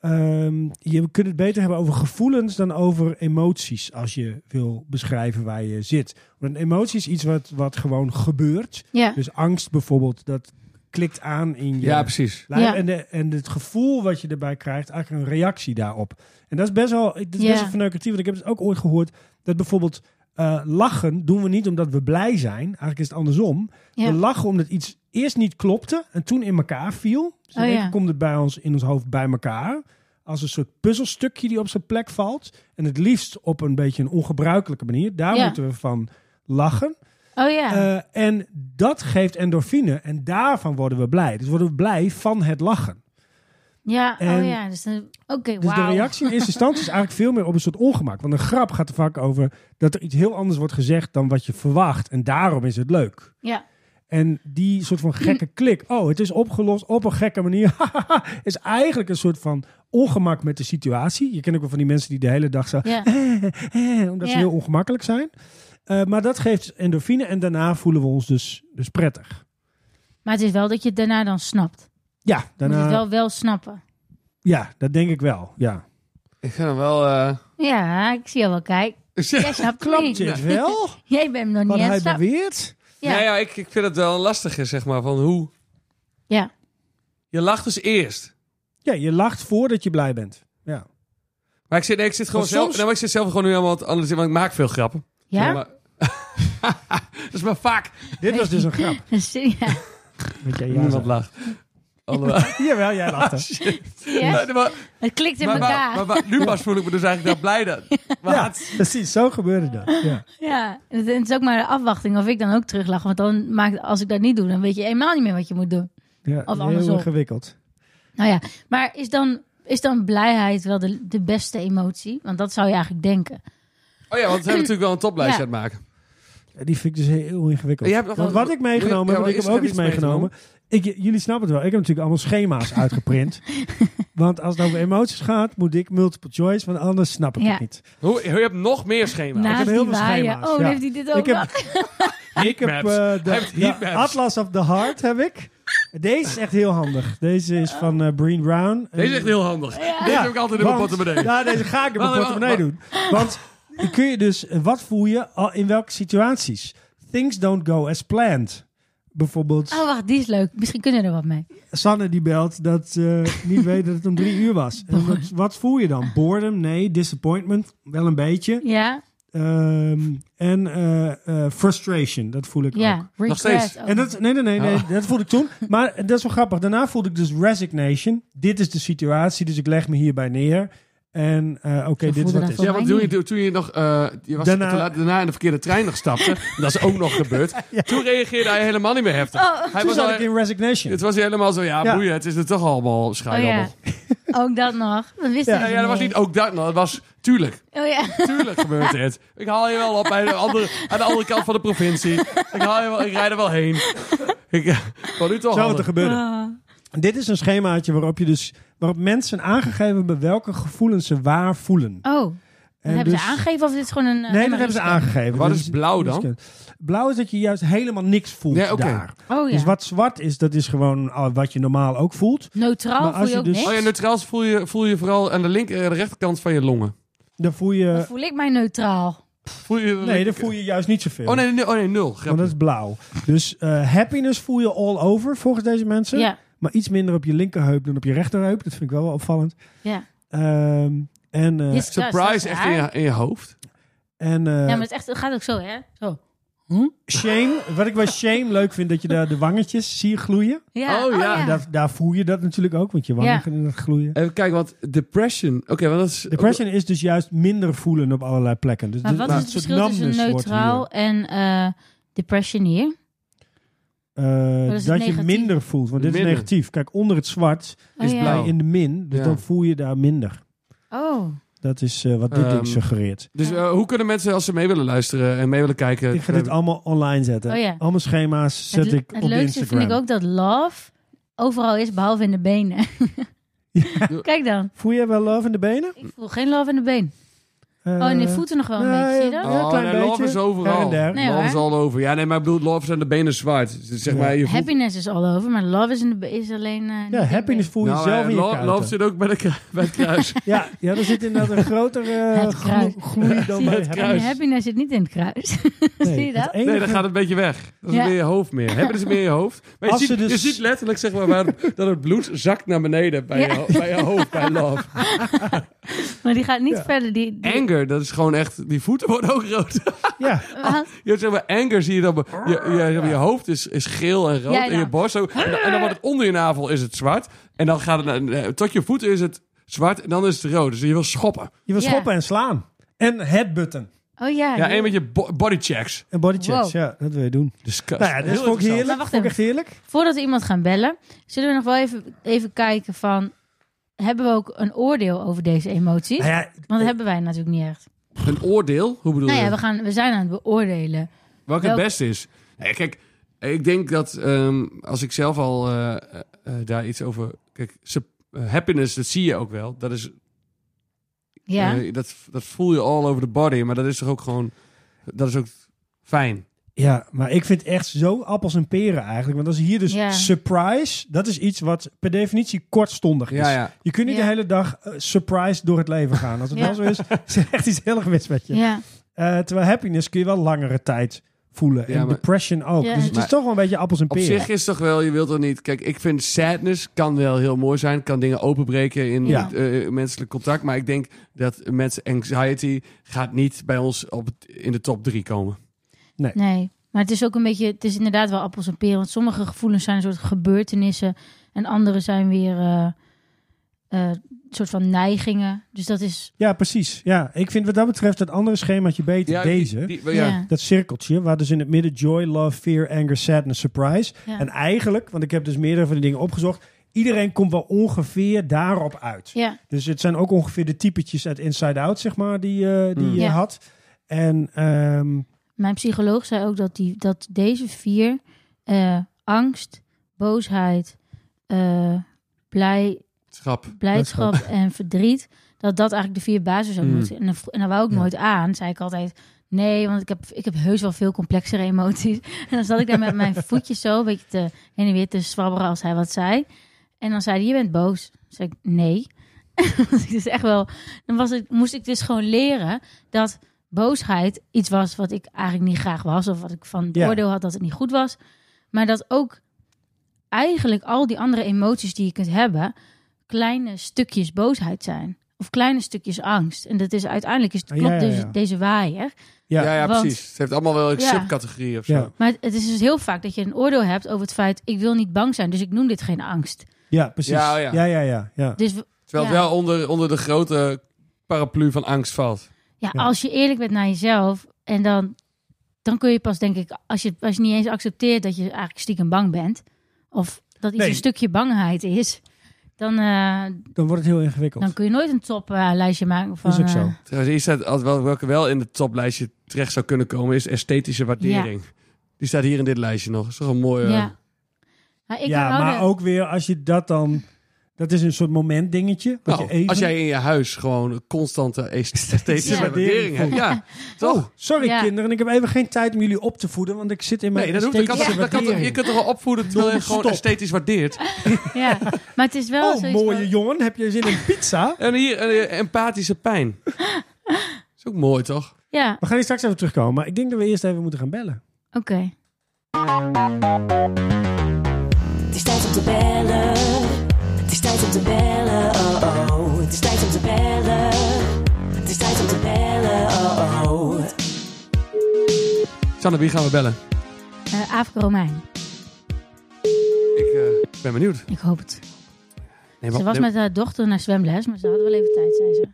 Speaker 2: ehm, je kunt het beter hebben over gevoelens dan over emoties... als je wil beschrijven waar je zit. Want een emotie is iets wat, wat gewoon gebeurt.
Speaker 1: Ja,
Speaker 2: Dus angst bijvoorbeeld, dat klikt aan in je...
Speaker 3: Ja, precies.
Speaker 2: lijf.
Speaker 1: Ja.
Speaker 2: En, de, en het gevoel wat je erbij krijgt, eigenlijk een reactie daarop. En dat is best wel, dat is
Speaker 1: Ja.
Speaker 2: best wel verneukeratief. Want ik heb het ook ooit gehoord dat bijvoorbeeld eh, lachen doen we niet omdat we blij zijn. Eigenlijk is het andersom.
Speaker 1: ja.
Speaker 2: We lachen omdat iets eerst niet klopte en toen in elkaar viel. Dus dan
Speaker 1: Oh,
Speaker 2: denk ik,
Speaker 1: ja.
Speaker 2: komt het bij ons in ons hoofd bij elkaar. Als een soort puzzelstukje die op zijn plek valt. En het liefst op een beetje een ongebruikelijke manier. Daar
Speaker 1: Ja.
Speaker 2: moeten we van lachen.
Speaker 1: Oh ja.
Speaker 2: Eh, en dat geeft endorfine. En daarvan worden we blij. Dus worden we blij van het lachen.
Speaker 1: Ja,
Speaker 2: En-
Speaker 1: oh ja. Dus, dan- oké,
Speaker 2: Dus
Speaker 1: wauw.
Speaker 2: de reactie in eerste instantie is eigenlijk veel meer op een soort ongemak. Want een grap gaat er vaak over dat er iets heel anders wordt gezegd dan wat je verwacht. En daarom is het leuk.
Speaker 1: Ja,
Speaker 2: En die soort van gekke klik, oh, het is opgelost op een gekke manier, is eigenlijk een soort van ongemak met de situatie. Je kent ook wel van die mensen die de hele dag zo, eh,
Speaker 1: ja.
Speaker 2: omdat ze
Speaker 1: Ja.
Speaker 2: heel ongemakkelijk zijn. Eh, maar dat geeft endorfine en daarna voelen we ons dus, dus prettig.
Speaker 1: Maar het is wel dat je het daarna dan snapt.
Speaker 2: Ja,
Speaker 1: Je moet
Speaker 2: daarna,
Speaker 1: het wel, wel snappen.
Speaker 2: ja, dat denk ik wel. Ja.
Speaker 3: Ik ga dan wel... eh,
Speaker 1: Ja, ik zie jou wel kijken. Jij snapt het
Speaker 2: Klopt
Speaker 1: niet.
Speaker 2: het wel,
Speaker 1: Jij bent hem nog niet
Speaker 2: wat
Speaker 1: aan
Speaker 2: hij
Speaker 1: het snappen.
Speaker 2: beweert?
Speaker 1: Ja.
Speaker 3: Nou ja, ik, ik vind het wel lastig, zeg maar, van hoe...
Speaker 1: Ja.
Speaker 3: Je lacht dus eerst.
Speaker 2: Ja, je lacht voordat je blij bent. Ja.
Speaker 3: Maar ik zit, nee, ik zit gewoon
Speaker 2: Maar
Speaker 3: zelf...
Speaker 2: soms-
Speaker 3: Nou, ik zit zelf gewoon nu helemaal aan het analyseren, want ik maak veel grappen.
Speaker 1: Ja?
Speaker 3: Maar- dat is maar vaak.
Speaker 2: Dit was dus een grap.
Speaker 1: Ja.
Speaker 2: Weet jij, ja,
Speaker 3: Niemand
Speaker 2: zei.
Speaker 3: lacht. Allemaal.
Speaker 2: Jawel, jij lachte.
Speaker 1: Ja.
Speaker 3: Maar- maar-
Speaker 1: Het klikt in
Speaker 3: maar-
Speaker 1: elkaar.
Speaker 3: maar- maar- nu pas voel ik me dus eigenlijk wel blij dat. Maar
Speaker 2: Ja, precies, zo gebeurde dat. Ja.
Speaker 1: Ja. Het het is ook maar de afwachting of ik dan ook teruglach. Want dan maakt, als ik dat niet doe, dan weet je helemaal niet meer wat je moet doen.
Speaker 2: Ja,
Speaker 1: Of
Speaker 2: heel
Speaker 1: andersom.
Speaker 2: ingewikkeld.
Speaker 1: Nou ja, maar is dan, is dan blijheid wel de, de beste emotie? Want dat zou je eigenlijk denken.
Speaker 3: Oh ja, want we hebben natuurlijk wel een toplijstje
Speaker 1: Ja.
Speaker 3: aan het maken.
Speaker 2: Ja, die vind ik dus heel ingewikkeld.
Speaker 3: Je hebt nog
Speaker 2: Want
Speaker 3: wel-
Speaker 2: wat ik meegenomen
Speaker 3: Ja,
Speaker 2: heb,
Speaker 3: maar
Speaker 2: want ik
Speaker 3: is
Speaker 2: heb
Speaker 3: er
Speaker 2: ook iets
Speaker 3: iets meegenomen?
Speaker 2: meegenomen. Ik, j- jullie snappen het wel. Ik heb natuurlijk allemaal schema's uitgeprint. Want als het over emoties gaat, moet ik multiple choice, want anders snap ik
Speaker 1: Ja.
Speaker 2: het niet.
Speaker 3: Hoe, je hebt nog meer schema's.
Speaker 1: Naast
Speaker 2: heb heel
Speaker 1: die
Speaker 2: veel
Speaker 1: waaien.
Speaker 2: schema's,
Speaker 1: Oh,
Speaker 2: ja.
Speaker 1: heeft hij dit ook
Speaker 2: Ik heb-
Speaker 1: nog?
Speaker 2: Ik heb
Speaker 3: Heatmaps.
Speaker 2: eh, de,
Speaker 3: Hij heeft
Speaker 2: de
Speaker 3: heatmaps.
Speaker 2: Atlas of the Heart heb ik. Deze is echt heel handig. Deze
Speaker 1: Oh.
Speaker 2: is van eh Breen Brown. Eh,
Speaker 3: Deze is echt heel handig. Deze heb ik altijd in mijn
Speaker 2: want-
Speaker 3: portemonnee.
Speaker 2: Ja, deze ga ik in mijn
Speaker 3: Wacht,
Speaker 2: portemonnee doen. Want dan kun je dus, eh, wat voel je al in welke situaties? Things don't go as planned. Bijvoorbeeld
Speaker 1: Oh, wacht, die is leuk. Misschien kunnen we er wat mee.
Speaker 2: Sanne die belt dat ze eh, niet weet dat het om drie uur was. En wat, wat voel je dan? Boredom? Nee. Disappointment? Wel een beetje.
Speaker 1: Ja,
Speaker 2: Ehm, en eh, eh, frustration, dat voel ik ook.
Speaker 1: ja. Regret.
Speaker 3: steeds.
Speaker 1: ook.
Speaker 2: En dat, nee, nee, nee, nee,
Speaker 3: Oh.
Speaker 2: dat voelde ik toen. Maar dat is wel grappig. Daarna voelde ik dus resignation. Dit is de situatie, dus ik leg me hierbij neer. En eh, oké, dit is
Speaker 1: voelde
Speaker 2: wat
Speaker 1: dat
Speaker 2: het is.
Speaker 1: wel.
Speaker 3: Ja, want toen je, toen je nog, eh, je was
Speaker 2: Daarna-
Speaker 3: te laat- daarna in de verkeerde trein nog stapte. dat is ook nog gebeurd. Toen reageerde hij helemaal niet meer heftig.
Speaker 1: Oh.
Speaker 3: hij
Speaker 2: Toen
Speaker 3: was al,
Speaker 2: zat ik in resignation.
Speaker 3: Het was hij helemaal zo, ja,
Speaker 2: Ja.
Speaker 3: boeien, het is er toch allemaal
Speaker 1: Oh ja.
Speaker 3: schijnbaar.
Speaker 1: Ook dat nog. Dat wist
Speaker 2: Ja.
Speaker 1: ik
Speaker 3: ja, ja, dat was niet ook dat, nou, dat was tuurlijk.
Speaker 1: Oh ja.
Speaker 3: Tuurlijk gebeurt dit. Ik haal je wel op bij de andere, aan de andere kant van de provincie. Ik, haal je wel, ik rijd er wel heen. Ik, wat nu
Speaker 2: Zou
Speaker 3: toch
Speaker 2: het er
Speaker 3: handig.
Speaker 2: gebeuren?
Speaker 1: Oh.
Speaker 2: Dit is een schemaatje waarop, je dus, waarop mensen aangegeven hebben welke gevoelens ze waar voelen.
Speaker 1: Oh, dat
Speaker 2: En
Speaker 1: hebben
Speaker 2: dus-
Speaker 1: ze aangegeven of dit is gewoon een... eh,
Speaker 2: Nee, dat hebben ze
Speaker 1: MRI-scan?
Speaker 2: aangegeven.
Speaker 3: Wat
Speaker 2: Dat
Speaker 3: is blauw dan?
Speaker 2: dat is- Blauw is dat je juist helemaal niks voelt
Speaker 3: Ja, oké.
Speaker 2: daar.
Speaker 1: Oh ja.
Speaker 2: Dus wat zwart is, dat is gewoon ah, wat je normaal ook voelt.
Speaker 1: Neutraal
Speaker 2: Maar
Speaker 1: voel
Speaker 2: als
Speaker 1: je
Speaker 2: je
Speaker 1: ook
Speaker 2: dus-
Speaker 1: niks.
Speaker 3: Oh ja, neutraal voel je, voel je vooral aan de, linker, aan de rechterkant van je longen.
Speaker 2: Dan voel
Speaker 1: Dan
Speaker 2: je...
Speaker 1: voel ik mij neutraal.
Speaker 3: Voel je,
Speaker 2: Nee, dan voel je juist niet zoveel.
Speaker 3: Oh nee, nee, oh nee nul.
Speaker 2: Want
Speaker 3: Grapje.
Speaker 2: dat is blauw. Dus eh, happiness voel je all over, volgens deze mensen.
Speaker 1: Ja,
Speaker 2: Maar iets minder op je linkerheup dan op je rechterheup. Dat vind ik wel, wel opvallend.
Speaker 1: ja.
Speaker 2: Ehm, en
Speaker 1: Dit
Speaker 2: eh,
Speaker 1: is- dat is
Speaker 3: Surprise echt in
Speaker 1: haar.
Speaker 3: je, in je hoofd.
Speaker 2: en eh,
Speaker 1: Ja, maar het, is echt, het gaat ook zo, hè? Zo.
Speaker 2: shame. Wat ik bij shame leuk vind, dat je daar de wangetjes zie je gloeien.
Speaker 1: Ja.
Speaker 3: Oh, ja.
Speaker 2: En daar, daar voel je dat natuurlijk ook, want je wangen
Speaker 1: Ja.
Speaker 2: gaan in het gloeien.
Speaker 3: Even kijken, want depression... Oké, want dat is...
Speaker 2: Depression is dus juist minder voelen op allerlei plekken. Dus
Speaker 1: Maar
Speaker 2: dit-
Speaker 1: wat
Speaker 2: nou,
Speaker 1: is het
Speaker 2: een soort
Speaker 1: verschil tussen
Speaker 2: numbness wordt
Speaker 1: neutraal
Speaker 2: hier.
Speaker 1: en eh, depression hier?
Speaker 2: Eh,
Speaker 1: dat
Speaker 2: dat
Speaker 1: is het
Speaker 2: je
Speaker 1: negatief.
Speaker 2: minder voelt, want dit
Speaker 3: Minder.
Speaker 2: is negatief. Kijk, onder het zwart
Speaker 1: Oh,
Speaker 3: Is
Speaker 1: ja.
Speaker 3: blauw.
Speaker 2: ben je in de min, dus
Speaker 3: Ja.
Speaker 2: dan voel je daar minder.
Speaker 1: Oh,
Speaker 2: Dat is eh, wat dit
Speaker 3: Ehm,
Speaker 2: ding suggereert.
Speaker 3: Dus eh, hoe kunnen mensen, als ze mee willen luisteren en mee willen kijken... eh,
Speaker 2: Ik ga dit allemaal online zetten.
Speaker 1: Oh ja.
Speaker 2: Allemaal schema's zet
Speaker 1: het,
Speaker 2: ik
Speaker 1: het
Speaker 2: op de
Speaker 1: leukste
Speaker 2: Instagram.
Speaker 1: vind ik ook dat love overal is, behalve in de benen. Kijk dan.
Speaker 2: Voel je wel love in de benen?
Speaker 1: Ik voel geen love in de been.
Speaker 2: Eh,
Speaker 1: Oh, en de voeten nog wel een
Speaker 2: nee,
Speaker 1: beetje, zie je dat?
Speaker 2: Ja, Oh, een klein
Speaker 3: Oh, nee, love
Speaker 2: beetje.
Speaker 3: is overal.
Speaker 2: Her en der.
Speaker 1: Nee,
Speaker 3: love
Speaker 1: hoor.
Speaker 3: is all over. Ja, nee, maar ik bedoel, love zijn de benen zwart. Dus Zeg
Speaker 2: Ja.
Speaker 3: maar, je voelt...
Speaker 1: Happiness is al over, maar love is, in de, be- is alleen... eh, niet in
Speaker 2: Ja,
Speaker 1: de
Speaker 2: happiness
Speaker 1: been.
Speaker 2: voel je
Speaker 3: Nou,
Speaker 2: zelf
Speaker 3: eh,
Speaker 2: in je
Speaker 3: lo-
Speaker 2: kuiten.
Speaker 3: love zit ook bij, de, kru- bij het kruis.
Speaker 2: Ja, ja, er zit inderdaad een grotere eh,
Speaker 1: Het kruis.
Speaker 2: glo- gloei dan bij
Speaker 1: Zie je?
Speaker 3: kruis.
Speaker 1: En happiness zit niet in het kruis. Zie je dat?
Speaker 3: Nee, dan gaat het een beetje weg. Dat is
Speaker 1: Ja.
Speaker 3: meer je hoofd meer. Hebben ze meer in je hoofd? Maar je
Speaker 2: Als
Speaker 3: ziet,
Speaker 2: ze dus-
Speaker 3: je ziet letterlijk zeg maar, waar, dat het bloed zakt naar beneden bij,
Speaker 1: Ja.
Speaker 3: je, ho- bij je hoofd, bij love.
Speaker 1: Maar die gaat niet verder. Die, die-
Speaker 3: Anger, dat is gewoon echt... Die voeten worden ook rood.
Speaker 2: Ja,
Speaker 1: Wat?
Speaker 3: Je hebt zeg maar anger, zie je dan. Je, je, je- je hoofd is, is geel en rood.
Speaker 1: Ja,
Speaker 3: En je
Speaker 1: ja.
Speaker 3: borst ook. En, dan- en dan wordt het onder je navel is het zwart. En dan gaat het naar- eh, tot je voeten is het zwart. En dan is het rood. Dus je wil schoppen.
Speaker 2: je wil
Speaker 1: Ja.
Speaker 2: schoppen en slaan. En headbutten.
Speaker 1: Oh ja.
Speaker 3: Ja,
Speaker 1: die-
Speaker 3: en met je bo- bodychecks.
Speaker 2: En bodychecks,
Speaker 1: Wow.
Speaker 2: ja, dat wil je doen.
Speaker 3: Disgust.
Speaker 2: Nou ja, dat
Speaker 3: Heel
Speaker 2: vond ik
Speaker 3: interessant.
Speaker 2: heerlijk.
Speaker 1: Maar wacht
Speaker 2: vond ik echt heerlijk.
Speaker 1: Voordat we iemand gaan bellen, zullen we nog wel even, even kijken van... Hebben we ook een oordeel over deze emoties?
Speaker 2: Nou ja,
Speaker 1: Want dat hebben wij natuurlijk niet echt.
Speaker 3: Een oordeel? Hoe bedoel
Speaker 1: Nou
Speaker 3: je?
Speaker 1: ja, we, gaan, we zijn aan het beoordelen.
Speaker 3: Welk het
Speaker 1: Welk-
Speaker 3: beste is. Nee, kijk, ik denk dat ehm, als ik zelf al eh, eh, eh, daar iets over. Kijk, sup- eh, happiness, dat zie je ook wel. Dat, is,
Speaker 1: Ja.
Speaker 3: eh, dat, dat voel je all over the body. Maar dat is toch ook gewoon. Dat is ook fijn.
Speaker 2: Ja, maar ik vind echt zo appels en peren eigenlijk. Want als hier dus
Speaker 1: Ja.
Speaker 2: surprise, dat is iets wat per definitie kortstondig is.
Speaker 3: Ja, ja.
Speaker 2: Je kunt niet
Speaker 1: Ja.
Speaker 2: de hele dag eh, surprise door het leven gaan. Als het
Speaker 1: Ja.
Speaker 2: wel zo is, is er echt iets heel erg mis met je.
Speaker 1: ja.
Speaker 2: Eh, terwijl happiness kun je wel langere tijd voelen.
Speaker 3: Ja,
Speaker 2: en
Speaker 3: maar-
Speaker 2: depression ook.
Speaker 1: Ja.
Speaker 2: Dus het
Speaker 3: Maar-
Speaker 2: is toch wel een beetje appels en
Speaker 3: Op
Speaker 2: peren.
Speaker 3: zich is toch wel, je wilt toch niet. Kijk, ik vind sadness kan wel heel mooi zijn, kan dingen openbreken in
Speaker 2: Ja.
Speaker 3: eh, eh, menselijk contact. Maar ik denk dat mensen anxiety gaat niet bij ons op, het- in de top drie komen.
Speaker 1: Nee, maar het is ook een beetje, het is inderdaad wel appels en peren. Want sommige gevoelens zijn een soort gebeurtenissen en andere zijn weer eh eh, soort van neigingen. Dus dat is,
Speaker 2: Ja, precies. Ja, ik vind wat dat betreft dat andere schemaatje beter. Deze.
Speaker 3: die- die-
Speaker 1: ja.
Speaker 3: ja.
Speaker 2: Dat cirkeltje, waar dus in het midden joy, love, fear, anger, sadness, surprise.
Speaker 1: Ja.
Speaker 2: En eigenlijk, want ik heb dus meerdere van die dingen opgezocht. Iedereen komt wel ongeveer daarop uit.
Speaker 1: ja,
Speaker 2: Dus het zijn ook
Speaker 3: Hmm.
Speaker 2: ongeveer de typetjes uit Inside Out, zeg maar, die, eh, die
Speaker 3: Mm.
Speaker 2: je
Speaker 1: Ja.
Speaker 2: had. En ehm,
Speaker 1: Mijn psycholoog zei ook dat, die, dat deze vier... eh, angst, boosheid, eh, blij,
Speaker 3: Schap.
Speaker 1: blijdschap en verdriet... dat dat eigenlijk de vier basis zou
Speaker 3: Mm.
Speaker 1: moeten. En dan, vro- en dan wou ik
Speaker 2: Hmm. Ja.
Speaker 1: nooit aan. zei ik altijd... Nee, want ik heb, ik heb heus wel veel complexere emoties. En dan zat ik daar met mijn voetjes zo... een beetje te, heen en weer te zwabberen als hij wat zei. En dan zei hij, je bent boos. Dan zei ik, nee. was ik dus echt wel... Dan was ik, moest ik dus gewoon leren dat boosheid iets was wat ik eigenlijk niet graag was. Of wat ik van het
Speaker 2: Ja.
Speaker 1: oordeel had dat het niet goed was. Maar dat ook eigenlijk al die andere emoties die je kunt hebben... kleine stukjes boosheid zijn. Of kleine stukjes angst. En dat is uiteindelijk, is,
Speaker 2: Ah, ja,
Speaker 1: klopt
Speaker 2: ja,
Speaker 1: dus
Speaker 2: ja.
Speaker 1: deze waaier.
Speaker 3: Ja,
Speaker 2: Ja.
Speaker 3: ja,
Speaker 1: Want-
Speaker 3: precies. Ze heeft allemaal wel een
Speaker 1: Ja.
Speaker 3: subcategorie of zo.
Speaker 2: Ja.
Speaker 1: Maar het, het is dus heel vaak dat je een oordeel hebt over het feit... ik wil niet bang zijn, dus ik noem dit geen angst.
Speaker 2: Ja, precies.
Speaker 3: Ja, oh
Speaker 2: Ja,
Speaker 3: ja.
Speaker 2: ja, ja. ja,
Speaker 1: Dus w-
Speaker 3: Terwijl
Speaker 1: Ja.
Speaker 3: het wel onder, onder de grote paraplu van angst valt.
Speaker 1: Ja,
Speaker 2: Ja.
Speaker 1: als je eerlijk bent naar jezelf en dan, dan kun je pas, denk ik, als je, als je niet eens accepteert dat je eigenlijk stiekem bang bent, of dat iets
Speaker 2: Nee.
Speaker 1: een stukje bangheid is, dan, eh,
Speaker 2: Dan wordt het heel ingewikkeld.
Speaker 1: dan kun je nooit een toplijstje maken van.
Speaker 2: Dat is ook zo.
Speaker 1: eh,
Speaker 3: Trouwens, iets dat- als wel- welke wel in het toplijstje terecht zou kunnen komen, is esthetische waardering. Die staat hier in dit lijstje nog. Dat is toch een mooie...
Speaker 1: eh, ja. Nou, ik
Speaker 2: ja,
Speaker 1: hou
Speaker 2: maar
Speaker 1: er-
Speaker 2: ook weer als je dat dan... Dat is een soort momentdingetje. wat
Speaker 3: Nou,
Speaker 2: je even...
Speaker 3: Als jij in je huis gewoon een constante esthetische
Speaker 1: Ja.
Speaker 3: waardering hebt. Ja, toch?
Speaker 2: Oh, sorry
Speaker 1: Ja.
Speaker 2: kinderen. Ik heb even geen tijd om jullie op te voeden, want ik zit in mijn
Speaker 3: Nee, dat hoeft dat kan,
Speaker 2: esthetische
Speaker 3: toch- dat kan, toch- Je
Speaker 2: waardering.
Speaker 3: kunt toch wel opvoeden terwijl je gewoon
Speaker 2: Non-stop.
Speaker 3: esthetisch waardeert.
Speaker 1: Ja, maar het is wel
Speaker 2: Oh,
Speaker 1: zoiets
Speaker 2: mooie
Speaker 1: van-
Speaker 2: jongen. Heb je zin in pizza?
Speaker 3: En hier een empathische pijn. is ook mooi, toch?
Speaker 1: Ja,
Speaker 2: We gaan hier straks even terugkomen, maar ik denk dat we eerst even moeten gaan bellen.
Speaker 1: oké.
Speaker 4: Het is tijd om te bellen. Het is tijd om te bellen. Oh oh. Het is tijd om te bellen. Het is tijd om te bellen. Oh oh.
Speaker 3: Sanne, wie gaan we bellen?
Speaker 1: Eh Afro Romein,
Speaker 3: Ik eh, ben benieuwd.
Speaker 1: ik hoop het.
Speaker 3: Nee,
Speaker 1: Ze was met haar dochter naar zwemles, maar ze hadden wel even tijd, zei ze.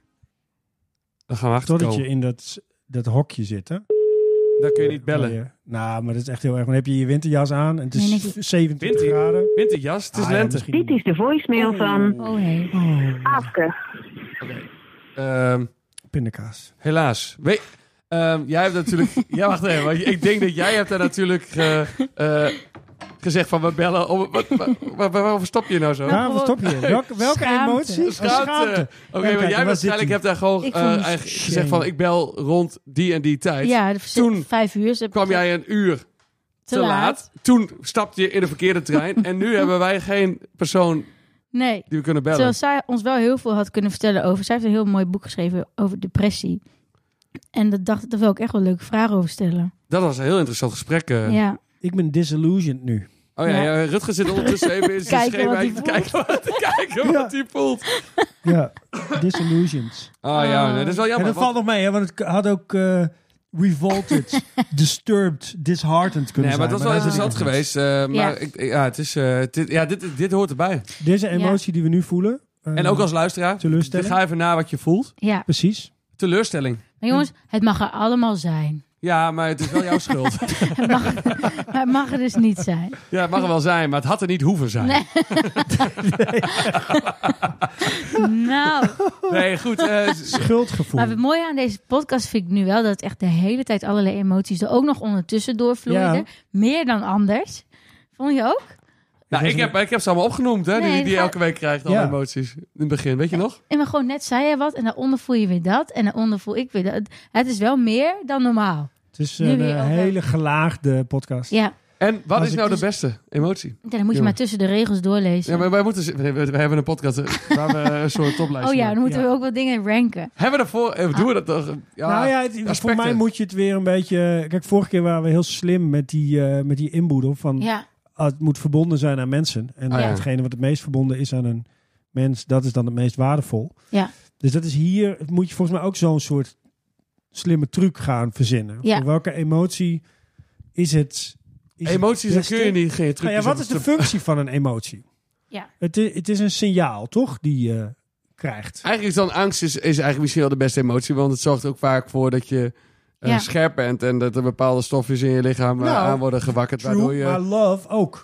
Speaker 3: Dan gaan we
Speaker 2: Totdat je
Speaker 3: achterkomen.
Speaker 2: in dat, dat hokje zit, hè?
Speaker 3: Dan kun je niet bellen.
Speaker 2: Ja. Nou, maar dat is echt heel erg. Dan heb je je winterjas aan en het is
Speaker 1: Nee, netjes.
Speaker 2: 27
Speaker 3: Winter?
Speaker 2: graden.
Speaker 3: Winterjas, het is
Speaker 2: Ah, ja,
Speaker 3: lente.
Speaker 2: misschien
Speaker 6: Dit is de voicemail van
Speaker 1: Oh nee.
Speaker 6: Afke.
Speaker 3: Ehm,
Speaker 2: Pindakaas.
Speaker 3: helaas. We, ehm, jij hebt natuurlijk... ja, wacht even. want ik denk dat jij hebt daar natuurlijk eh, eh, gezegd van we bellen. Om, wat, wat, waar- waarover stop je nou zo?
Speaker 2: Waarom stop je? Welke, welke
Speaker 1: Schaamte.
Speaker 2: emotie? Oh,
Speaker 3: Schaamte. Oké,
Speaker 2: Even
Speaker 3: maar
Speaker 2: kijken,
Speaker 3: jij
Speaker 2: waar zit
Speaker 3: waarschijnlijk
Speaker 2: die?
Speaker 3: hebt daar gewoon
Speaker 1: Ik
Speaker 3: eh,
Speaker 1: vond het
Speaker 3: eigenlijk
Speaker 2: shame.
Speaker 3: gezegd van ik bel rond die en die tijd.
Speaker 1: Ja,
Speaker 3: Toen
Speaker 1: toen vijf uur. Ze
Speaker 3: kwam jij een uur te, laat. Toen stapte je in de verkeerde trein. en nu hebben wij geen persoon
Speaker 1: Nee.
Speaker 3: die we kunnen bellen.
Speaker 1: Terwijl zij ons wel heel veel had kunnen vertellen over. Zij heeft een heel mooi boek geschreven over depressie. En dat dacht ik, daar wil ik echt wel leuke vragen over stellen.
Speaker 3: Dat was een heel interessant gesprek. eh.
Speaker 1: Ja.
Speaker 2: Ik ben disillusioned nu.
Speaker 3: Oh ja,
Speaker 1: Ja.
Speaker 3: ja, Rutger zit ondertussen even in zijn
Speaker 1: Kijken
Speaker 3: schema
Speaker 1: wat hij
Speaker 3: te kijken wat, te kijken
Speaker 2: Ja.
Speaker 3: wat hij voelt.
Speaker 2: Ja, disillusions.
Speaker 3: Oh
Speaker 1: Ah.
Speaker 3: ja, nee, dat is wel
Speaker 2: en
Speaker 3: jammer.
Speaker 2: dat valt nog mee, hè, want het had ook eh, revolted, disturbed, disheartened
Speaker 3: want-
Speaker 2: kunnen
Speaker 3: Nee, maar
Speaker 2: zijn.
Speaker 3: dat is wel
Speaker 2: dat
Speaker 3: interessant
Speaker 2: is het niet.
Speaker 3: geweest. eh, maar ik, ja, het is, eh, dit, ja dit, dit hoort erbij.
Speaker 2: Deze emotie die we nu voelen. eh,
Speaker 3: En ook als luisteraar,
Speaker 2: teleurstelling.
Speaker 3: ga even na wat je voelt.
Speaker 1: ja.
Speaker 2: Precies.
Speaker 3: Teleurstelling.
Speaker 1: Maar jongens, het mag er allemaal zijn.
Speaker 3: Ja, maar het is wel jouw schuld.
Speaker 1: Het mag, maar het mag er dus niet zijn.
Speaker 3: Ja, het mag er wel zijn, maar het had er niet hoeven zijn. Nee,
Speaker 1: Nee. Nou,
Speaker 3: goed. eh, s-
Speaker 2: Schuldgevoel.
Speaker 1: maar het mooie aan deze podcast vind ik nu wel dat het echt de hele tijd allerlei emoties er ook nog ondertussen doorvloeiden.
Speaker 2: Ja.
Speaker 1: Meer dan anders. Vond je ook?
Speaker 3: nou, ik, heb, ik heb ze allemaal opgenoemd, hè, die,
Speaker 1: Nee,
Speaker 3: die je
Speaker 1: ga-
Speaker 3: elke week krijgt, alle
Speaker 2: Ja.
Speaker 3: emoties. In het begin, weet je nog?
Speaker 1: En maar gewoon net zei hij wat en daaronder voel je weer dat en daaronder voel ik weer dat. Het is wel meer dan normaal.
Speaker 2: het is
Speaker 1: nu
Speaker 2: een
Speaker 1: weer
Speaker 2: eh,
Speaker 1: over.
Speaker 2: hele gelaagde podcast.
Speaker 1: Ja,
Speaker 3: En wat
Speaker 2: Als
Speaker 3: is
Speaker 2: ik
Speaker 3: nou de
Speaker 2: dus-
Speaker 3: beste emotie?
Speaker 1: Ja, dan moet je
Speaker 3: Ja.
Speaker 1: maar tussen de regels doorlezen.
Speaker 3: Ja, maar wij moeten... z- We, we- we hebben een podcast eh, waar we een soort toplijst
Speaker 1: oh ja, dan
Speaker 3: maken.
Speaker 1: moeten
Speaker 2: Ja.
Speaker 1: we ook wat dingen ranken.
Speaker 3: Hebben we daarvoor... eh, Doen we dat toch? Ja,
Speaker 2: nou ja, het- voor
Speaker 3: aspecten.
Speaker 2: mij moet je het weer een beetje... eh, Kijk, vorige keer waren we heel slim met die, eh, met die inboedel van...
Speaker 1: Ja,
Speaker 2: ah, het moet verbonden zijn aan mensen. En
Speaker 3: Ah, ja.
Speaker 2: hetgene wat het meest verbonden is aan een mens, dat is dan het meest waardevol.
Speaker 1: Ja.
Speaker 2: Dus dat is hier, het moet je volgens mij ook zo'n soort slimme truc gaan verzinnen.
Speaker 1: Ja.
Speaker 2: Voor welke emotie is het? Is het
Speaker 3: Emoties,
Speaker 2: het
Speaker 3: daar
Speaker 2: beste?
Speaker 3: kun je niet geen
Speaker 2: Nou
Speaker 3: trucjes
Speaker 2: ja, wat
Speaker 3: op-
Speaker 2: is de functie van een emotie?
Speaker 1: Ja.
Speaker 2: Het, i- het is een signaal, toch? Die je krijgt.
Speaker 3: Eigenlijk is dan angst is, is eigenlijk misschien wel de beste emotie, want het zorgt ook vaak voor dat je eh,
Speaker 1: Ja.
Speaker 3: scherp bent en dat er bepaalde stofjes in je lichaam eh,
Speaker 2: Nou,
Speaker 3: aan worden gewakkerd, waardoor
Speaker 2: True,
Speaker 3: je...
Speaker 2: maar love ook. Dus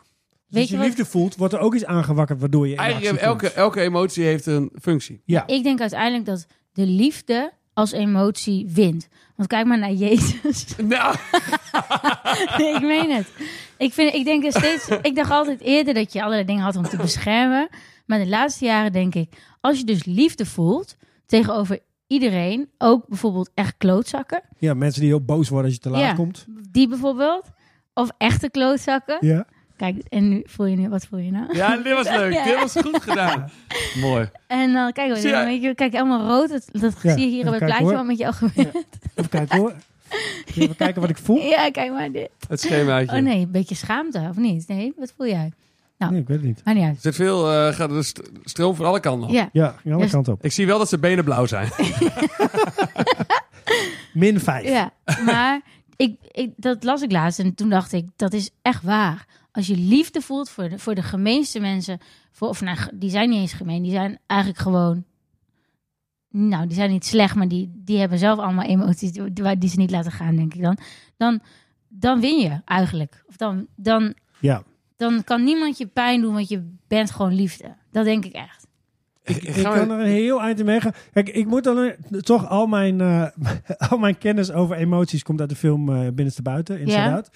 Speaker 1: Weet
Speaker 2: als
Speaker 1: je
Speaker 2: je
Speaker 1: wat-
Speaker 2: liefde voelt, wordt er ook iets aangewakkerd waardoor je in actie
Speaker 3: Eigenlijk
Speaker 2: komt.
Speaker 3: elke, elke emotie heeft een functie.
Speaker 2: Ja,
Speaker 1: ik denk uiteindelijk dat de liefde als emotie wint. Want kijk maar naar Jezus.
Speaker 3: Nou,
Speaker 1: Nee, ik meen het. Ik, vind, ik, denk er steeds, ik dacht altijd eerder dat je allerlei dingen had om te beschermen. Maar de laatste jaren denk ik, als je dus liefde voelt tegenover iedereen, ook bijvoorbeeld echt klootzakken,
Speaker 2: Ja, mensen die heel boos worden als je te laat
Speaker 1: Ja.
Speaker 2: komt.
Speaker 1: die bijvoorbeeld, of echte klootzakken.
Speaker 2: Ja.
Speaker 1: Kijk, en nu voel je nu, wat voel je nou?
Speaker 3: ja, dit was leuk.
Speaker 1: Ja.
Speaker 3: Dit was goed gedaan. Mooi.
Speaker 1: En dan kijk,
Speaker 3: Zie jij-
Speaker 1: dan, weet je, kijk allemaal rood, dat, dat
Speaker 2: Ja,
Speaker 1: zie je hier
Speaker 2: even
Speaker 1: op het
Speaker 2: kijken
Speaker 1: plaatje
Speaker 2: hoor.
Speaker 1: wat met je ogen gebeurt.
Speaker 2: Even kijken hoor. Even kijken wat ik voel.
Speaker 1: Ja, kijk maar dit.
Speaker 3: Het schemaatje.
Speaker 1: Oh nee, een beetje schaamte, of niet? Nee, wat voel jij?
Speaker 2: Nee, ik weet het niet.
Speaker 1: Maar niet uit.
Speaker 3: Er zit veel, eh, gaat de st- stroom van alle kanten op.
Speaker 1: Ja,
Speaker 2: Ja, ging alle
Speaker 1: Dus-
Speaker 2: kanten op.
Speaker 3: Ik zie wel dat zijn benen blauw zijn.
Speaker 2: Min 5.
Speaker 1: Ja, maar ik, ik, dat las ik laatst en toen dacht ik, dat is echt waar. Als je liefde voelt voor de, voor de gemeenste mensen, voor, of nou, die zijn niet eens gemeen, die zijn eigenlijk gewoon, nou, die zijn niet slecht, maar die, die hebben zelf allemaal emoties die, waar- die ze niet laten gaan, denk ik dan. Dan, dan win je eigenlijk. Of dan, dan,
Speaker 2: Ja.
Speaker 1: dan kan niemand je pijn doen, want je bent gewoon liefde. Dat denk ik echt.
Speaker 3: Ik,
Speaker 2: Ik kan eh, er een heel eind in meegaan. Kijk, ik moet dan eh, toch al mijn, eh, al mijn kennis over emoties komt uit de film eh Binnenste Buiten, Inside
Speaker 1: Ja.
Speaker 2: Out.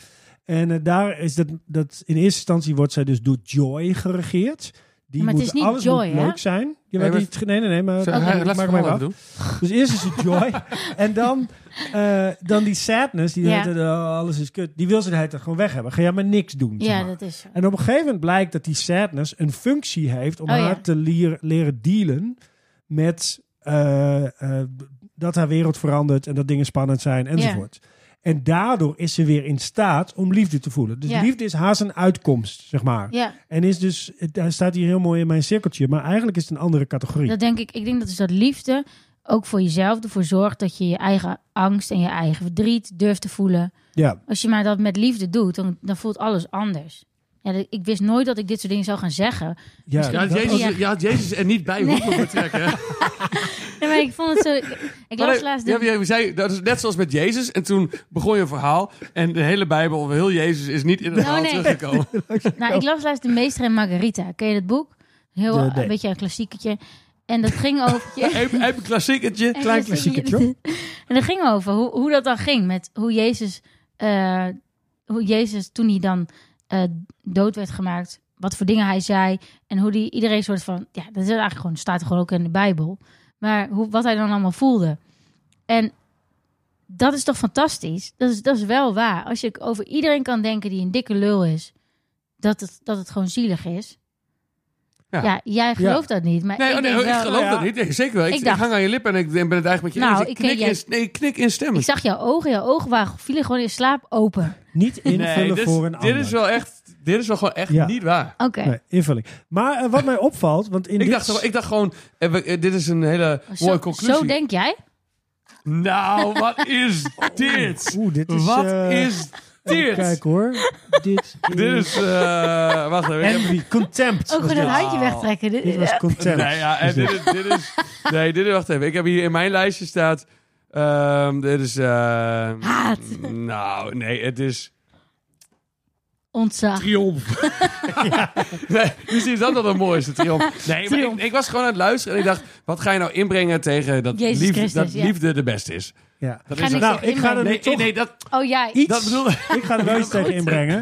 Speaker 2: En eh, daar is dat, dat in eerste instantie wordt zij dus door Joy geregeerd. Die
Speaker 1: Maar het
Speaker 2: moet,
Speaker 1: is niet
Speaker 2: alles
Speaker 1: Joy,
Speaker 2: moet
Speaker 1: hè?
Speaker 2: leuk zijn. Ja, maar
Speaker 3: maar-
Speaker 2: die, nee, nee, nee, maar
Speaker 3: Zo,
Speaker 2: maak
Speaker 3: hij-
Speaker 2: hem
Speaker 3: laat
Speaker 2: maar
Speaker 3: het verhaal
Speaker 2: af.
Speaker 3: even doen.
Speaker 2: Dus eerst is het joy. en dan, eh, dan die sadness. Die
Speaker 1: Ja.
Speaker 2: heet, oh, alles is kut. Die wil ze de hele tijd gewoon weg hebben. Ga jij maar niks doen. zeg
Speaker 1: Ja,
Speaker 2: maar.
Speaker 1: dat is zo.
Speaker 2: En op een gegeven moment blijkt dat die sadness een functie heeft om
Speaker 1: Oh, ja.
Speaker 2: haar te leer- leren dealen met eh, eh, dat haar wereld verandert en dat dingen spannend zijn enzovoort. En daardoor is ze weer in staat om liefde te voelen. Dus
Speaker 1: Ja.
Speaker 2: liefde is haast een uitkomst, zeg maar.
Speaker 1: Ja.
Speaker 2: En is dus, het- hij staat hier heel mooi in mijn cirkeltje, maar eigenlijk is het een andere categorie.
Speaker 1: Dat denk ik. Ik denk dat dus dat liefde ook voor jezelf ervoor zorgt dat je je eigen angst en je eigen verdriet durft te voelen.
Speaker 2: Ja.
Speaker 1: Als je maar dat met liefde doet, dan, dan voelt alles anders. Ja, dat- ik wist nooit dat ik dit soort dingen zou gaan zeggen.
Speaker 2: Ja,
Speaker 3: Je had,
Speaker 2: dat-
Speaker 3: Jezus,
Speaker 1: Ja.
Speaker 3: je had Jezus er niet bij hoeven betrekken.
Speaker 1: Nee, maar ik vond het zo. Ik, ik
Speaker 3: Maar
Speaker 1: las
Speaker 3: nee,
Speaker 1: laatst.
Speaker 3: ja,
Speaker 1: de-
Speaker 3: maar je zei, dat is net zoals met Jezus. En toen begon je een verhaal. En de hele Bijbel, heel Jezus, is niet in het
Speaker 1: Oh,
Speaker 3: verhaal
Speaker 1: nee.
Speaker 3: teruggekomen.
Speaker 1: Nou, ik las laatst de Meester en Margarita. Ken je dat boek? Heel
Speaker 2: Eh, nee.
Speaker 1: een beetje een klassieketje. En dat ging over.
Speaker 3: Even, even een klassieketje.
Speaker 1: En
Speaker 2: Klein
Speaker 1: dus-
Speaker 2: klassiekertje, hoor.
Speaker 1: En dat ging over hoe, hoe dat dan ging. Met hoe Jezus, eh, hoe Jezus toen hij dan eh, dood werd gemaakt. Wat voor dingen hij zei. En hoe die iedereen soort van... Ja, dat is eigenlijk gewoon, staat er gewoon ook in de Bijbel. Maar hoe, wat hij dan allemaal voelde. En dat is toch fantastisch? Dat is, dat is wel waar. Als je over iedereen kan denken die een dikke lul is. Dat het, dat het gewoon zielig is.
Speaker 3: Ja.
Speaker 1: Ja, jij gelooft dat niet. Maar
Speaker 3: Nee,
Speaker 1: ik,
Speaker 3: oh, nee,
Speaker 1: denk
Speaker 3: ik
Speaker 1: wel-
Speaker 3: geloof
Speaker 2: Ja.
Speaker 3: dat niet. Nee, zeker wel. Ik,
Speaker 1: Ik
Speaker 3: ik
Speaker 1: dacht-
Speaker 3: hang aan je lip en ik ben het eigenlijk met je
Speaker 1: Nou,
Speaker 3: eens. Ik
Speaker 1: ik ken
Speaker 3: knik,
Speaker 1: jij-
Speaker 3: in, nee, ik knik instemmend.
Speaker 1: Ik zag jouw ogen, jouw ogen waren, vielen gewoon in slaap open.
Speaker 2: Niet invullen
Speaker 3: Nee, dit, is-
Speaker 2: voor een ander.
Speaker 3: dit is wel echt, dit is wel gewoon echt
Speaker 2: Ja.
Speaker 3: niet waar.
Speaker 1: Oké.
Speaker 2: Nee, invulling. Maar eh, wat mij opvalt, want in
Speaker 3: Ik
Speaker 2: dit...
Speaker 3: dacht, zo- ik dacht gewoon, eh, we- eh, dit is een hele
Speaker 1: Oh,
Speaker 3: mooie
Speaker 1: Zo,
Speaker 3: conclusie.
Speaker 1: zo denk Oh, jij?
Speaker 3: Nou, wat is dit?
Speaker 2: Ah, Oeh, dit is...
Speaker 3: wat
Speaker 2: eh,
Speaker 3: is
Speaker 2: even
Speaker 3: dit?
Speaker 2: Kijk hoor. dit is...
Speaker 3: Dit is, eh wacht even. ik heb-
Speaker 2: Envy. Contempt.
Speaker 1: Ook
Speaker 2: was
Speaker 1: Oh, gewoon een
Speaker 2: dit.
Speaker 1: handje wegtrekken. Eh, Dit-
Speaker 2: Dit was contempt.
Speaker 3: Nee, ja, en
Speaker 2: was
Speaker 3: dit
Speaker 2: dit.
Speaker 3: is, dit is. Nee, dit is. Wacht even. Ik heb hier in mijn lijstje staat. ehm, dit is. ehm,
Speaker 1: Haat.
Speaker 3: Nou, nee, het is.
Speaker 1: Ontzag.
Speaker 3: Triomf. nee, dus is dat dan het mooiste triomf. Nee, maar ik,
Speaker 1: Triomf.
Speaker 3: ik was gewoon aan het luisteren en ik dacht: wat ga je nou inbrengen tegen dat,
Speaker 1: Jezus
Speaker 3: liefde,
Speaker 1: Christus,
Speaker 3: dat
Speaker 1: ja.
Speaker 3: liefde de beste is?
Speaker 2: Ja.
Speaker 3: Dat
Speaker 1: Ga
Speaker 3: is
Speaker 1: niks
Speaker 2: Nou,
Speaker 1: tegen
Speaker 2: ik ga er
Speaker 1: inbrengen.
Speaker 2: nu
Speaker 3: Nee, nee,
Speaker 2: toch...
Speaker 3: nee, dat,
Speaker 1: Oh, jij.
Speaker 2: Iets.
Speaker 3: dat bedoel ik.
Speaker 2: Ik ga er wel iets tegen inbrengen.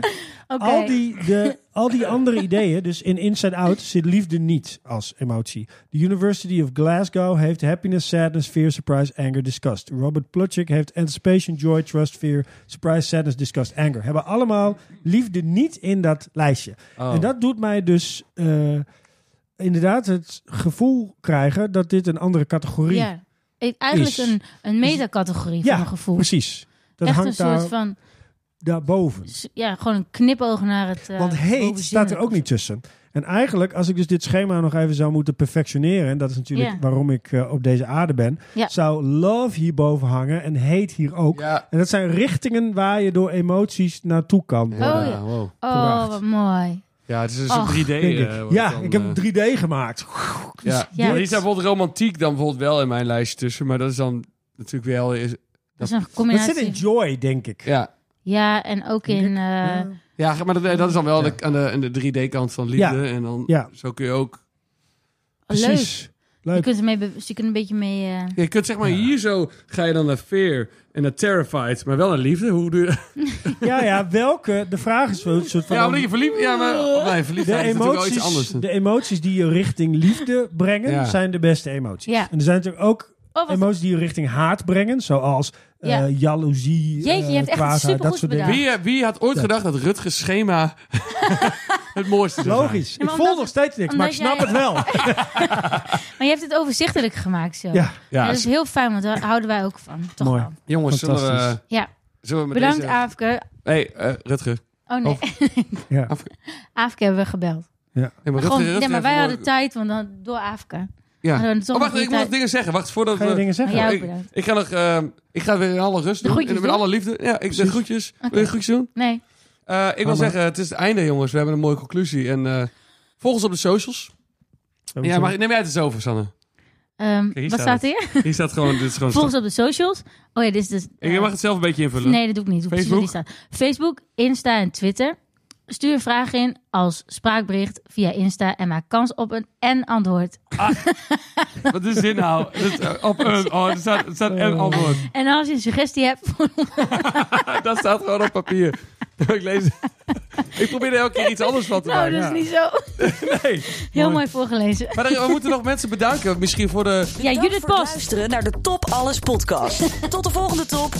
Speaker 1: Oké.
Speaker 2: Al, die, de, al die andere ideeën, dus in Inside Out zit liefde niet als emotie. De University of Glasgow heeft happiness, sadness, fear, surprise, anger, disgust. Robert Plutchik heeft anticipation, joy, trust, fear, surprise, sadness, disgust, anger. Hebben allemaal liefde niet in dat lijstje.
Speaker 3: Oh.
Speaker 2: En dat doet mij dus eh, inderdaad het gevoel krijgen dat dit een andere categorie is.
Speaker 1: Ja. Ik, eigenlijk
Speaker 2: Is.
Speaker 1: een, een metacategorie
Speaker 2: Ja,
Speaker 1: van mijn gevoel.
Speaker 2: Precies. Dat
Speaker 1: Echt een
Speaker 2: hangt daar,
Speaker 1: soort van...
Speaker 2: daarboven.
Speaker 1: s- Ja, gewoon een knipoog naar het... eh,
Speaker 2: Want heet
Speaker 1: bovenzinnelijk
Speaker 2: staat er ook
Speaker 1: of
Speaker 2: niet tussen. En eigenlijk, als ik dus dit schema nog even zou moeten perfectioneren... en dat is natuurlijk
Speaker 1: Ja.
Speaker 2: waarom ik eh, op deze aarde ben...
Speaker 1: Ja.
Speaker 2: zou love hierboven hangen en hate hier ook.
Speaker 3: Ja.
Speaker 2: En dat zijn richtingen waar je door emoties naartoe kan worden.
Speaker 1: Oh, ja.
Speaker 3: wow.
Speaker 1: zo. Oh,
Speaker 2: gebracht.
Speaker 1: wat mooi.
Speaker 3: Ja, het is dus
Speaker 1: Och.
Speaker 3: een 3D.
Speaker 2: denk ik.
Speaker 3: eh, wordt
Speaker 2: ja,
Speaker 3: het dan,
Speaker 2: ik heb
Speaker 3: eh,
Speaker 2: 3D gemaakt.
Speaker 3: Ja.
Speaker 1: Ja.
Speaker 3: Ja. Die staat bijvoorbeeld romantiek dan bijvoorbeeld wel in mijn lijstje tussen, maar dat is dan natuurlijk wel is,
Speaker 1: Dat is een
Speaker 2: Dat zit in
Speaker 1: combinatie.
Speaker 2: joy, denk ik.
Speaker 3: ja.
Speaker 1: Ja, en ook in... eh,
Speaker 2: Ja.
Speaker 3: Ja, maar dat, dat is dan wel
Speaker 2: Ja.
Speaker 3: de, aan de, aan de 3D kant van liefde en dan
Speaker 2: Ja.
Speaker 3: zo kun je ook
Speaker 1: leuk.
Speaker 2: Precies.
Speaker 1: Je
Speaker 2: Leuk.
Speaker 1: kunt, ermee, be- dus je kunt een beetje mee... eh,
Speaker 3: Je kunt zeg maar hier zo ga je dan naar fear en naar terrified, maar wel naar liefde. Hoe doe je
Speaker 2: Ja, ja, welke? De vraag is wel een soort van...
Speaker 3: Ja, omdat je verliefd... Ja, maar Oh, nee,
Speaker 2: de,
Speaker 3: verliefdheid is natuurlijk wel iets anders.
Speaker 2: emoties, de emoties die je richting liefde brengen,
Speaker 3: Ja.
Speaker 2: zijn de beste emoties.
Speaker 1: Ja.
Speaker 2: En er zijn natuurlijk ook
Speaker 1: Oh, wat...
Speaker 2: emoties die je richting haat brengen, zoals eh
Speaker 1: Ja.
Speaker 2: jaloezie, eh,
Speaker 1: Jeetje, je hebt echt
Speaker 2: kwaadheid,
Speaker 1: supergoed
Speaker 2: dat soort dingen.
Speaker 1: bedacht.
Speaker 3: Wie, eh, wie had ooit
Speaker 2: Ja.
Speaker 3: gedacht dat Rutgers schema het mooiste zou zijn?
Speaker 2: Logisch.
Speaker 1: maar
Speaker 2: ik
Speaker 1: omdat-
Speaker 2: voel nog steeds niks, maar ik
Speaker 1: omdat
Speaker 2: snap
Speaker 1: jij-
Speaker 2: het wel.
Speaker 1: Maar je hebt het overzichtelijk gemaakt zo.
Speaker 2: Ja,
Speaker 1: Ja,
Speaker 3: Ja,
Speaker 1: dat is heel fijn, want daar houden wij ook van. Toch
Speaker 2: Mooi.
Speaker 1: wel.
Speaker 3: jongens, zullen we,
Speaker 2: Fantastisch.
Speaker 1: Ja.
Speaker 3: zullen we met
Speaker 1: Bedankt,
Speaker 3: deze...
Speaker 1: Aafke.
Speaker 3: Nee, eh, Rutger.
Speaker 1: Oh nee,
Speaker 2: ja.
Speaker 1: Aafke hebben we gebeld.
Speaker 3: Nee, maar, Rutger,
Speaker 1: Gewoon,
Speaker 3: Rutger
Speaker 1: nee, maar wij
Speaker 3: heeft
Speaker 1: hadden
Speaker 3: gewoon-
Speaker 1: tijd, want dan door Aafke.
Speaker 3: Ja.
Speaker 1: Hadden we toch nog
Speaker 3: Oh, wacht,
Speaker 1: die
Speaker 3: ik moet nog
Speaker 1: tijd-
Speaker 3: dingen zeggen. Wacht, voordat
Speaker 2: Ga je
Speaker 3: we...
Speaker 2: dingen
Speaker 1: Maar
Speaker 2: zeggen?
Speaker 1: jou
Speaker 3: ik-
Speaker 1: bedankt.
Speaker 3: Ik ga nog... eh, ik ga weer in alle rust
Speaker 1: De
Speaker 3: doen.
Speaker 1: groetjes
Speaker 3: en met
Speaker 1: doen?
Speaker 3: alle liefde. Ja, ik, de
Speaker 2: Precies.
Speaker 3: groetjes. Wil je
Speaker 1: Oké.
Speaker 3: groetjes doen?
Speaker 1: Nee,
Speaker 3: Eh, ik wil
Speaker 2: Allemaal.
Speaker 3: zeggen, het is het einde, jongens. We hebben een mooie conclusie. En eh volg ons op de socials. Ja, maar neem jij het eens over, Sanne.
Speaker 1: Ehm,
Speaker 3: hier
Speaker 1: wat
Speaker 3: staat
Speaker 1: staat hier?
Speaker 3: Hier staat gewoon... Dit is gewoon
Speaker 1: Volg ons op de socials. Oh ja, dit is dus...
Speaker 3: Ik mag het zelf een beetje invullen.
Speaker 1: Nee, dat doe ik niet. Ik doe precies wat
Speaker 3: Facebook?
Speaker 1: hier staat. Facebook, Insta en Twitter. Stuur een vraag in als spraakbericht via Insta en maak kans op een en antwoord.
Speaker 3: Wat is dit nou? Dat, op een, oh, er staat, er staat een antwoord.
Speaker 1: En als je een suggestie hebt, nou,
Speaker 3: Dat staat gewoon op papier. Ik lees Ik probeer er elke keer iets anders van te
Speaker 1: nou,
Speaker 3: maken.
Speaker 1: dat is niet zo.
Speaker 3: Nee.
Speaker 1: Heel mooi voorgelezen.
Speaker 3: Maar dan- we moeten nog mensen bedanken. Misschien voor de...
Speaker 1: Ja,
Speaker 4: Dank
Speaker 1: Judith
Speaker 4: voor het
Speaker 1: Post.
Speaker 4: luisteren naar de Top Alles podcast. Tot de volgende top.